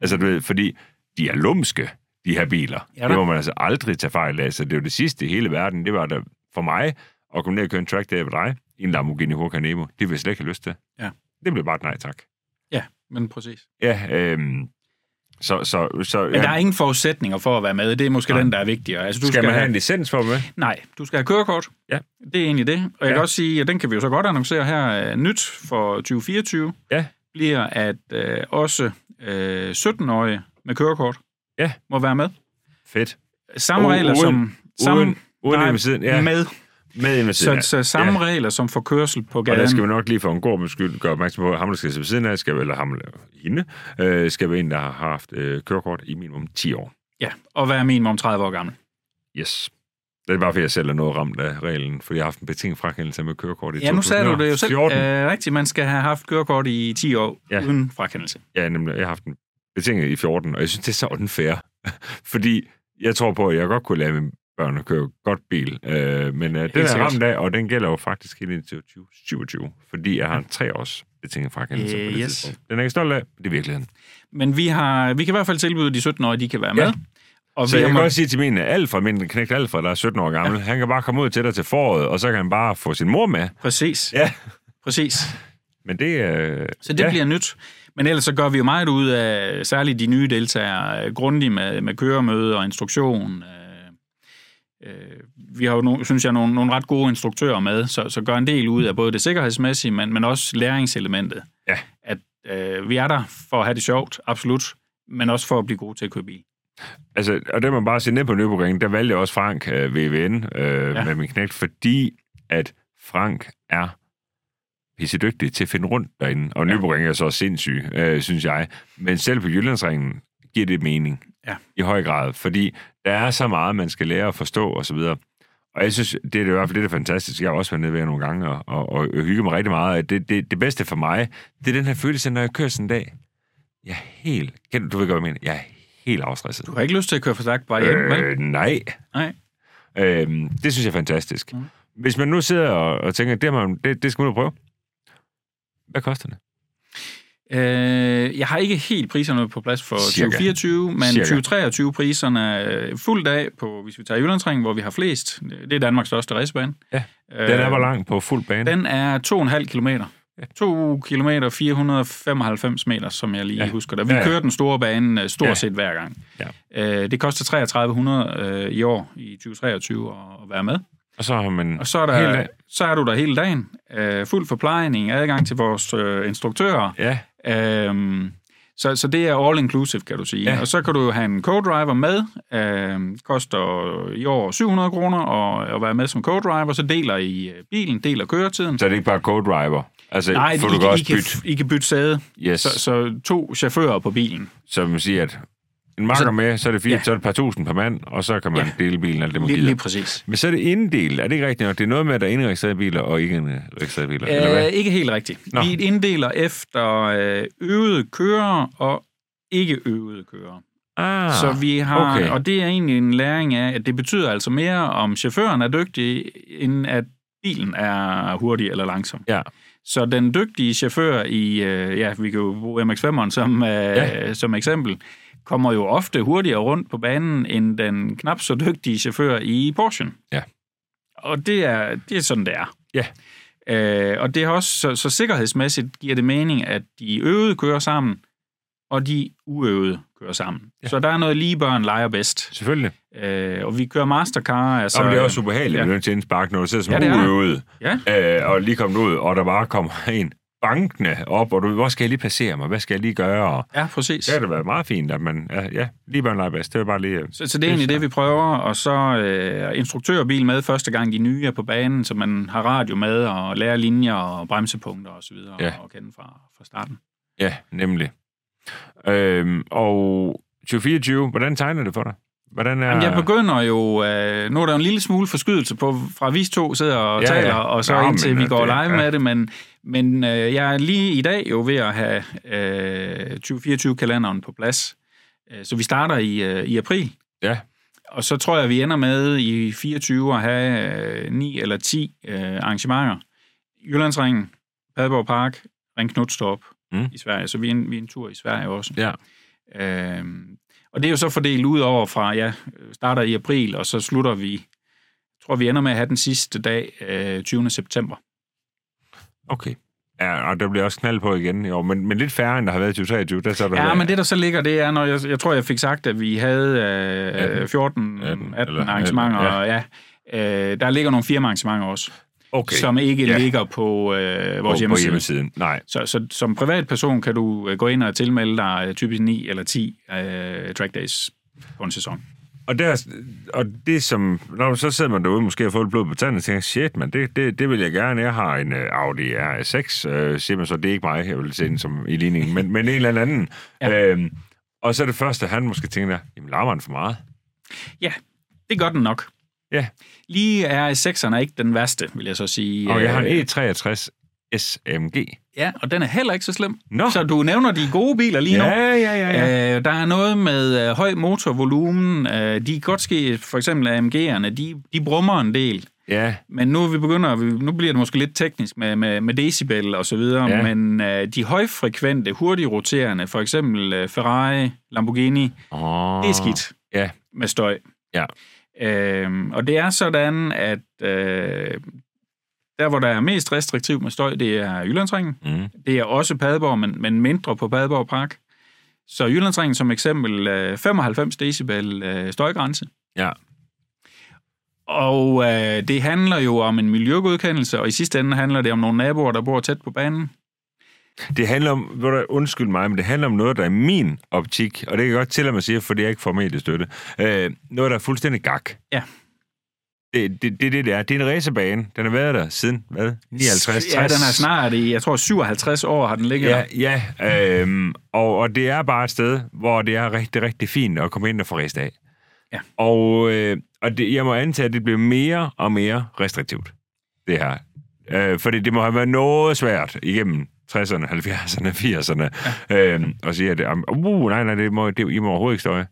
[SPEAKER 1] Altså, du ved, fordi de er lumske, de her biler.
[SPEAKER 2] Ja da.
[SPEAKER 1] det må man altså aldrig tage fejl af. Så det er jo det sidste i hele verden. Det var der for mig at komme ned og køre en track der ved dig i en Lamborghini Huracan Evo. Det vil jeg slet ikke have lyst til.
[SPEAKER 2] Ja.
[SPEAKER 1] Det blev bare et nej tak.
[SPEAKER 2] Ja, men præcis.
[SPEAKER 1] Ja, øhm, Så, så, så
[SPEAKER 2] Men der
[SPEAKER 1] ja.
[SPEAKER 2] er ingen forudsætninger for at være med. Det er måske
[SPEAKER 1] Nej.
[SPEAKER 2] Nej. den, der er vigtigere. Altså, du
[SPEAKER 1] skal man have en
[SPEAKER 2] have,
[SPEAKER 1] licens for med?
[SPEAKER 2] Nej, du skal have kørekort.
[SPEAKER 1] Ja.
[SPEAKER 2] Det er egentlig det. Og jeg
[SPEAKER 1] Ja.
[SPEAKER 2] ja. kan også sige, at den kan vi jo så godt annoncere her. øh, Nyt for 2024
[SPEAKER 1] Ja.
[SPEAKER 2] bliver, at øh, også øh, 17-årige med kørekort
[SPEAKER 1] Ja.
[SPEAKER 2] må være med.
[SPEAKER 1] Fedt.
[SPEAKER 2] Samme
[SPEAKER 1] U-
[SPEAKER 2] regler
[SPEAKER 1] uden-
[SPEAKER 2] som... Samme,
[SPEAKER 1] Uden, uden
[SPEAKER 2] nej,
[SPEAKER 1] hjemme siden. Ja,
[SPEAKER 2] med.
[SPEAKER 1] med hjemme siden.
[SPEAKER 2] Så,
[SPEAKER 1] ja.
[SPEAKER 2] så samme ja. regler som for kørsel på
[SPEAKER 1] Og
[SPEAKER 2] gaden.
[SPEAKER 1] der skal vi nok lige for en god beskyld gøre opmærksom på, at ham, der skal sidde ved siden af, skal, eller ham eller hende, øh, skal være en, der har haft øh, kørekort i minimum 10 år.
[SPEAKER 2] Ja, og være minimum 30 år gammel.
[SPEAKER 1] Yes. Det er bare, fordi jeg selv er noget ramt af reglen, fordi jeg har haft en betinget frakendelse med kørekort i
[SPEAKER 2] Ja, nu sagde du det jo selv.
[SPEAKER 1] 2014.
[SPEAKER 2] Øh, rigtigt, man skal have haft kørekort i 10 år
[SPEAKER 1] Ja.
[SPEAKER 2] ja. uden frakendelse.
[SPEAKER 1] Ja, nemlig, jeg har haft en betinget i 14, og jeg synes, det er så unfair. fordi jeg tror på, at jeg godt kunne lade mine børn at køre godt bil, øh, men øh, den er
[SPEAKER 2] sikkert.
[SPEAKER 1] ramt af, og den gælder jo faktisk helt indtil 2027, fordi jeg har en treårs betinget frakendelse
[SPEAKER 2] Øh,
[SPEAKER 1] på det
[SPEAKER 2] yes.
[SPEAKER 1] tidspunkt. Den er jeg ikke stolt af, men det er virkeligheden.
[SPEAKER 2] Men vi, har, vi kan i hvert fald tilbyde, at de 17-årige de kan være
[SPEAKER 1] Ja.
[SPEAKER 2] med. Og
[SPEAKER 1] Så
[SPEAKER 2] vi
[SPEAKER 1] jeg
[SPEAKER 2] har
[SPEAKER 1] kan
[SPEAKER 2] må-
[SPEAKER 1] godt sige til min Alfred, min knægt Alfred, der er 17 år gammel, ja. han kan bare komme ud til dig til foråret, og så kan han bare få sin mor med.
[SPEAKER 2] Præcis,
[SPEAKER 1] Ja.
[SPEAKER 2] præcis.
[SPEAKER 1] Men det... Øh,
[SPEAKER 2] Så det
[SPEAKER 1] ja.
[SPEAKER 2] ja. bliver nyt. Men ellers så gør vi jo meget ud af, særligt de nye deltagere, øh, grundigt med, med køremøde og instruktion. Øh, øh, Vi har jo, nogle, synes jeg, nogle, nogle ret gode instruktører med, så, så gør en del ud af både det sikkerhedsmæssige, men, men også læringselementet.
[SPEAKER 1] Ja.
[SPEAKER 2] At øh, vi er der for at have det sjovt, absolut, men også for at blive gode til at køre bil.
[SPEAKER 1] Altså, og det må man bare se ned på Nybogringen, der valgte jeg også Frank øh, VVN øh, ja.
[SPEAKER 2] Ja.
[SPEAKER 1] med min knægt, fordi at Frank er pissedygtig til at finde rundt derinde. Og ja.
[SPEAKER 2] Ja.
[SPEAKER 1] Nybogringen er så sindssyg, øh, synes jeg. Men selv på Jyllandsringen giver det mening
[SPEAKER 2] Ja.
[SPEAKER 1] i høj grad, fordi der er så meget, man skal lære at forstå og så videre. Og jeg synes, det er i hvert fald det, der er fantastisk. Jeg har også været nede ved jer nogle gange og, og, og hygget mig rigtig meget. Og Det, det, det bedste for mig, det er den her følelse, når jeg kører sådan en dag. Jeg er helt... Kender du, du ved godt, hvad jeg mener. Jeg er helt afstresset.
[SPEAKER 2] Du har ikke lyst til at køre for stærkt bare hjem, øh. vel?
[SPEAKER 1] Øh, nej.
[SPEAKER 2] Nej.
[SPEAKER 1] Øhm, det synes jeg er fantastisk. Mm.
[SPEAKER 2] Mm.
[SPEAKER 1] Hvis man nu sidder og, og tænker, det, har man, det, det skal man ud og prøve. Hvad koster det?
[SPEAKER 2] Øh, jeg har ikke helt priserne på plads for
[SPEAKER 1] Cirka.
[SPEAKER 2] Cirka. 2024, men
[SPEAKER 1] Cirka.
[SPEAKER 2] 2023 priserne er fuld dag på, hvis vi tager Jyllandsringen, hvor vi har flest. Det er Danmarks største racebane.
[SPEAKER 1] Ja.
[SPEAKER 2] Øh,
[SPEAKER 1] Den er hvor lang på fuld bane?
[SPEAKER 2] Den er 2,5 kilometer. 2 km 495 meter, som jeg lige
[SPEAKER 1] Ja.
[SPEAKER 2] ja. husker det. Vi
[SPEAKER 1] Ja, ja.
[SPEAKER 2] ja, ja. kører den store bane øh, stort
[SPEAKER 1] Ja.
[SPEAKER 2] ja. set hver gang.
[SPEAKER 1] Ja.
[SPEAKER 2] Øh, det koster 3300 øh, i år, i 2023, at at være med.
[SPEAKER 1] Og så har man...
[SPEAKER 2] Og så er,
[SPEAKER 1] Hele
[SPEAKER 2] der,
[SPEAKER 1] dagen?
[SPEAKER 2] så er du der hele dagen. Øh, fuld forplejning, adgang til vores øh, instruktører.
[SPEAKER 1] Ja,
[SPEAKER 2] Øhm, så, så det er all-inclusive, kan du sige.
[SPEAKER 1] Ja.
[SPEAKER 2] Ja. Og så kan du jo have en co-driver med. Øhm, koster i år 700 kroner at, at være med som co-driver. Så deler I øh, bilen, deler køretiden.
[SPEAKER 1] så er det ikke bare co-driver. Altså,
[SPEAKER 2] Nej,
[SPEAKER 1] får
[SPEAKER 2] I,
[SPEAKER 1] du
[SPEAKER 2] kan-
[SPEAKER 1] kan
[SPEAKER 2] I,
[SPEAKER 1] også
[SPEAKER 2] kan,
[SPEAKER 1] bytte.
[SPEAKER 2] I kan bytte sæde.
[SPEAKER 1] Yes.
[SPEAKER 2] Så, så to chauffører på bilen.
[SPEAKER 1] Så man siger, at en makker
[SPEAKER 2] Så-
[SPEAKER 1] med, så er det fire, ja.
[SPEAKER 2] Ja.
[SPEAKER 1] så er det et par tusind per mand, og så kan man ja.
[SPEAKER 2] Ja.
[SPEAKER 1] dele bilen alt det, man
[SPEAKER 2] Lige, lige
[SPEAKER 1] gider.
[SPEAKER 2] præcis.
[SPEAKER 1] Men så er det inddelt. Er det ikke rigtigt nok? Det er noget med, at der er indregistrerede biler og ikke indregistrerede biler, øh, eller
[SPEAKER 2] Øh,
[SPEAKER 1] hvad?
[SPEAKER 2] ikke helt rigtigt.
[SPEAKER 1] Nå.
[SPEAKER 2] Nå. Vi inddeler efter øh, øvede kører og ikke øvede kører.
[SPEAKER 1] Ah,
[SPEAKER 2] Så vi har,
[SPEAKER 1] okay.
[SPEAKER 2] okay. og det er egentlig en læring af, at det betyder altså mere, om chaufføren er dygtig, end at bilen er hurtig eller langsom.
[SPEAKER 1] Ja.
[SPEAKER 2] Så den dygtige chauffør i, øh, ja, vi kan jo bruge MX-5'eren som, øh,
[SPEAKER 1] Ja.
[SPEAKER 2] ja. som eksempel, kommer jo ofte hurtigere rundt på banen, end den knap så dygtige chauffør i Porsche.
[SPEAKER 1] Ja.
[SPEAKER 2] Og det er, det er sådan, det er.
[SPEAKER 1] Ja.
[SPEAKER 2] Øh, og det er også, så, så sikkerhedsmæssigt giver det mening, at de øvede kører sammen, og de uøvede kører sammen.
[SPEAKER 1] Ja.
[SPEAKER 2] Ja. Så der er noget lige børn leger bedst.
[SPEAKER 1] Selvfølgelig.
[SPEAKER 2] Øh, og vi kører mastercar. Altså,
[SPEAKER 1] Så, Jamen, det er også ubehageligt,
[SPEAKER 2] ja.
[SPEAKER 1] ja. at til en spark, når du sidder som ja,
[SPEAKER 2] Ja, det er det.
[SPEAKER 1] uøvet,
[SPEAKER 2] Ja.
[SPEAKER 1] øh, og lige kommer ud, og der bare kommer en bankende op, og du ved, hvor skal jeg lige placere mig, hvad skal jeg lige gøre? Og
[SPEAKER 2] Ja, præcis.
[SPEAKER 1] det har det været meget fint, at man, ja, ja lige børn leger bedst. Det er bare lige... øh,
[SPEAKER 2] Så, så det er egentlig det, vi prøver, og så øh, instruktørbil med første gang de nye er på banen, så man har radio med og lærer linjer og bremsepunkter osv. Og
[SPEAKER 1] Ja.
[SPEAKER 2] ja. og kende fra, fra starten.
[SPEAKER 1] Ja, nemlig. Øhm, og 2024, hvordan tegner det for dig? Hvordan er...
[SPEAKER 2] Jamen, jeg begynder jo... Øh, nu er der jo en lille smule forskydelse på, fra vi to sidder og
[SPEAKER 1] Ja,
[SPEAKER 2] ja,
[SPEAKER 1] ja.
[SPEAKER 2] taler, og så
[SPEAKER 1] Nå,
[SPEAKER 2] Nå, indtil
[SPEAKER 1] men,
[SPEAKER 2] vi
[SPEAKER 1] øh,
[SPEAKER 2] går
[SPEAKER 1] det-
[SPEAKER 2] live
[SPEAKER 1] ja.
[SPEAKER 2] ja. med det, men, men øh, jeg er lige i dag jo ved at have øh, 2024-kalenderen på plads. Øh, Så vi starter i, øh, i april.
[SPEAKER 1] Ja.
[SPEAKER 2] Og så tror jeg, vi ender med i 24 at have øh, 9 eller 10 øh, arrangementer. Jyllandsringen, Padborg Park, Ring Knudstorp
[SPEAKER 1] Mm.
[SPEAKER 2] mm. i Sverige. Så vi er, en, vi er en tur i Sverige også.
[SPEAKER 1] Ja.
[SPEAKER 2] Øhm, og det er jo så fordelt ud over fra, ja, øh, starter i april, og så slutter vi, jeg tror vi ender med at have den sidste dag, øh, 20. september.
[SPEAKER 1] Okay. Ja, og der bliver også knald på igen i år, men, men lidt færre, end der har været i 2023. Der så der
[SPEAKER 2] Ja, men det, der så ligger, det er, når jeg, jeg tror, jeg fik sagt, at vi havde øh, 14, 18,
[SPEAKER 1] 18,
[SPEAKER 2] 18
[SPEAKER 1] eller-
[SPEAKER 2] arrangementer,
[SPEAKER 1] ja.
[SPEAKER 2] og ja, øh, der ligger nogle firma arrangementer også,
[SPEAKER 1] okay.
[SPEAKER 2] som ikke
[SPEAKER 1] Ja.
[SPEAKER 2] ligger på øh,
[SPEAKER 1] på,
[SPEAKER 2] vores
[SPEAKER 1] hjemmesiden. på
[SPEAKER 2] hjemmeside.
[SPEAKER 1] hjemmesiden. Nej.
[SPEAKER 2] Så, så som privatperson kan du øh, gå ind og tilmelde dig øh, typisk 9 eller 10 øh, track days på en sæson.
[SPEAKER 1] Og, der, og det som... Når så sidder man derude måske og får lidt blod på tanden, og tænker, shit, man, det, det, det vil jeg gerne. Jeg har en uh, Audi R6, øh, siger man så, det er ikke mig, jeg vil se den som i ligningen, men, men en eller anden.
[SPEAKER 2] Ja.
[SPEAKER 1] Ja. Øhm, og så er det første, han måske tænker, jamen larmer han for meget?
[SPEAKER 2] Ja, det gør den nok.
[SPEAKER 1] Ja.
[SPEAKER 2] Lige er 6'eren er ikke den værste, vil jeg så sige.
[SPEAKER 1] Og jeg har
[SPEAKER 2] Øh,
[SPEAKER 1] en E E63 SMG.
[SPEAKER 2] Ja, og den er heller ikke så slem.
[SPEAKER 1] Nå.
[SPEAKER 2] Så du nævner de gode biler lige nu.
[SPEAKER 1] Ja, ja, ja, ja.
[SPEAKER 2] Øh, der er noget med øh, høj motorvolumen. Øh, de kan godt ske, for eksempel AMG'erne, de, de brummer en del.
[SPEAKER 1] ja.
[SPEAKER 2] Men nu, er vi begynder, vi- nu bliver det måske lidt teknisk med, med, med decibel og så videre, ja.
[SPEAKER 1] Ja.
[SPEAKER 2] men øh, de højfrekvente, hurtigt roterende, for eksempel øh, Ferrari, Lamborghini,
[SPEAKER 1] Oh,
[SPEAKER 2] det er skidt
[SPEAKER 1] Ja,
[SPEAKER 2] med støj.
[SPEAKER 1] Ja.
[SPEAKER 2] Øhm, og det er sådan, at øh, der, hvor der er mest restriktiv med støj, det er Jyllandsringen.
[SPEAKER 1] mm.
[SPEAKER 2] Det er også Padborg, men, men mindre på Padborg Park. Så Jyllandsringen som eksempel, øh, 95 decibel øh, støjgrænse.
[SPEAKER 1] ja.
[SPEAKER 2] Og øh, det handler jo om en miljøgodkendelse, og i sidste ende handler det om nogle naboer, der bor tæt på banen.
[SPEAKER 1] Det handler om, ved du hvad, undskyld mig, men det handler om noget, der er min optik, og det kan jeg godt tillade mig at sige, fordi jeg ikke får mediestøtte. Øh, noget, der er fuldstændig gak.
[SPEAKER 2] Ja.
[SPEAKER 1] Det, det, det, er det, det er. Det er en racerbane. Den har været der siden, hvad? 59, 60?
[SPEAKER 2] Ja, den er snart i, jeg tror 57 år har den ligget ja.
[SPEAKER 1] Ja,
[SPEAKER 2] der.
[SPEAKER 1] ja. Øhm, og, og det er bare et sted, hvor det er rigtig, rigtig fint at komme ind og få rest af.
[SPEAKER 2] Ja.
[SPEAKER 1] Og, øh, og det, jeg må antage, at det bliver mere og mere restriktivt, det her. Øh, fordi det må have været noget svært igennem 60'erne, 70'erne, 80'erne, ja. øhm, og sige, at am- uh, nej, nej, det må, det, I må overhovedet ikke støje.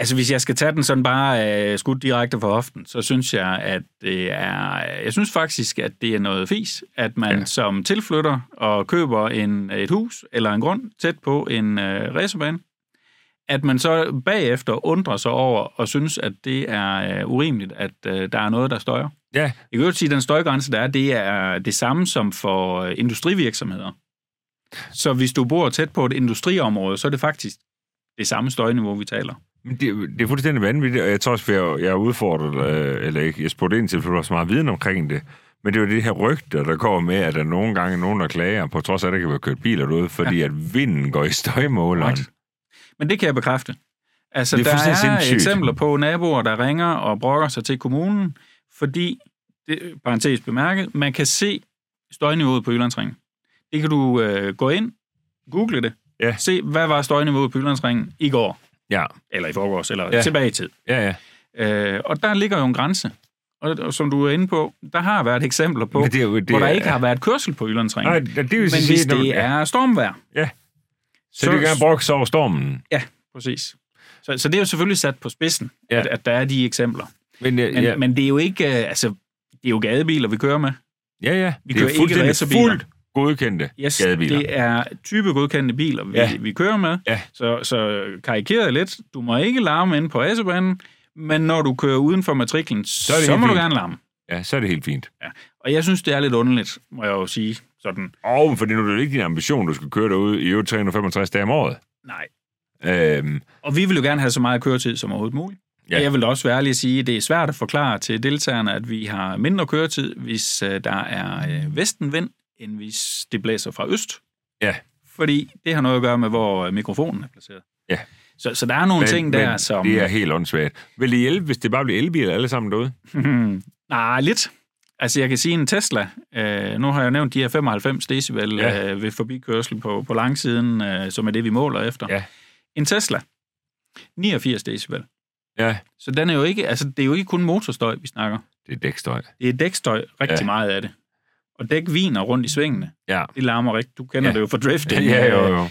[SPEAKER 2] Altså hvis jeg skal tage den sådan bare øh, skudt direkte fra hoften, så synes jeg, at det er, jeg synes faktisk, at det er noget fis, at man ja.
[SPEAKER 1] Ja.
[SPEAKER 2] som tilflytter og køber en, et hus eller en grund tæt på en øh, racerbane, at man så bagefter undrer sig over og synes, at det er øh, urimeligt, at øh, der er noget, der støjer.
[SPEAKER 1] Ja,
[SPEAKER 2] Jeg kan jo sige, at den støjgrænse, der er, det er det samme som for øh, industrivirksomheder. Så hvis du bor tæt på et industriområde, så er det faktisk det samme støjniveau, vi taler.
[SPEAKER 1] Men Det, det er fuldstændig vanvittigt, og jeg tror også, at jeg, jeg er udfordret, øh, eller ikke, jeg spurgte ind til, for der var så meget viden omkring det. Men det er jo det her rygter, der går med, at der nogle gange er nogen, der klager, på trods af, at der kan være kørt biler derude, fordi ja. at vinden går i støjmåleren.
[SPEAKER 2] Right. Men det kan jeg bekræfte. Altså,
[SPEAKER 1] Det er
[SPEAKER 2] der er
[SPEAKER 1] fuldstændig sindssygt.
[SPEAKER 2] eksempler på naboer, der ringer og brokker sig til kommunen, fordi, det, parentes bemærket, man kan se støjniveauet på Jyllandsringen. Det kan du øh, gå ind, google det,
[SPEAKER 1] Ja.
[SPEAKER 2] se, hvad var støjniveauet på Jyllandsringen i går,
[SPEAKER 1] Ja,
[SPEAKER 2] eller i forgårs, eller ja.
[SPEAKER 1] Ja.
[SPEAKER 2] tilbage i tid.
[SPEAKER 1] ja, ja.
[SPEAKER 2] Øh, og der ligger jo en grænse. Og, og som du er inde på, der har været eksempler på,
[SPEAKER 1] Men det er jo- det
[SPEAKER 2] hvor der
[SPEAKER 1] er-
[SPEAKER 2] ikke har været kørsel på Jyllandsringen.
[SPEAKER 1] Nej, det det vil
[SPEAKER 2] men
[SPEAKER 1] sige,
[SPEAKER 2] hvis
[SPEAKER 1] når man-
[SPEAKER 2] det er stormvejr,
[SPEAKER 1] Ja, så, så det kan brokse over stormen.
[SPEAKER 2] Ja, præcis. Så, så det er jo selvfølgelig sat på spidsen, ja.
[SPEAKER 1] Ja.
[SPEAKER 2] at, at der er de eksempler.
[SPEAKER 1] Men, øh,
[SPEAKER 2] Men, ja.
[SPEAKER 1] ja,
[SPEAKER 2] men det er jo ikke, øh, altså, det er jo gadebiler, vi kører med.
[SPEAKER 1] ja, ja,
[SPEAKER 2] vi
[SPEAKER 1] det
[SPEAKER 2] kører
[SPEAKER 1] er
[SPEAKER 2] ikke
[SPEAKER 1] fuldstændig
[SPEAKER 2] racerbiler.
[SPEAKER 1] fuldt godkendte
[SPEAKER 2] Yes,
[SPEAKER 1] gadebiler.
[SPEAKER 2] Det er type godkendte biler, vi, ja.
[SPEAKER 1] Ja.
[SPEAKER 2] vi kører med.
[SPEAKER 1] Ja.
[SPEAKER 2] Så, så karikeret lidt, du må ikke larme inde på acebanen, men når du kører uden for matriklen, så,
[SPEAKER 1] er det
[SPEAKER 2] så
[SPEAKER 1] helt
[SPEAKER 2] må du
[SPEAKER 1] fint.
[SPEAKER 2] gerne larme.
[SPEAKER 1] Ja, så er det helt fint.
[SPEAKER 2] Ja. Og jeg synes, det er lidt underligt, må jeg jo sige. Sådan,
[SPEAKER 1] Og fordi nu er det jo ikke din ambition, du skal køre derude i øvrigt 365 dage om året.
[SPEAKER 2] nej.
[SPEAKER 1] Øhm,
[SPEAKER 2] Og vi vil jo gerne have så meget køretid som overhovedet muligt.
[SPEAKER 1] Ja.
[SPEAKER 2] Ja. Jeg vil da også være ærlig at sige, at det er svært at forklare til deltagerne, at vi har mindre køretid, hvis øh, der er øh, vestenvind, end hvis det blæser fra øst.
[SPEAKER 1] ja,
[SPEAKER 2] Fordi det har noget at gøre med, hvor øh, mikrofonen er placeret.
[SPEAKER 1] Ja.
[SPEAKER 2] Så, så der er nogle men, ting der,
[SPEAKER 1] men
[SPEAKER 2] som...
[SPEAKER 1] Det er helt åndssvagt. Vil det hjælpe, hvis det bare bliver elbiler alle sammen derude?
[SPEAKER 2] Nej, lidt. Altså, jeg kan sige en Tesla. Øh, nu har jeg jo nævnt de her 95 decibel ja.
[SPEAKER 1] Ja.
[SPEAKER 2] øh, ved forbikørsel på, på langsiden, øh, som er det, vi måler efter.
[SPEAKER 1] Ja.
[SPEAKER 2] En Tesla. 89 decibel.
[SPEAKER 1] Ja.
[SPEAKER 2] Så den er jo ikke, altså, det er jo ikke kun motorstøj, vi snakker.
[SPEAKER 1] Det er dækstøj.
[SPEAKER 2] Det er dækstøj rigtig ja.
[SPEAKER 1] Ja.
[SPEAKER 2] meget af det. Og dæk viner rundt i svingene.
[SPEAKER 1] Ja.
[SPEAKER 2] Det larmer rigtigt. Du kender ja.
[SPEAKER 1] Ja.
[SPEAKER 2] det jo fra drifting.
[SPEAKER 1] jo.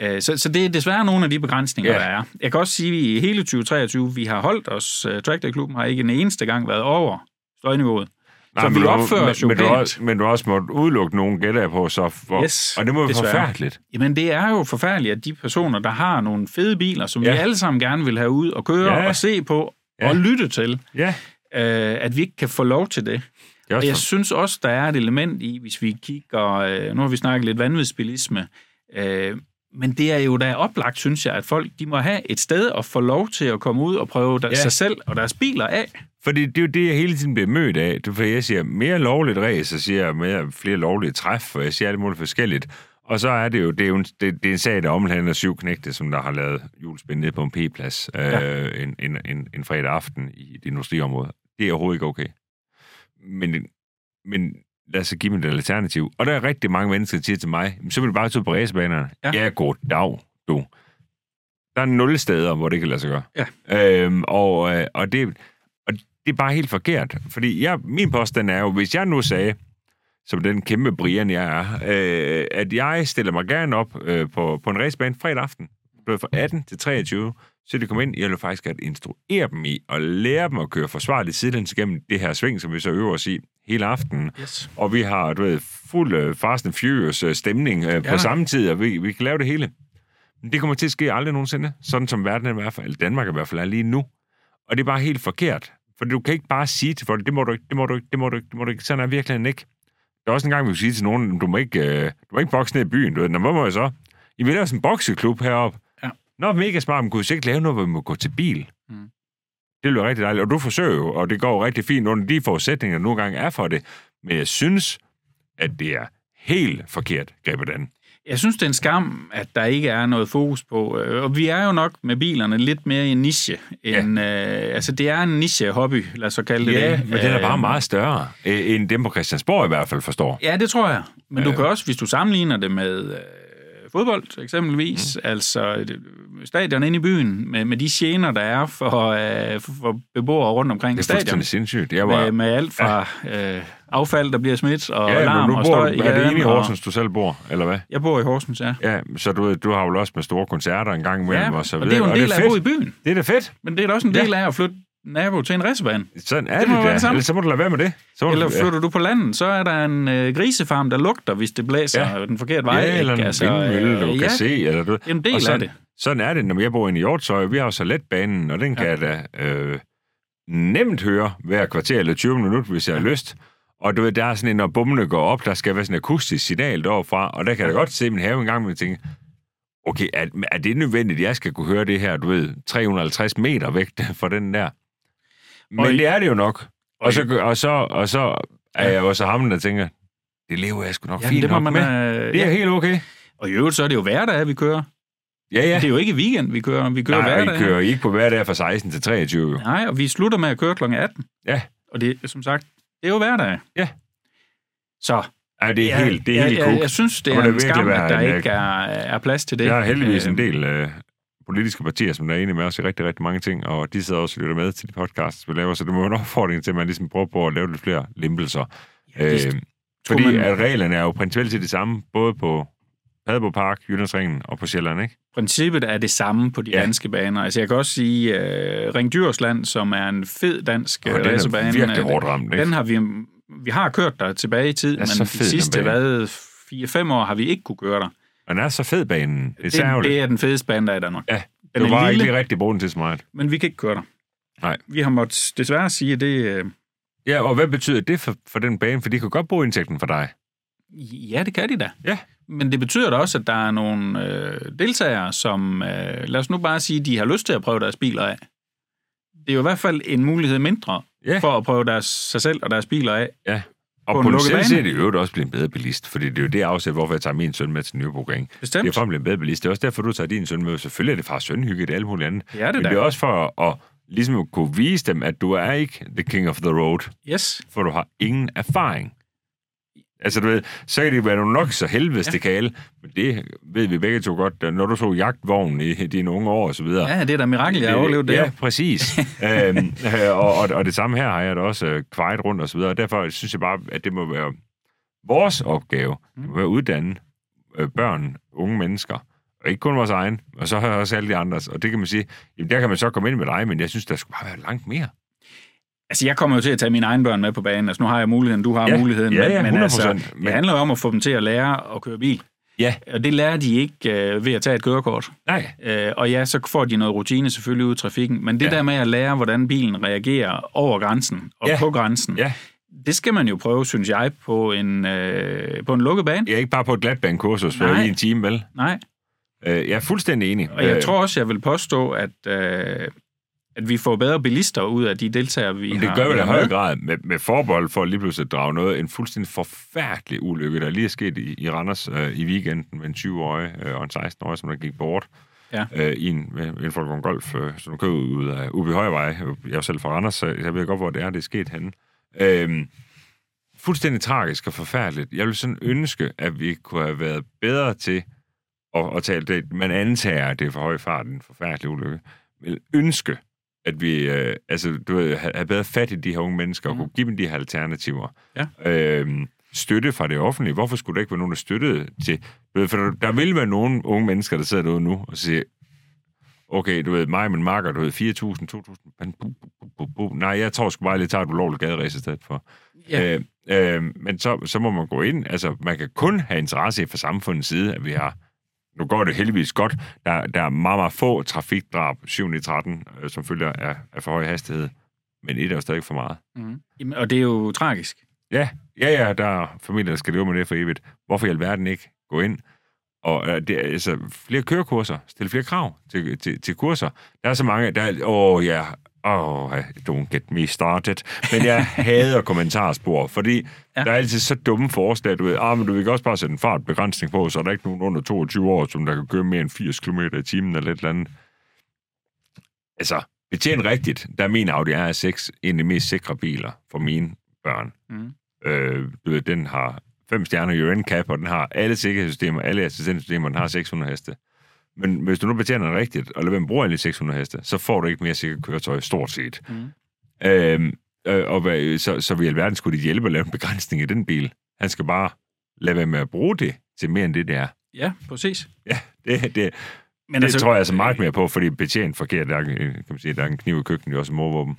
[SPEAKER 2] Øh, Så, så det er desværre nogle af de begrænsninger, ja.
[SPEAKER 1] Ja.
[SPEAKER 2] der er. Jeg kan også sige, at i hele 2023, vi har holdt os, øh, Track Day Klubben har ikke en eneste gang været over støjniveauet. Nej, så vi opfører os jo
[SPEAKER 1] men, du har
[SPEAKER 2] pænt.
[SPEAKER 1] også, men du har også måttet udelukke nogen gætter jeg på, så for,
[SPEAKER 2] Yes,
[SPEAKER 1] og det må være
[SPEAKER 2] desværre.
[SPEAKER 1] forfærdeligt.
[SPEAKER 2] Jamen, det er jo forfærdeligt, at de personer, der har nogle fede biler, som ja.
[SPEAKER 1] Ja.
[SPEAKER 2] vi alle sammen gerne vil have ud og køre ja.
[SPEAKER 1] Ja.
[SPEAKER 2] og se på ja.
[SPEAKER 1] Ja.
[SPEAKER 2] og lytte til,
[SPEAKER 1] Ja,
[SPEAKER 2] øh, at vi ikke kan få lov til det.
[SPEAKER 1] Det er
[SPEAKER 2] Og
[SPEAKER 1] også
[SPEAKER 2] jeg
[SPEAKER 1] for-
[SPEAKER 2] synes også, der er et element i, hvis vi kigger, øh, nu har vi snakket lidt vanvidsbilisme, øh, men det er jo da oplagt, synes jeg, at folk de må have et sted at få lov til at komme ud og prøve der,
[SPEAKER 1] Ja.
[SPEAKER 2] ja. sig selv og deres biler af.
[SPEAKER 1] Fordi det er jo det, jeg hele tiden bliver mødt af. Det er, fordi jeg siger, mere lovligt ræs, så siger jeg mere, flere lovlige træf, og jeg siger alt muligt forskelligt. Og så er det jo, det er, jo en, det, det er en sag, der omhandler syv knægte, som der har lavet julespind nede på en p-plads øh, ja. en, en, en, en fredag aften i et industriområde. Det er overhovedet ikke okay. Men, men lad os så give dem et alternativ. Og der er rigtig mange mennesker, der siger til mig, "Men så vil du bare tage på racebanerne.
[SPEAKER 2] Ja.
[SPEAKER 1] Ja. ja, god dag, du. Der er nul steder, hvor det kan lade sig gøre.
[SPEAKER 2] Ja.
[SPEAKER 1] Øhm, og, øh, og det, og det er bare helt forkert. Fordi jeg, min påstand er jo, hvis jeg nu sagde, som den kæmpe Brian jeg er, øh, at jeg stiller mig gerne op øh, på, på en racebane fredag aften, blev fra 18 til 23, så de kom ind, jeg vil faktisk at instruere dem i, og lære dem at køre forsvarligt sidelæns gennem det her sving, som vi så øver os i hele aftenen
[SPEAKER 2] Yes.
[SPEAKER 1] og vi har, du ved, fuld øh, Fast and Furious øh, stemning øh, på
[SPEAKER 2] Ja.
[SPEAKER 1] samme tid, og vi, vi kan lave det hele. Men det kommer til at ske aldrig nogensinde, sådan som verden er i hvert fald, eller Danmark i hvert fald er lige nu. Og det er bare helt forkert, for du kan ikke bare sige til folk, det må du ikke, det må du ikke, det må du ikke, det må du ikke. Sådan er virkeligheden ikke. Der er også en gang, vi kunne sige til nogen, du må ikke, øh, du må ikke bokse ned i byen. Du ved, Nå, hvad må jeg så? I vil lave sådan en bokseklub heroppe.
[SPEAKER 2] Ja.
[SPEAKER 1] Nå, mega smart, men kunne I så ikke lave noget, hvor vi må gå til bil?
[SPEAKER 2] Mm.
[SPEAKER 1] Det lyder rigtig dejligt, og du forsøger jo, og det går jo rigtig fint under de forudsætninger, der nogle gange er for det. Men jeg synes, at det er helt forkert grebet an.
[SPEAKER 2] Jeg synes, det er en skam, at der ikke er noget fokus på. øh, Og vi er jo nok med bilerne lidt mere i en niche. End, ja. øh, altså, det er en niche-hobby, lad os så kalde det
[SPEAKER 1] Ja,
[SPEAKER 2] det.
[SPEAKER 1] men den er bare
[SPEAKER 2] Øh,
[SPEAKER 1] meget større, øh, end dem på Christiansborg i hvert fald forstår.
[SPEAKER 2] Ja, det tror jeg. Men
[SPEAKER 1] Øh.
[SPEAKER 2] du kan også, hvis du sammenligner det med øh, fodbold eksempelvis, mm. altså øh, stadion inde i byen, med, med de gener, der er for, øh, for- for beboere rundt omkring
[SPEAKER 1] Det er
[SPEAKER 2] stadion.
[SPEAKER 1] fuldstændig sindssygt. Jeg var,
[SPEAKER 2] Med, med alt fra øh, affald, der bliver smidt, og
[SPEAKER 1] ja, men
[SPEAKER 2] larm
[SPEAKER 1] du
[SPEAKER 2] og
[SPEAKER 1] bor,
[SPEAKER 2] støj i
[SPEAKER 1] er det
[SPEAKER 2] gaden,
[SPEAKER 1] inde i
[SPEAKER 2] og-
[SPEAKER 1] Horsens, du selv bor, eller hvad?
[SPEAKER 2] Jeg bor i Horsens, ja.
[SPEAKER 1] Ja, så du, ved, du har jo også med store koncerter en gang imellem
[SPEAKER 2] ja
[SPEAKER 1] og så
[SPEAKER 2] og
[SPEAKER 1] videre.
[SPEAKER 2] det er jo en del af at
[SPEAKER 1] fedt.
[SPEAKER 2] bo i byen.
[SPEAKER 1] Det er da fedt.
[SPEAKER 2] Men det er da også en del af at flytte nabo til en racerbane.
[SPEAKER 1] Sådan er
[SPEAKER 2] Det
[SPEAKER 1] det,
[SPEAKER 2] må
[SPEAKER 1] det
[SPEAKER 2] være det
[SPEAKER 1] da.
[SPEAKER 2] samme.
[SPEAKER 1] Ellers så må du lade være med det. Så må
[SPEAKER 2] Eller
[SPEAKER 1] du,
[SPEAKER 2] flytter du på landet, så er der en øh, grisefarm, der lugter, hvis det blæser ja. den forkerte vej.
[SPEAKER 1] ja, eller en
[SPEAKER 2] ikke?
[SPEAKER 1] altså, vindmølle, du
[SPEAKER 2] øh,
[SPEAKER 1] kan
[SPEAKER 2] ja,
[SPEAKER 1] se. Eller du,
[SPEAKER 2] det er en del
[SPEAKER 1] og
[SPEAKER 2] af
[SPEAKER 1] sådan,
[SPEAKER 2] det.
[SPEAKER 1] Sådan er det, når jeg bor inde i Hjortshøj. Vi har jo så letbanen, og den kan jeg da øh, nemt høre hver kvarter eller 20 minutter, hvis jeg har lyst. Og du ved, der er sådan en, når bommene går op, der skal være sådan et akustisk signal deroppefra, og der kan jeg da godt se min have en gang, men jeg tænker, okay, er, er det nødvendigt, at jeg skal kunne høre det her, du ved, 350 meter væk fra den der? Men
[SPEAKER 2] Og i-
[SPEAKER 1] det er det jo nok.
[SPEAKER 2] og i-
[SPEAKER 1] Og så, og så, og så er jeg jo så ham, der tænker, det lever jeg sgu nok
[SPEAKER 2] Ja,
[SPEAKER 1] fint
[SPEAKER 2] det må
[SPEAKER 1] nok
[SPEAKER 2] man,
[SPEAKER 1] med.
[SPEAKER 2] øh,
[SPEAKER 1] Det er
[SPEAKER 2] ja.
[SPEAKER 1] helt okay.
[SPEAKER 2] Og i øvrigt, så er det jo hverdag, vi kører.
[SPEAKER 1] Ja,
[SPEAKER 2] Ja.
[SPEAKER 1] ja.
[SPEAKER 2] Det er jo ikke weekend, vi kører. Vi kører
[SPEAKER 1] Nej,
[SPEAKER 2] hverdag.
[SPEAKER 1] I kører ikke på hverdag fra 16 til 23. jo.
[SPEAKER 2] Nej, og vi slutter med at køre kl. 18.
[SPEAKER 1] Ja.
[SPEAKER 2] Og det, er, som sagt, det er jo hverdag.
[SPEAKER 1] Ja.
[SPEAKER 2] Så
[SPEAKER 1] Ja, det er ja, helt, det er ja, helt
[SPEAKER 2] jeg,
[SPEAKER 1] cool.
[SPEAKER 2] jeg, jeg synes, det
[SPEAKER 1] Så må
[SPEAKER 2] er
[SPEAKER 1] det
[SPEAKER 2] en
[SPEAKER 1] virkelig
[SPEAKER 2] skam,
[SPEAKER 1] være
[SPEAKER 2] at der
[SPEAKER 1] en,
[SPEAKER 2] ikke er, er plads til det.
[SPEAKER 1] Der er heldigvis en
[SPEAKER 2] Øh,
[SPEAKER 1] del øh, politiske partier, som der er enige med os i rigtig, rigtig mange ting, og de sidder også og lytter med til de podcasts, vi laver, så det må være en opfordring til, at man ligesom prøver på at lave lidt flere lempelser.
[SPEAKER 2] ja, det-
[SPEAKER 1] øh, fordi
[SPEAKER 2] man-
[SPEAKER 1] man... at reglerne er jo principielt set de samme, både på Padborg Park, Jyllandsringen og på Sjælland, ikke?
[SPEAKER 2] princippet er det samme på de
[SPEAKER 1] Ja.
[SPEAKER 2] ja. danske baner. Altså, jeg kan også sige, øh, Ring Djursland, som er en fed dansk
[SPEAKER 1] Og
[SPEAKER 2] øh,
[SPEAKER 1] den er
[SPEAKER 2] racerbane,
[SPEAKER 1] virkelig
[SPEAKER 2] øh,
[SPEAKER 1] hårdt ramt, ikke?
[SPEAKER 2] den har vi, vi har kørt der tilbage i tid,
[SPEAKER 1] er
[SPEAKER 2] men
[SPEAKER 1] så
[SPEAKER 2] de
[SPEAKER 1] fed, den
[SPEAKER 2] sidste,
[SPEAKER 1] bane.
[SPEAKER 2] hvad, 4-5 år har vi ikke kunne køre der.
[SPEAKER 1] Og den er så fed banen. Det er
[SPEAKER 2] Det,
[SPEAKER 1] særligt.
[SPEAKER 2] det er den fedeste bane, der er i Danmark.
[SPEAKER 1] Ja,
[SPEAKER 2] Den
[SPEAKER 1] du
[SPEAKER 2] er
[SPEAKER 1] var
[SPEAKER 2] lille,
[SPEAKER 1] ikke lige rigtig brugt til så meget.
[SPEAKER 2] men vi kan ikke køre der.
[SPEAKER 1] Nej.
[SPEAKER 2] Vi har måttet desværre sige, at det... øh,
[SPEAKER 1] Ja, og hvad betyder det for, for den bane? For de kan godt bruge indtægten for dig.
[SPEAKER 2] Ja, det kan de da.
[SPEAKER 1] Ja.
[SPEAKER 2] Men det betyder da også, at der er nogle øh, deltagere, som, øh, lad os nu bare sige, de har lyst til at prøve deres biler af. Det er jo i hvert fald en mulighed mindre
[SPEAKER 1] Ja.
[SPEAKER 2] for at prøve deres, sig selv og deres biler af.
[SPEAKER 1] Og
[SPEAKER 2] på en
[SPEAKER 1] på
[SPEAKER 2] lukket
[SPEAKER 1] potentielt
[SPEAKER 2] bane.
[SPEAKER 1] set er det i øvrigt også blive en bedre bilist, fordi det er jo det afsæt, hvorfor jeg tager min søn med til Nürburgring.
[SPEAKER 2] Bestemt.
[SPEAKER 1] Det er for at blive en bedre bilist. Det er også derfor, du tager din søn med. Selvfølgelig er det far og sønhygge, det er alt muligt andet.
[SPEAKER 2] Det er det
[SPEAKER 1] Men det er
[SPEAKER 2] da.
[SPEAKER 1] også for at, at ligesom kunne vise dem, at du er ikke the king of the road,
[SPEAKER 2] Yes.
[SPEAKER 1] for du har ingen erfaring. Altså, du ved, så kan det være nogle nok så helvedes ja. kale, men det ved vi begge to godt, at når du tog jagtvognen i dine unge år og så videre.
[SPEAKER 2] Ja, det er da mirakel, jeg har overlevet det.
[SPEAKER 1] Ja,
[SPEAKER 2] Ja.
[SPEAKER 1] præcis. øhm, øh, og, og, og det samme her har jeg da også øh, kvejet rundt og så videre. Og derfor synes jeg bare, at det må være vores opgave,
[SPEAKER 2] Mm.
[SPEAKER 1] det må være at uddanne øh, børn, unge mennesker, og ikke kun vores egen, og så også alle de andres. Og det kan man sige, jamen der kan man så komme ind med dig, men jeg synes, der skulle bare være langt mere.
[SPEAKER 2] Altså, jeg kommer jo til at tage mine egne børn med på banen. Altså, nu har jeg muligheden, du har
[SPEAKER 1] Ja.
[SPEAKER 2] muligheden.
[SPEAKER 1] Ja, ja,
[SPEAKER 2] men, men altså,
[SPEAKER 1] 100%.
[SPEAKER 2] det handler jo om at få dem til at lære at køre bil.
[SPEAKER 1] Ja.
[SPEAKER 2] Og det lærer de ikke øh, ved at tage et kørekort.
[SPEAKER 1] Nej,
[SPEAKER 2] Øh, og ja, så får de noget rutine selvfølgelig ud i trafikken, men det
[SPEAKER 1] Ja.
[SPEAKER 2] ja. der med at lære, hvordan bilen reagerer over grænsen og
[SPEAKER 1] Ja.
[SPEAKER 2] ja. på grænsen,
[SPEAKER 1] Ja.
[SPEAKER 2] det skal man jo prøve, synes jeg, på en, øh, på en lukket bane.
[SPEAKER 1] Jeg er ikke bare på et glatbanekursus på
[SPEAKER 2] Nej.
[SPEAKER 1] lige en time, vel?
[SPEAKER 2] Nej,
[SPEAKER 1] Øh, jeg er fuldstændig enig. Øh,
[SPEAKER 2] og jeg tror også, jeg vil påstå, at, øh, at vi får bedre bilister ud af de deltagere, vi
[SPEAKER 1] Men
[SPEAKER 2] har.
[SPEAKER 1] det gør
[SPEAKER 2] vi
[SPEAKER 1] vel i
[SPEAKER 2] har
[SPEAKER 1] høj
[SPEAKER 2] med.
[SPEAKER 1] grad med, med forbold for lige pludselig at drage noget. En fuldstændig forfærdelig ulykke, der lige er sket i, i Randers øh, i weekenden med en 20-årig øh, og en 16-årig, som der gik bort
[SPEAKER 2] Ja.
[SPEAKER 1] øh, i en, med en Volkswagen Golf, øh, som kører ud af Ubi Højvej. Jeg er jo selv fra Randers, så jeg ved godt, hvor det er, det er sket henne. Øhm, fuldstændig tragisk og forfærdeligt. Jeg ville sådan ønske, at vi kunne have været bedre til at, at tale det. Man antager, at det er for høj fart, en forfærdelig ulykke. Men ønske, at vi øh, altså, du ved, ha- have bedre fat i de her unge mennesker og kunne give dem de her alternativer. Ja. Øhm, støtte fra det offentlige. Hvorfor skulle der ikke være nogen, der støttede til... Du ved, for der, der vil være nogle unge mennesker, der sidder derude nu og siger, okay, du ved, mig og min marker, du ved, 4.000, 2.000, men bu, bu, bu, bu, bu. nej, jeg tror sgu bare, at jeg tager et ulovligt gaderæs i stedet for.
[SPEAKER 2] Ja.
[SPEAKER 1] Øh, øh, men så, så må man gå ind, altså, man kan kun have interesse i fra samfundets side, at vi har, nu går det heldigvis godt, der, der er meget, meget få trafikdrab 7. i 13, øh, som følger af, af for høj hastighed, men et er jo stadig for meget.
[SPEAKER 2] Mhm. Jamen, Og det er jo tragisk.
[SPEAKER 1] Ja, ja, ja, der er familier, der skal leve med det for evigt. Hvorfor i alverden ikke gå ind? Og øh, det er, altså, flere kørekurser, stille flere krav til, til, til kurser. Der er så mange, der er, åh ja, åh, don't get me started. Men jeg hader kommentarspor, fordi
[SPEAKER 2] Ja.
[SPEAKER 1] ja. der er altid så dumme forslag, du ved, ah, men du vil også bare sætte en fartbegrænsning på, så er der ikke nogen under 22 år, som der kan køre mere end 80 km i timen eller et eller andet. Altså, betjen rigtigt, der er min Audi R6 en af de mest sikre biler for mine børn.
[SPEAKER 2] Mhm.
[SPEAKER 1] Øh, du ved, den har fem stjerner i UNCAP, og den har alle sikkerhedssystemer, alle assistentsystemer, den har 600 heste. Men hvis du nu betjener den rigtigt, og lader være med at bruge alle de 600 heste, så får du ikke mere sikkert køretøj, stort set.
[SPEAKER 2] Mhm.
[SPEAKER 1] Øhm, Øh, og hvad, så, så vil alverden skulle de hjælpe at lave en begrænsning i den bil. Han skal bare lade være med at bruge det til mere end det, det er.
[SPEAKER 2] Ja, præcis.
[SPEAKER 1] Det, det, det
[SPEAKER 2] Men
[SPEAKER 1] altså, tror jeg altså meget mere på, fordi betjent forkert, der er, en- kan man sige, der er en kniv i køkkenet, det er også en morvåben.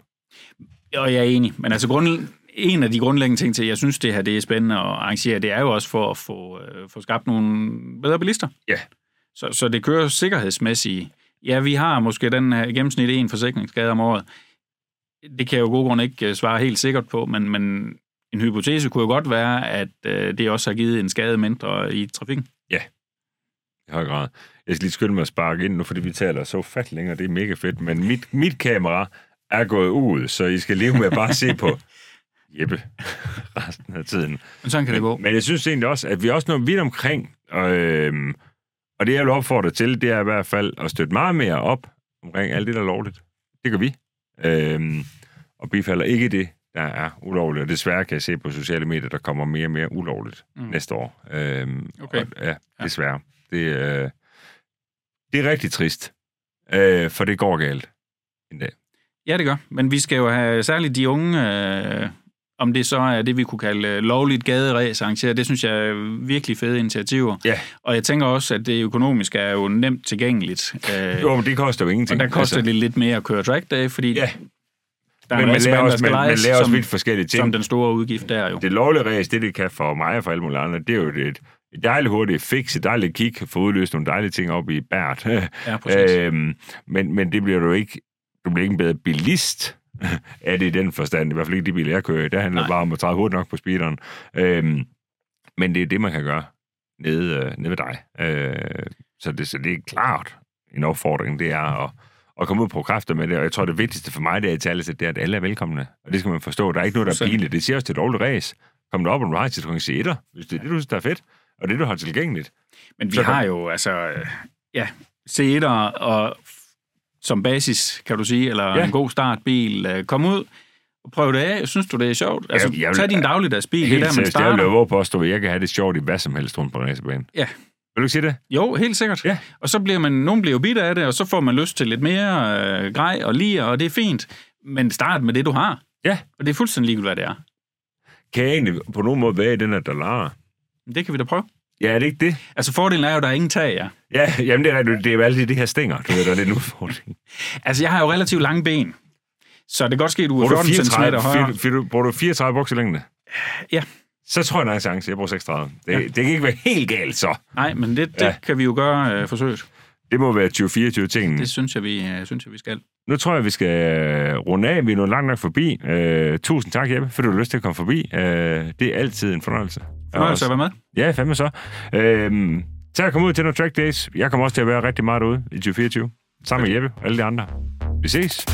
[SPEAKER 2] Og jeg er enig. Men altså, grund, en af de grundlæggende ting til, at jeg synes, det her det er spændende at arrangere, det er jo også for at få, øh, få skabt nogle bedre bilister.
[SPEAKER 1] Ja.
[SPEAKER 2] Så, så det kører sikkerhedsmæssigt. Ja, vi har måske den her i gennemsnit en forsikringsskade om året. Det kan jeg jo god grund ikke øh, svare helt sikkert på, men, men en hypotese kunne jo godt være, at øh, det også har givet en skade mindre i trafikken.
[SPEAKER 1] i høj grad. Jeg skal lige skynde mig at sparke ind nu, fordi vi taler så fat længere, det er mega fedt, men mit, mit kamera er gået ud, så I skal leve med at bare se på Jeppe resten af tiden.
[SPEAKER 2] Men sådan kan det gå.
[SPEAKER 1] Men jeg synes egentlig også, at vi er også noget vidt omkring, og, øhm, og det jeg vil opfordre til, det er i hvert fald at støtte meget mere op omkring alt det, der er lovligt. Det gør vi. Øhm, og bifalder ikke det, der er ulovligt. Og desværre kan jeg se på sociale medier, der kommer mere og mere ulovligt
[SPEAKER 2] Mm.
[SPEAKER 1] mm. næste år. Øhm,
[SPEAKER 2] Okay.
[SPEAKER 1] Og, ja,
[SPEAKER 2] Ja.
[SPEAKER 1] desværre. Det, øh, det er rigtig trist, øh, for det går galt en dag.
[SPEAKER 2] Ja, det gør. Men vi skal jo have særligt de unge, øh, om det så er det, vi kunne kalde øh, lovligt gaderæs arrangeret. Det synes jeg er virkelig fede initiativer.
[SPEAKER 1] Ja.
[SPEAKER 2] Og jeg tænker også, at det økonomisk er jo nemt tilgængeligt. Øh,
[SPEAKER 1] Jo, men det koster jo
[SPEAKER 2] og
[SPEAKER 1] ingenting.
[SPEAKER 2] der koster altså, det lidt mere at køre track day, fordi
[SPEAKER 1] Ja,
[SPEAKER 2] der er
[SPEAKER 1] men
[SPEAKER 2] en
[SPEAKER 1] man
[SPEAKER 2] masse
[SPEAKER 1] lærer
[SPEAKER 2] baner, der
[SPEAKER 1] også,
[SPEAKER 2] skal
[SPEAKER 1] man, man
[SPEAKER 2] lejes,
[SPEAKER 1] lærer også
[SPEAKER 2] som,
[SPEAKER 1] vidt forskellige ting.
[SPEAKER 2] som den store udgift der er jo.
[SPEAKER 1] det lovlige race, det det kan for mig og for alle mulige andre, det er jo et, et dejligt hurtigt fix, et dejligt kig, få udløst nogle dejlige ting op i bært.
[SPEAKER 2] Ja, præcis. Øh,
[SPEAKER 1] øhm, men, men det bliver du ikke, du bliver ikke en bedre bilist af det i den forstand. I hvert fald ikke de biler, jeg kører i. Der handler
[SPEAKER 2] Nej.
[SPEAKER 1] det bare om at træde hurtigt nok på speederen. Øhm, men det er det, man kan gøre nede, øh, nede ved dig. Øh, så, det, så det er klart en opfordring, det er at, at komme ud på kræfter med det. Og jeg tror, det vigtigste for mig, det er i tale, det er, at alle er velkomne. Og det skal man forstå. Der er ikke noget, der er
[SPEAKER 2] Fuldstændig.
[SPEAKER 1] pinligt. Det siger også til et dårligt race. Kom derop, og du har til konkurrence etter, hvis det er det, du synes, der er fedt. Og det, du har tilgængeligt.
[SPEAKER 2] Men vi
[SPEAKER 1] så-
[SPEAKER 2] har jo altså, øh, ja, c og som basis, kan du sige, eller
[SPEAKER 1] Ja.
[SPEAKER 2] en god startbil. Øh, Kom ud, og prøv det af. Synes du, det er sjovt? Altså,
[SPEAKER 1] jeg vil-
[SPEAKER 2] tag din dagligdagsbil, det er
[SPEAKER 1] Helt
[SPEAKER 2] der, man
[SPEAKER 1] seriøst, jeg vil
[SPEAKER 2] starter.
[SPEAKER 1] jo våge på at stå, jeg kan have det sjovt i hvad som helst rundt på en racerbanen.
[SPEAKER 2] Ja.
[SPEAKER 1] Vil du ikke sige det?
[SPEAKER 2] Jo, helt sikkert.
[SPEAKER 1] Ja.
[SPEAKER 2] Og så bliver man, nogen bliver jo bidt af det, og så får man lyst til lidt mere øh, grej og lir, og det er fint. Men start med det, du har.
[SPEAKER 1] Ja.
[SPEAKER 2] Og det er fuldstændig ligegyldigt, hvad det er.
[SPEAKER 1] Kan jeg egentlig på nogen måde være i den her dollar?
[SPEAKER 2] Men det kan vi da prøve.
[SPEAKER 1] Ja, er det ikke det?
[SPEAKER 2] Altså, fordelen er jo, at der er ingen tag, ja.
[SPEAKER 1] Ja, jamen det er, rigtigt. det er jo altid det her stænger, du ved, der er lidt en udfordring.
[SPEAKER 2] Altså, jeg har jo relativt lange ben. Så det kan godt ske, at du er
[SPEAKER 1] Bruger du
[SPEAKER 2] 14 cm
[SPEAKER 1] 34,
[SPEAKER 2] højere.
[SPEAKER 1] fir- fir- bruger du 34 bukselængde?
[SPEAKER 2] Ja.
[SPEAKER 1] Så tror jeg, der er en chance. Jeg bruger 36. Det,
[SPEAKER 2] Ja.
[SPEAKER 1] ja. det kan ikke være helt galt, så.
[SPEAKER 2] Nej, men det, det
[SPEAKER 1] Ja.
[SPEAKER 2] kan vi jo gøre øh, forsøget.
[SPEAKER 1] Det må være 2024-tingen.
[SPEAKER 2] Det synes jeg, vi, øh, synes jeg, vi skal.
[SPEAKER 1] Nu tror jeg, vi skal øh, runde af. Vi er nået langt nok forbi. Øh, tusind tak, Jeppe, fordi du har lyst til at komme forbi. Øh, det er altid en fornøjelse. altså.
[SPEAKER 2] Fornøjelse at være med.
[SPEAKER 1] Ja, fandme så. Øh, tak at komme ud til nogle track days. Jeg kommer også til at være rigtig meget ude i 2024. Sammen med Jeppe og alle de andre. Vi ses.